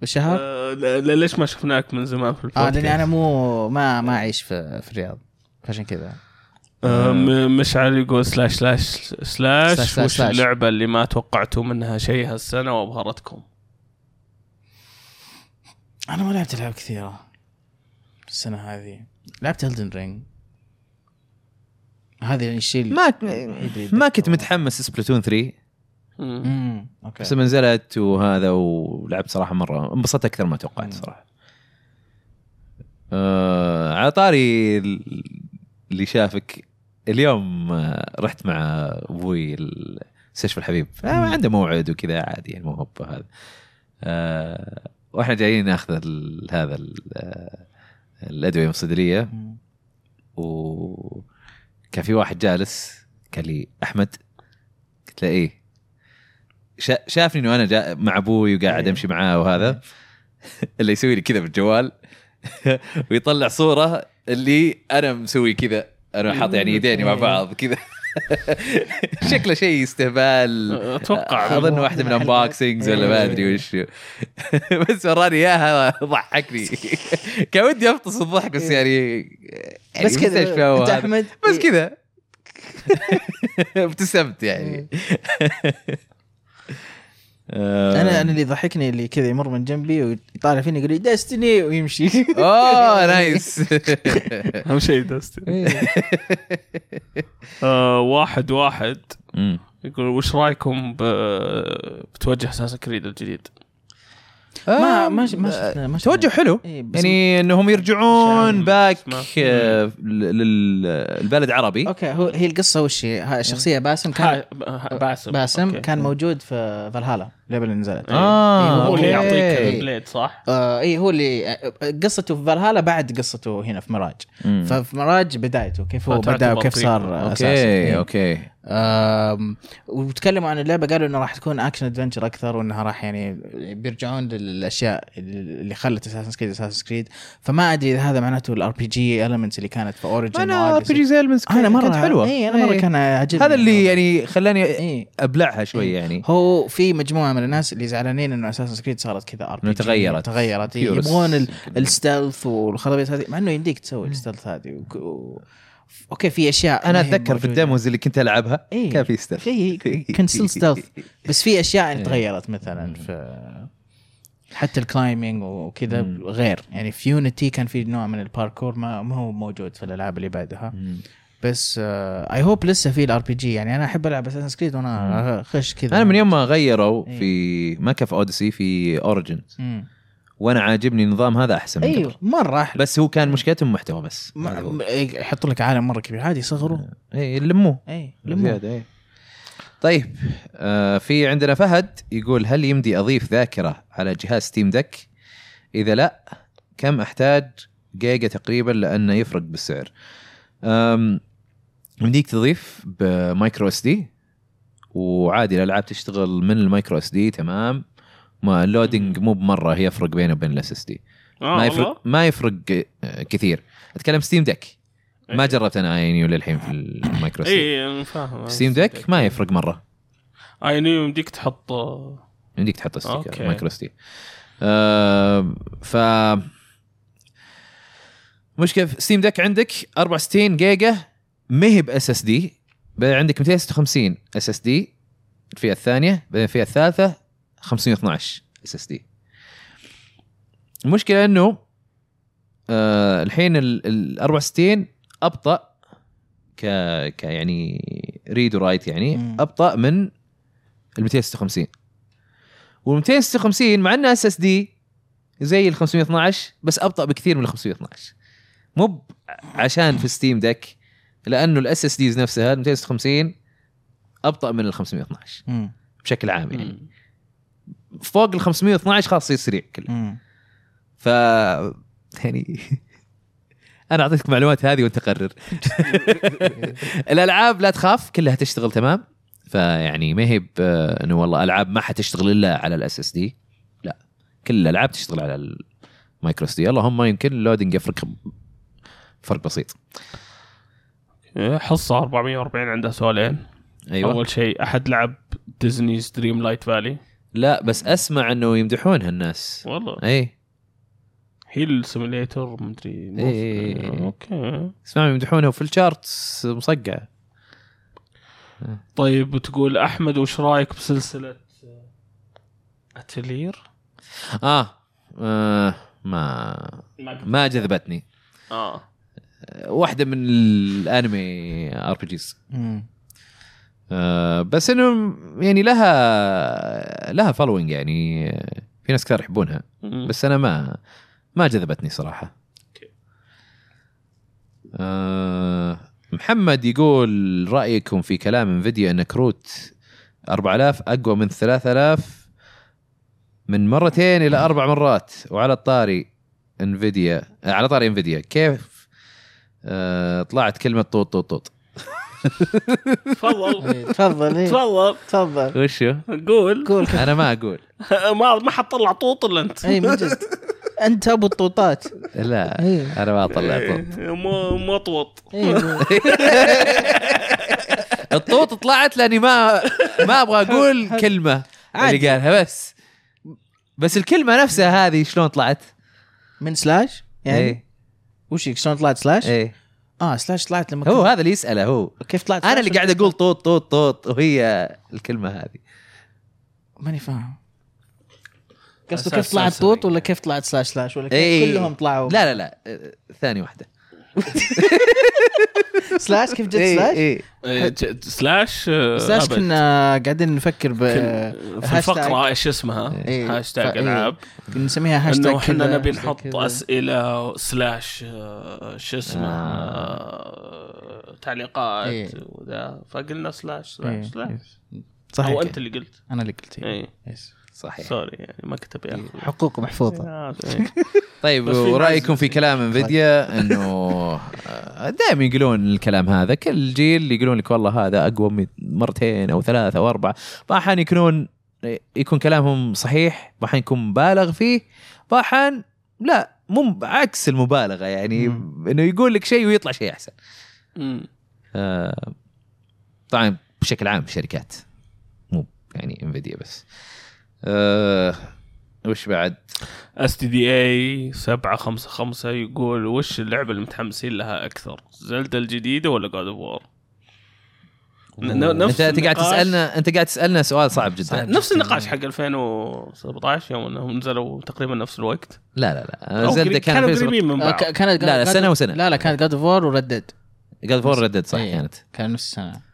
B: بالشهر؟
C: آه، لا- لا- ليش ما شفناك من زمان في
B: اه
C: البودكاست
B: لاني انا مو ما ما اعيش في, في الرياض فعشان كذا
C: آه، م- مشعل يقول سلاش سلاش
B: سلاش
C: سلاش
B: سلاش
C: وش
B: سلاش.
C: اللعبة اللي ما توقعتوا منها شيء هالسنة وابهرتكم؟
B: انا ما لعبت العاب كثيره السنه هذه لعبت هلدن رينج هذا يعني الشيء اللي-
A: ما
B: اللي
A: ما كنت
B: أتذكره.
A: متحمس سبلاتون 3
C: مم.
B: امم اوكي
A: بس لما نزلت وهذا ولعبت صراحه مره انبسطت اكثر ما توقعت صراحه. آه على طاري ال- اللي شافك اليوم آه، رحت مع ابوي ال- مستشفى الحبيب آه
B: مم.
A: عنده موعد وكذا عادي يعني مو هو هذا آه واحنا جايين ناخذ ال- هذا ال- آه، الادويه من الصيدليه
B: مم.
A: وكان في واحد جالس قال لي احمد قلت له ايه شا- شافني انه انا جا مع ابوي وقاعد
B: إيه.
A: امشي معاه وهذا اللي يسوي لي كذا بالجوال ويطلع صوره اللي انا مسوي كذا انا حاط يعني يديني مع
B: إيه.
A: بعض كذا شكله شيء
B: آه.
A: استهبال
C: اتوقع
A: اظن واحده من الانبوكسنجز ولا ما
B: إيه.
A: ادري وش بس وراني اياها ضحكني كان ودي افطس الضحك بس يعني يعني
B: إيه. بس
A: مستشفى
B: كذا إيه. انت
A: وهذا.
B: احمد
A: بس كذا ابتسمت يعني
B: إيه.
A: آه.
B: انا انا اللي ضحكني اللي كذا يمر من جنبي ويطالع فيني يقول لي ديستني ويمشي إيه.
A: اوه نايس
C: اهم شيء
A: إيه.
C: دستن آه واحد واحد
A: مم.
C: يقول وش رايكم ب... بتوجه اساسا كريد الجديد؟
B: ما ما ما شفنا ما شفنا.
A: آه. توجه حلو
B: إيه، بس-
A: يعني انهم يرجعون
C: مش
A: باك
C: عارف.
A: آه، لل- للبلد عربي
B: اوكي هو هي القصه وش هي؟ ها- الشخصيه باسم كان
C: ها- ها- باسم
B: باسم
C: أوكي.
B: كان موجود في فالهالا اللعبه اللي نزلت
A: اه
C: إيه، هو اللي
A: أوكي.
C: يعطيك
B: إيه.
C: البليد صح؟
B: آه اي هو اللي آه، قصته في فالهالا بعد قصته هنا في مراج
A: مم.
B: ففي مراج بدايته كيف هو
C: فتعتبر
B: بدا وكيف
C: prequel.
B: صار اساسا
A: اوكي
B: إيه.
A: اوكي
B: آم، وتكلموا عن اللعبه قالوا انه راح تكون اكشن ادفنتشر اكثر وانها راح يعني بيرجعون للاشياء اللي خلت اساسن كريد اساسن كريد فما ادري اذا هذا معناته الار بي جي المنتس اللي كانت في اوريجن
A: انا ار بي جي زي المنس
B: انا مره
A: كانت حلوه
B: اي انا مره
A: إيه.
B: كان عاجبني
A: هذا اللي يعني خلاني
B: إيه.
A: ابلعها شوي يعني
B: هو في مجموعه من الناس اللي زعلانين انه اساسن كريد صارت كذا ار بي
A: إنه تغيرت.
B: تغيرت
A: Curious.
B: يبغون ال- الستلث والخرابيط هذه مع انه يمديك تسوي الستلث هذه وك- و... اوكي في اشياء
A: انا
B: ما هي
A: اتذكر في
B: موجودة.
A: الديموز اللي كنت العبها
B: إيه.
A: كان في إيه، ستيلث
B: في كان ستيل ستيلث بس في اشياء يعني
A: إيه.
B: تغيرت مثلا في حتى الكلايمينج وكذا
A: مم.
B: غير يعني في يونيتي كان في نوع من الباركور ما ما هو موجود في الالعاب اللي بعدها بس اي هوب لسه في الار بي جي يعني انا احب العب اساسن كريد وانا اخش كذا
A: انا من يوم ما غيروا
B: إيه.
A: في ما كان في اوديسي في اوريجنز
B: مم.
A: وانا عاجبني النظام هذا احسن من
B: ايوه
A: قبل.
B: مره احلى
A: بس هو كان مشكلته المحتوى بس
B: ما-
A: هذا هو. إيه،
B: م- إيه، يحطوا لك عالم مره كبير إيه، عادي يصغروا
A: اي لموه
B: اي لموا.
A: زياده اي إيه. طيب آه في عندنا فهد يقول هل يمدي اضيف ذاكره على جهاز ستيم دك؟ اذا لا كم احتاج جيجا تقريبا لانه يفرق بالسعر؟ أم، يمديك تضيف بمايكرو اس دي وعادي الالعاب تشتغل من المايكرو اس دي تمام ما اللودنج مو بمره يفرق بينه وبين الاس اس دي
C: آه
A: ما
C: والله؟
A: يفرق ما يفرق آه، كثير اتكلم ستيم دك ما
C: إيه.
A: جربت انا يعني للحين في المايكرو اس دي
C: اي انا إيه، فاهم
A: ستيم ديك ما يفرق مره
C: اي نيو يمديك تحط آه،
A: يمديك تحط ستيكر
C: أوكي.
A: مايكرو ستيك آه ف مشكله في ستيم ديك عندك 64 جيجا ما هي باس اس دي عندك 256 اس اس دي الفئه الثانيه بعدين الفئه الثالثه 512 اس اس دي المشكله انه آه الحين ال 64 ابطا ك ك يعني ريد ورايت يعني
B: مم.
A: ابطا من ال 256 وال 256 مع انه اس اس دي زي ال 512 بس ابطا بكثير من ال 512 مو ب- عشان في ستيم دك لانه الاس اس ديز نفسها ال 256 ابطا من ال 512
B: مم.
A: بشكل عام يعني
C: مم.
A: فوق ال 512 خلاص يصير سريع كله
B: مم.
A: ف يعني انا اعطيتك المعلومات هذه وانت قرر الالعاب لا تخاف كلها تشتغل تمام فيعني ما هي ب- انه والله العاب ما حتشتغل الا على الاس اس دي لا كل الالعاب تشتغل على المايكرو اس دي اللهم يمكن اللودنج يفرق فرق بسيط
C: حصه 440 عندها سؤالين
A: ايوه
C: أيوة. اول شيء احد لعب ديزني ستريم لايت فالي
A: لا بس اسمع انه يمدحونها الناس إيه،
C: والله
A: اي
C: هيل سيميليتر مدري مو-
A: إيه.
C: اوكي
A: اسمعوا يمدحونها وفي الشارتس مصقعه
C: طيب وتقول احمد وش رايك بسلسله اتلير؟
A: آه. اه ما ما جذبتني
C: اه
A: واحده من الانمي ار بي جيز
B: مم.
A: آه، بس انه يعني لها لها فولوينج يعني آه، في ناس كثير يحبونها بس انا ما ما جذبتني صراحه آه، محمد يقول رايكم في كلام انفيديا ان كروت 4000 اقوى من 3000 من مرتين الى اربع مرات وعلى الطاري انفيديا على طاري انفيديا كيف آه، طلعت كلمه طوط طوط طوط
C: تفضل
B: إيه، تفضل إيه.
C: تفضل
B: تفضل
A: وشو؟
C: قول
B: قول
A: انا ما اقول
C: ما ما حتطلع طوط الا انت
B: اي إيه، من جد انت ابو الطوطات إيه.
A: لا
B: اي
A: انا ما اطلع طوط
C: مو مطوط
B: إيه،
A: الطوط طلعت لاني ما ما ابغى اقول كلمه
B: عادي.
A: اللي قالها بس بس الكلمه نفسها هذه شلون طلعت؟
B: من سلاش يعني
A: ايه
B: وش شلون طلعت سلاش؟
A: ايه
B: اه سلاش طلعت لما
A: هو
B: كنت-
A: هذا اللي يساله هو
B: كيف طلعت
A: انا
B: سلاش
A: اللي قاعد اقول طوط طوط طوط وهي الكلمه هذه
B: ماني فاهم قصده
C: أساس
B: كيف طلعت
C: سلسلة.
B: طوط ولا كيف طلعت سلاش سلاش ولا كيف
A: إيه.
B: يعني كلهم طلعوا
A: لا لا لا آه، ثانيه واحده
B: سلاش كيف جت
A: إيه،
B: سلاش؟
A: إيه.
C: إيه، ج- سلاش آه،
B: سلاش
C: أبد.
B: كنا قاعدين نفكر ب
C: كن- في
B: هاشتاج.
C: الفقره ايش اسمها؟
B: إيه.
C: هاشتاج
B: فإيه.
C: العاب
B: كنا نسميها هاشتاج
C: انه احنا
B: كذا،
C: نبي
B: هاشتاج
C: نحط
B: كذا.
C: اسئله سلاش آه، شو اسمه
A: آه.
C: آه، تعليقات
B: إيه.
C: وذا فقلنا سلاش
B: إيه.
C: سلاش سلاش
B: صحيح
C: او انت اللي قلت
B: انا اللي قلت إيه.
C: اي
B: يس.
A: صحيح
C: سوري يعني ما كنت ابي أخذ.
B: حقوق محفوظه
C: آه، إيه.
A: طيب
C: بس في يعني
A: ورايكم
C: معزة.
A: في كلام انفيديا انه يقولوه دائما آه، يقولون الكلام هذا كل جيل يقولون لك والله هذا اقوى من مرتين او ثلاثه او اربعه فاحيانا يكونون يكون كلامهم صحيح واحيانا يكون مبالغ فيه واحيانا لا مو عكس المبالغه يعني انه يقول لك شيء ويطلع شيء احسن
C: مم.
A: آه، طبعا بشكل عام شركات مو يعني انفيديا بس آه، وش بعد
C: اس تي دي اي 755 يقول وش اللعبه اللي متحمسين لها اكثر؟ زلدا الجديده ولا جاد اوف وور؟
A: انت انت قاعد تسالنا انت قاعد تسالنا سؤال صعب جدا
C: نفس النقاش حق 2017 يوم انهم نزلوا تقريبا نفس الوقت
A: لا لا لا
C: أو
A: زلدا
C: قريب-
A: آه، كان
C: كانوا قريبين من
B: آه،
C: بعض
B: ك- كانت
A: لا، لا،
B: God-
A: سنة وسنة.
B: لا لا كانت جاد اوف وور وردد
A: قال فور ردد صح
B: إيه.
A: كانت
B: كان نفس السنه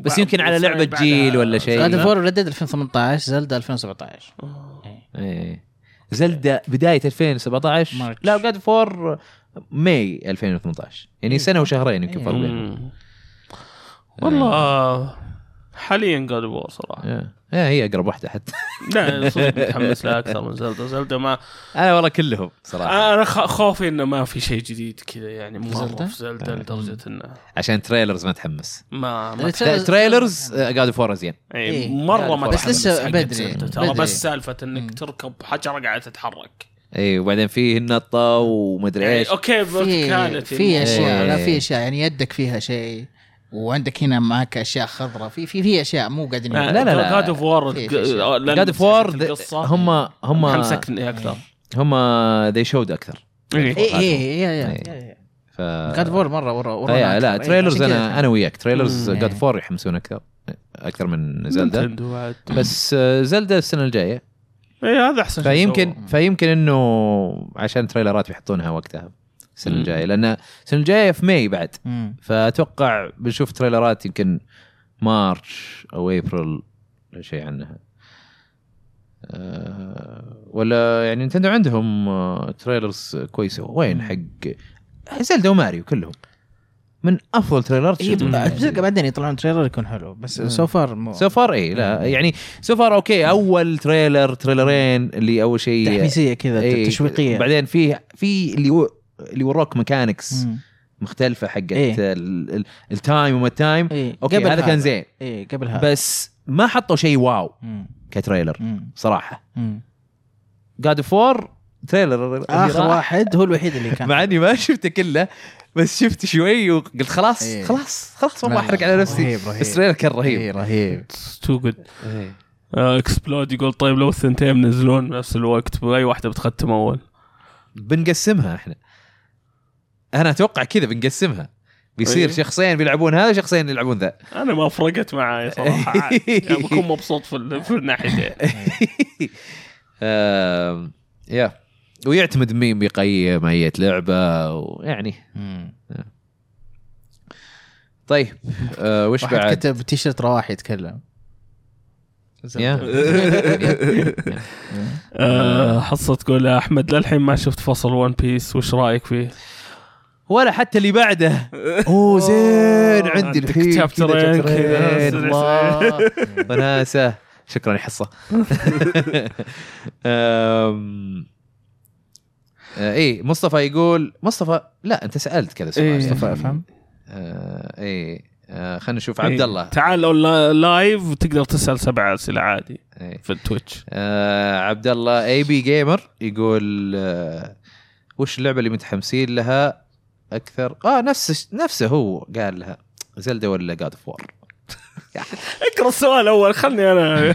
A: بس يمكن على لعبة
C: بعدها-
A: جيل ولا شيء.
B: جاد
A: إيه.
B: اوف وور وردد 2018 زلدا 2017
C: آه.
A: إيه. زلدا بدايه 2017
B: مارتش.
A: لا قاعد فور ماي 2018 يعني
B: إيه.
A: سنه وشهرين يمكن
B: إيه.
A: فرق بينهم
C: مم. والله حاليا جاد اوف وور صراحه
A: إيه. إيه، هي اقرب واحده حتى
C: لا أنا صدق متحمس لها اكثر من زلدا زلدا ما
A: انا والله كلهم
B: طيب.
A: صراحه
C: انا آه، خ- خوفي انه ما في شيء جديد كذا يعني
B: زلدة؟ طيب.
C: مره في زلدا لدرجه انه
A: عشان تريلرز ما تحمس آه،
C: ما ما
B: ترى-
A: تريلرز قاعد فور زين
C: يعني
B: إيه.
C: مره
A: لا،
C: ما
A: بس
C: تحمس
B: لسه
C: حق
B: بدري.
C: زلدة.
B: بدري.
C: ترى بس سالفه
B: مم.
C: انك تركب حجره قاعده تتحرك
A: اي إيه، وبعدين فيه النطه ومدري
C: يعني
A: ايش
C: اوكي
B: في
C: كانت
B: في اشياء
A: إيه.
B: لا في اشياء يعني يدك فيها شيء وعندك هنا معك اشياء خضراء في في في اشياء مو
C: آه،
B: قاعدين
A: لا، لا، لا.
C: جاد اوف وور
B: في- في أشياء.
C: آه،
A: جاد اوف وور هم هم
C: حمسكني اكثر
A: هم ذي شود اكثر
B: اي
A: إيه.
B: اي
A: إيه.
B: اي
A: ف
B: جاد فور مره ورا ورا إيه،
A: فيا إيه، لا تريلرز انا انا وياك تريلرز
B: مم.
A: جاد
B: إيه.
A: فور يحمسون اكثر اكثر من زلدا
C: نينتندو عاد.
A: بس آه، زلدا السنه الجايه
C: اي إيه، هذا احسن شيء
A: فيمكن
C: سووه.
A: فيمكن انه عشان تريلرات بيحطونها وقتها السنه
C: مم.
A: الجايه لان السنه الجايه في ماي بعد
B: انا
A: فاتوقع بنشوف تريلرات يمكن مارش او ابريل لا شيء عنها أه ولا يعني نتندو عندهم آه، تريلرز كويسه وين حق زلدا وماريو كلهم من افضل تريلرات
B: اي
C: شفت.
B: بتلقى إيه، بعدين يطلعون تريلر يكون حلو بس
A: مم.
B: سو فار مو
A: سو فار اي لا يعني سو فار اوكي اول تريلر تريلرين اللي اول شيء
B: تحميسيه كذا
A: إيه،
B: تشويقيه
A: بعدين فيه في اللي و- اللي وراك ميكانكس
B: مم.
A: مختلفه حقت
B: إيه.
A: ال- ال- التايم وما التايم
B: إيه.
A: اوكي هذا كان زين
B: اي قبل هذا
A: بس ما حطوا شيء واو
B: إيه، مم.
A: كتريلر
B: مم.
A: صراحه
B: مم.
A: جاد فور تريلر اللي
B: اخر
A: راح.
B: واحد هو الوحيد اللي كان
A: مع اني ما شفته كله بس شفت شوي وقلت خلاص
B: إيه.
A: خلاص خلاص ما
B: لا،
A: بحرق
B: لا،
A: على نفسي
B: رهيب رهيب
A: بس التريلر كان رهيب
B: إيه، رهيب
C: It's too good.
A: إيه.
C: آه، اكسبلود يقول طيب لو الثنتين بنزلون بنفس الوقت باي واحده بتختم اول؟
A: بنقسمها احنا انا اتوقع كذا بنقسمها بيصير
C: إيه.
A: شخصين بيلعبون هذا شخصين يلعبون ذا
C: انا ما فرقت معاي صراحه عاد. يعني بكون مبسوط في ال- في الناحيتين
A: آم، يا ويعتمد مين بيقيم اي لعبه ويعني
B: مم.
A: طيب آه وش
B: واحد
A: بعد؟
B: كتب تيشرت رواح يتكلم
A: يا.
C: آه، حصه تقول يا احمد للحين ما شفت فصل ون بيس وش رايك فيه؟
A: ولا حتى اللي بعده اوه زين عندي
C: عندك
A: الحين
C: chapterين كذا.
A: كذا إيه، الله وناسه شكرا يا حصه أم، آه، ايه مصطفى يقول مصطفى لا انت سالت كذا سؤال
C: إيه.
A: مصطفى
B: افهم
A: آه، ايه آه، خلينا نشوف عبد الله
C: إيه. تعال لو لا- لايف تقدر تسال سبع اسئله عادي
A: إيه.
C: في التويتش
A: آه، عبد الله اي بي جيمر يقول آه، وش اللعبه اللي متحمسين لها اكثر اه نفسه نفسه هو قال لها زلدة ولا جاد اوف وور
C: اقرا السؤال الاول خلني انا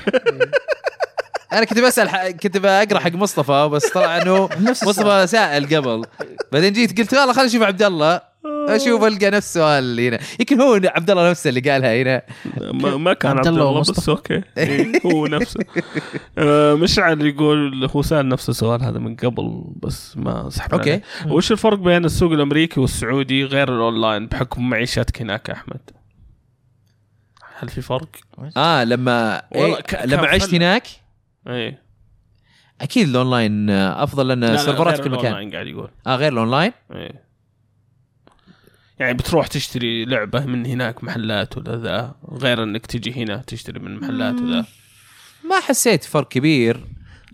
A: انا كنت بسال ح- كنت بقرا حق مصطفى بس طلع انه مصطفى سائل قبل بعدين جيت قلت يلا خلينا نشوف عبد الله اشوف القى نفس السؤال هنا يمكن هو عبد الله نفسه اللي قالها هنا
C: ما, ما كان عبد
B: عبد الله
C: الله بس
B: ومصطفى.
C: اوكي إيه، هو نفسه آه، مشعل يقول هو سال نفس السؤال هذا من قبل بس ما سحبنا
A: اوكي
C: عليه. وش الفرق بين السوق الامريكي والسعودي غير الاونلاين بحكم معيشتك هناك يا احمد؟ هل في فرق؟
A: اه لما
C: والله
A: إيه
C: ك- كان
A: لما عشت
C: فل.
A: هناك
C: ايه
A: اكيد الاونلاين آه، افضل لان السيرفرات في كل مكان
C: قاعد يقول
A: اه غير الاونلاين
C: ايه يعني بتروح تشتري لعبه من هناك محلات ولا ذا غير انك تجي هنا تشتري من محلات ولا
A: ما حسيت فرق كبير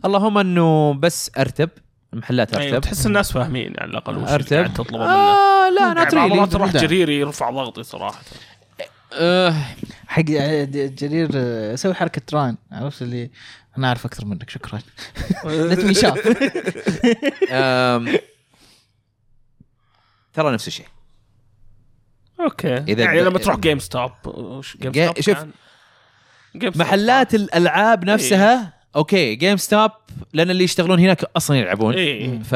A: اللهم انه بس ارتب المحلات ارتب
C: أيوة تحس الناس فاهمين على الاقل وش
A: أرتب.
C: اللي قاعد تطلبه منه
A: آه نعم. لا
C: يعني
A: نوت ريلي
C: بعض المرات تروح
B: بالبداية.
C: جريري يرفع ضغطي صراحه
A: آه،
B: حق جرير آه، سوي حركه ران عرفت اللي انا اعرف اكثر منك شكرا ليت مي شاف
A: ترى نفس الشيء
C: اوكي
A: إذا
C: يعني
A: ب-
C: لما تروح جيم ستوب وش جيم
A: جا-
C: ستوب
A: شوف،
C: كان؟ جيم ستوب.
A: محلات الالعاب نفسها اوكي جيم ستوب لان اللي يشتغلون هناك اصلا يلعبون
C: إيه.
A: ف...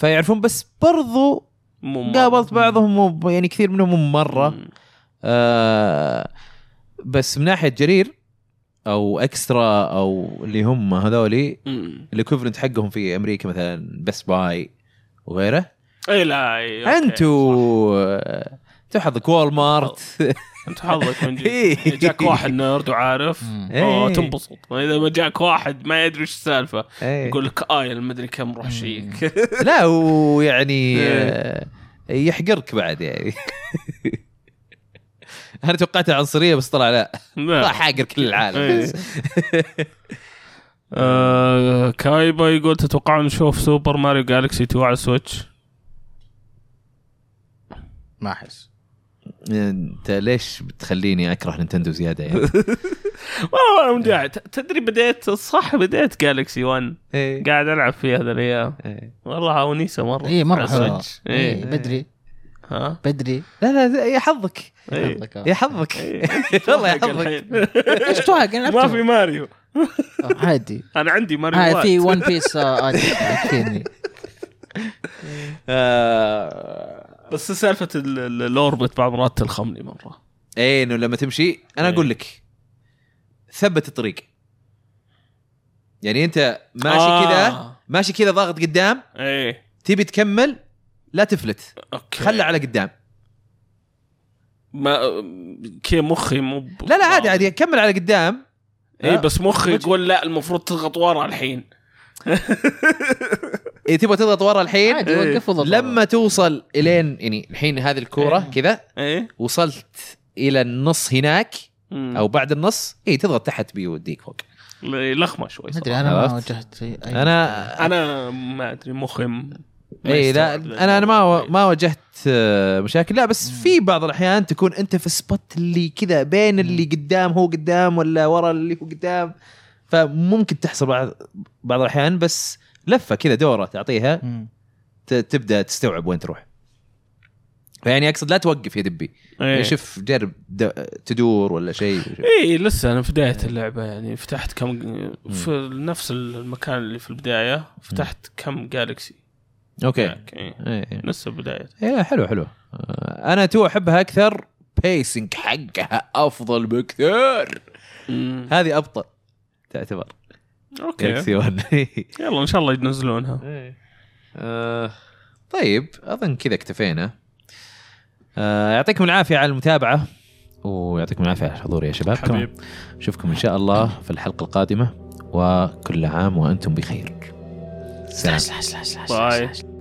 A: فيعرفون بس برضو
C: مو مرة.
A: قابلت بعضهم وب- يعني كثير منهم مو مره
C: مم.
A: آه بس من ناحيه جرير او اكسترا او اللي هم هذولي
C: مم.
A: الاكوفلنت حقهم في امريكا مثلا بس باي وغيره
C: اي إيه، لا إي، أوكي، صح.
A: انتوا انتوا حظك وول مارت
C: انت حظك من
A: إي.
C: جد إذا جاك واحد نيرد وعارف
B: مم.
A: إي.
C: اوه تنبسط واذا ما جاك واحد ما يدري ايش السالفه
A: إيه.
C: يقول لك ايل ما ادري كم روح شيك
A: لا ويعني
C: إيه.
A: آه، يحقرك بعد يعني انا توقعتها عنصريه بس طلع لا طلع حاقر كل العالم
C: آه. إيه. آه، كايبا يقول تتوقعون نشوف سوبر ماريو جالكسي 2 على السويتش؟
B: ما احس
A: انت ليش بتخليني اكره نينتندو زياده يعني
C: والله انا مدعي تدري بديت صح بديت جالكسي 1
A: إيه.
C: قاعد العب فيه هذا الايام
A: إيه.
C: والله ونيسه مره
B: اي مره
C: على
B: حلوه
C: السويتش.
B: إيه،
C: اي
B: بدري
C: ها
B: بدري
A: لا لا يا حظك
C: إيه.
A: يا حظك والله يا حظك
B: ايش توهق انا
C: ما في ماريو
B: عادي
C: انا عندي
B: آه، في
C: ماريو
B: ون بيس آه، عادي يكفيني.
A: آه،
C: بس سالفه ال- ال- الاوربت بعض مرات تلخمني مره
A: ايه انه لما تمشي انا
C: إيه.
A: اقول لك ثبت الطريق يعني انت ماشي
C: آه.
A: كذا ماشي كذا ضاغط قدام
C: ايه
A: تبي تكمل لا تفلت
C: اوكي
A: خلى على قدام
C: ما كي مخي مو ب-
A: لا لا عادي عادي كمل على قدام
C: اي بس مخي يقول لا المفروض تضغط ورا الحين
A: إيه تبغى تضغط ورا الحين
B: عادي وقف وضغط
A: لما توصل الين يعني الحين هذه الكوره كذا
C: ايه
A: وصلت الى النص هناك
C: مم.
A: او بعد النص اي تضغط تحت بيوديك فوق
C: لخمه شوي
B: ما
C: صراحة.
B: ادري انا ما
A: عرفت؟
B: وجهت في أي-
A: انا
C: انا ما ادري مخي م-
A: اي
C: ما
A: إيه، لا
C: يستوعب
A: انا انا ما ما واجهت آه، مشاكل لا بس في بعض الاحيان تكون انت في سبوت اللي كذا بين اللي قدام هو قدام ولا ورا اللي هو قدام فممكن تحصل بعض بعض الاحيان بس لفه كذا دوره تعطيها
B: مم.
A: ت- تبدا تستوعب وين تروح فيعني اقصد لا توقف يا دبي
C: إيه.
A: يعني شوف جرب د- تدور ولا شيء
C: اي لسه انا في بدايه
A: إيه.
C: اللعبه يعني فتحت كم في نفس المكان اللي في البدايه فتحت كم جالكسي
A: اوكي
C: هناك، إيه.
A: إيه.
C: لسه بدايه
A: ايه حلو حلو آه، انا تو احبها اكثر بيسنج حقها افضل بكثير هذه ابطا تعتبر
C: اوكي إيه.
A: جالكسي 1
C: يلا ان شاء الله ينزلونها
A: آه، طيب اظن كذا اكتفينا آه، يعطيكم العافيه على المتابعه ويعطيكم العافيه على الحضور يا شباب
C: حبيب.
A: نشوفكم ان شاء الله في الحلقه القادمه وكل عام وانتم بخير سلام
B: لا، لا، لا، لا، لا.
C: باي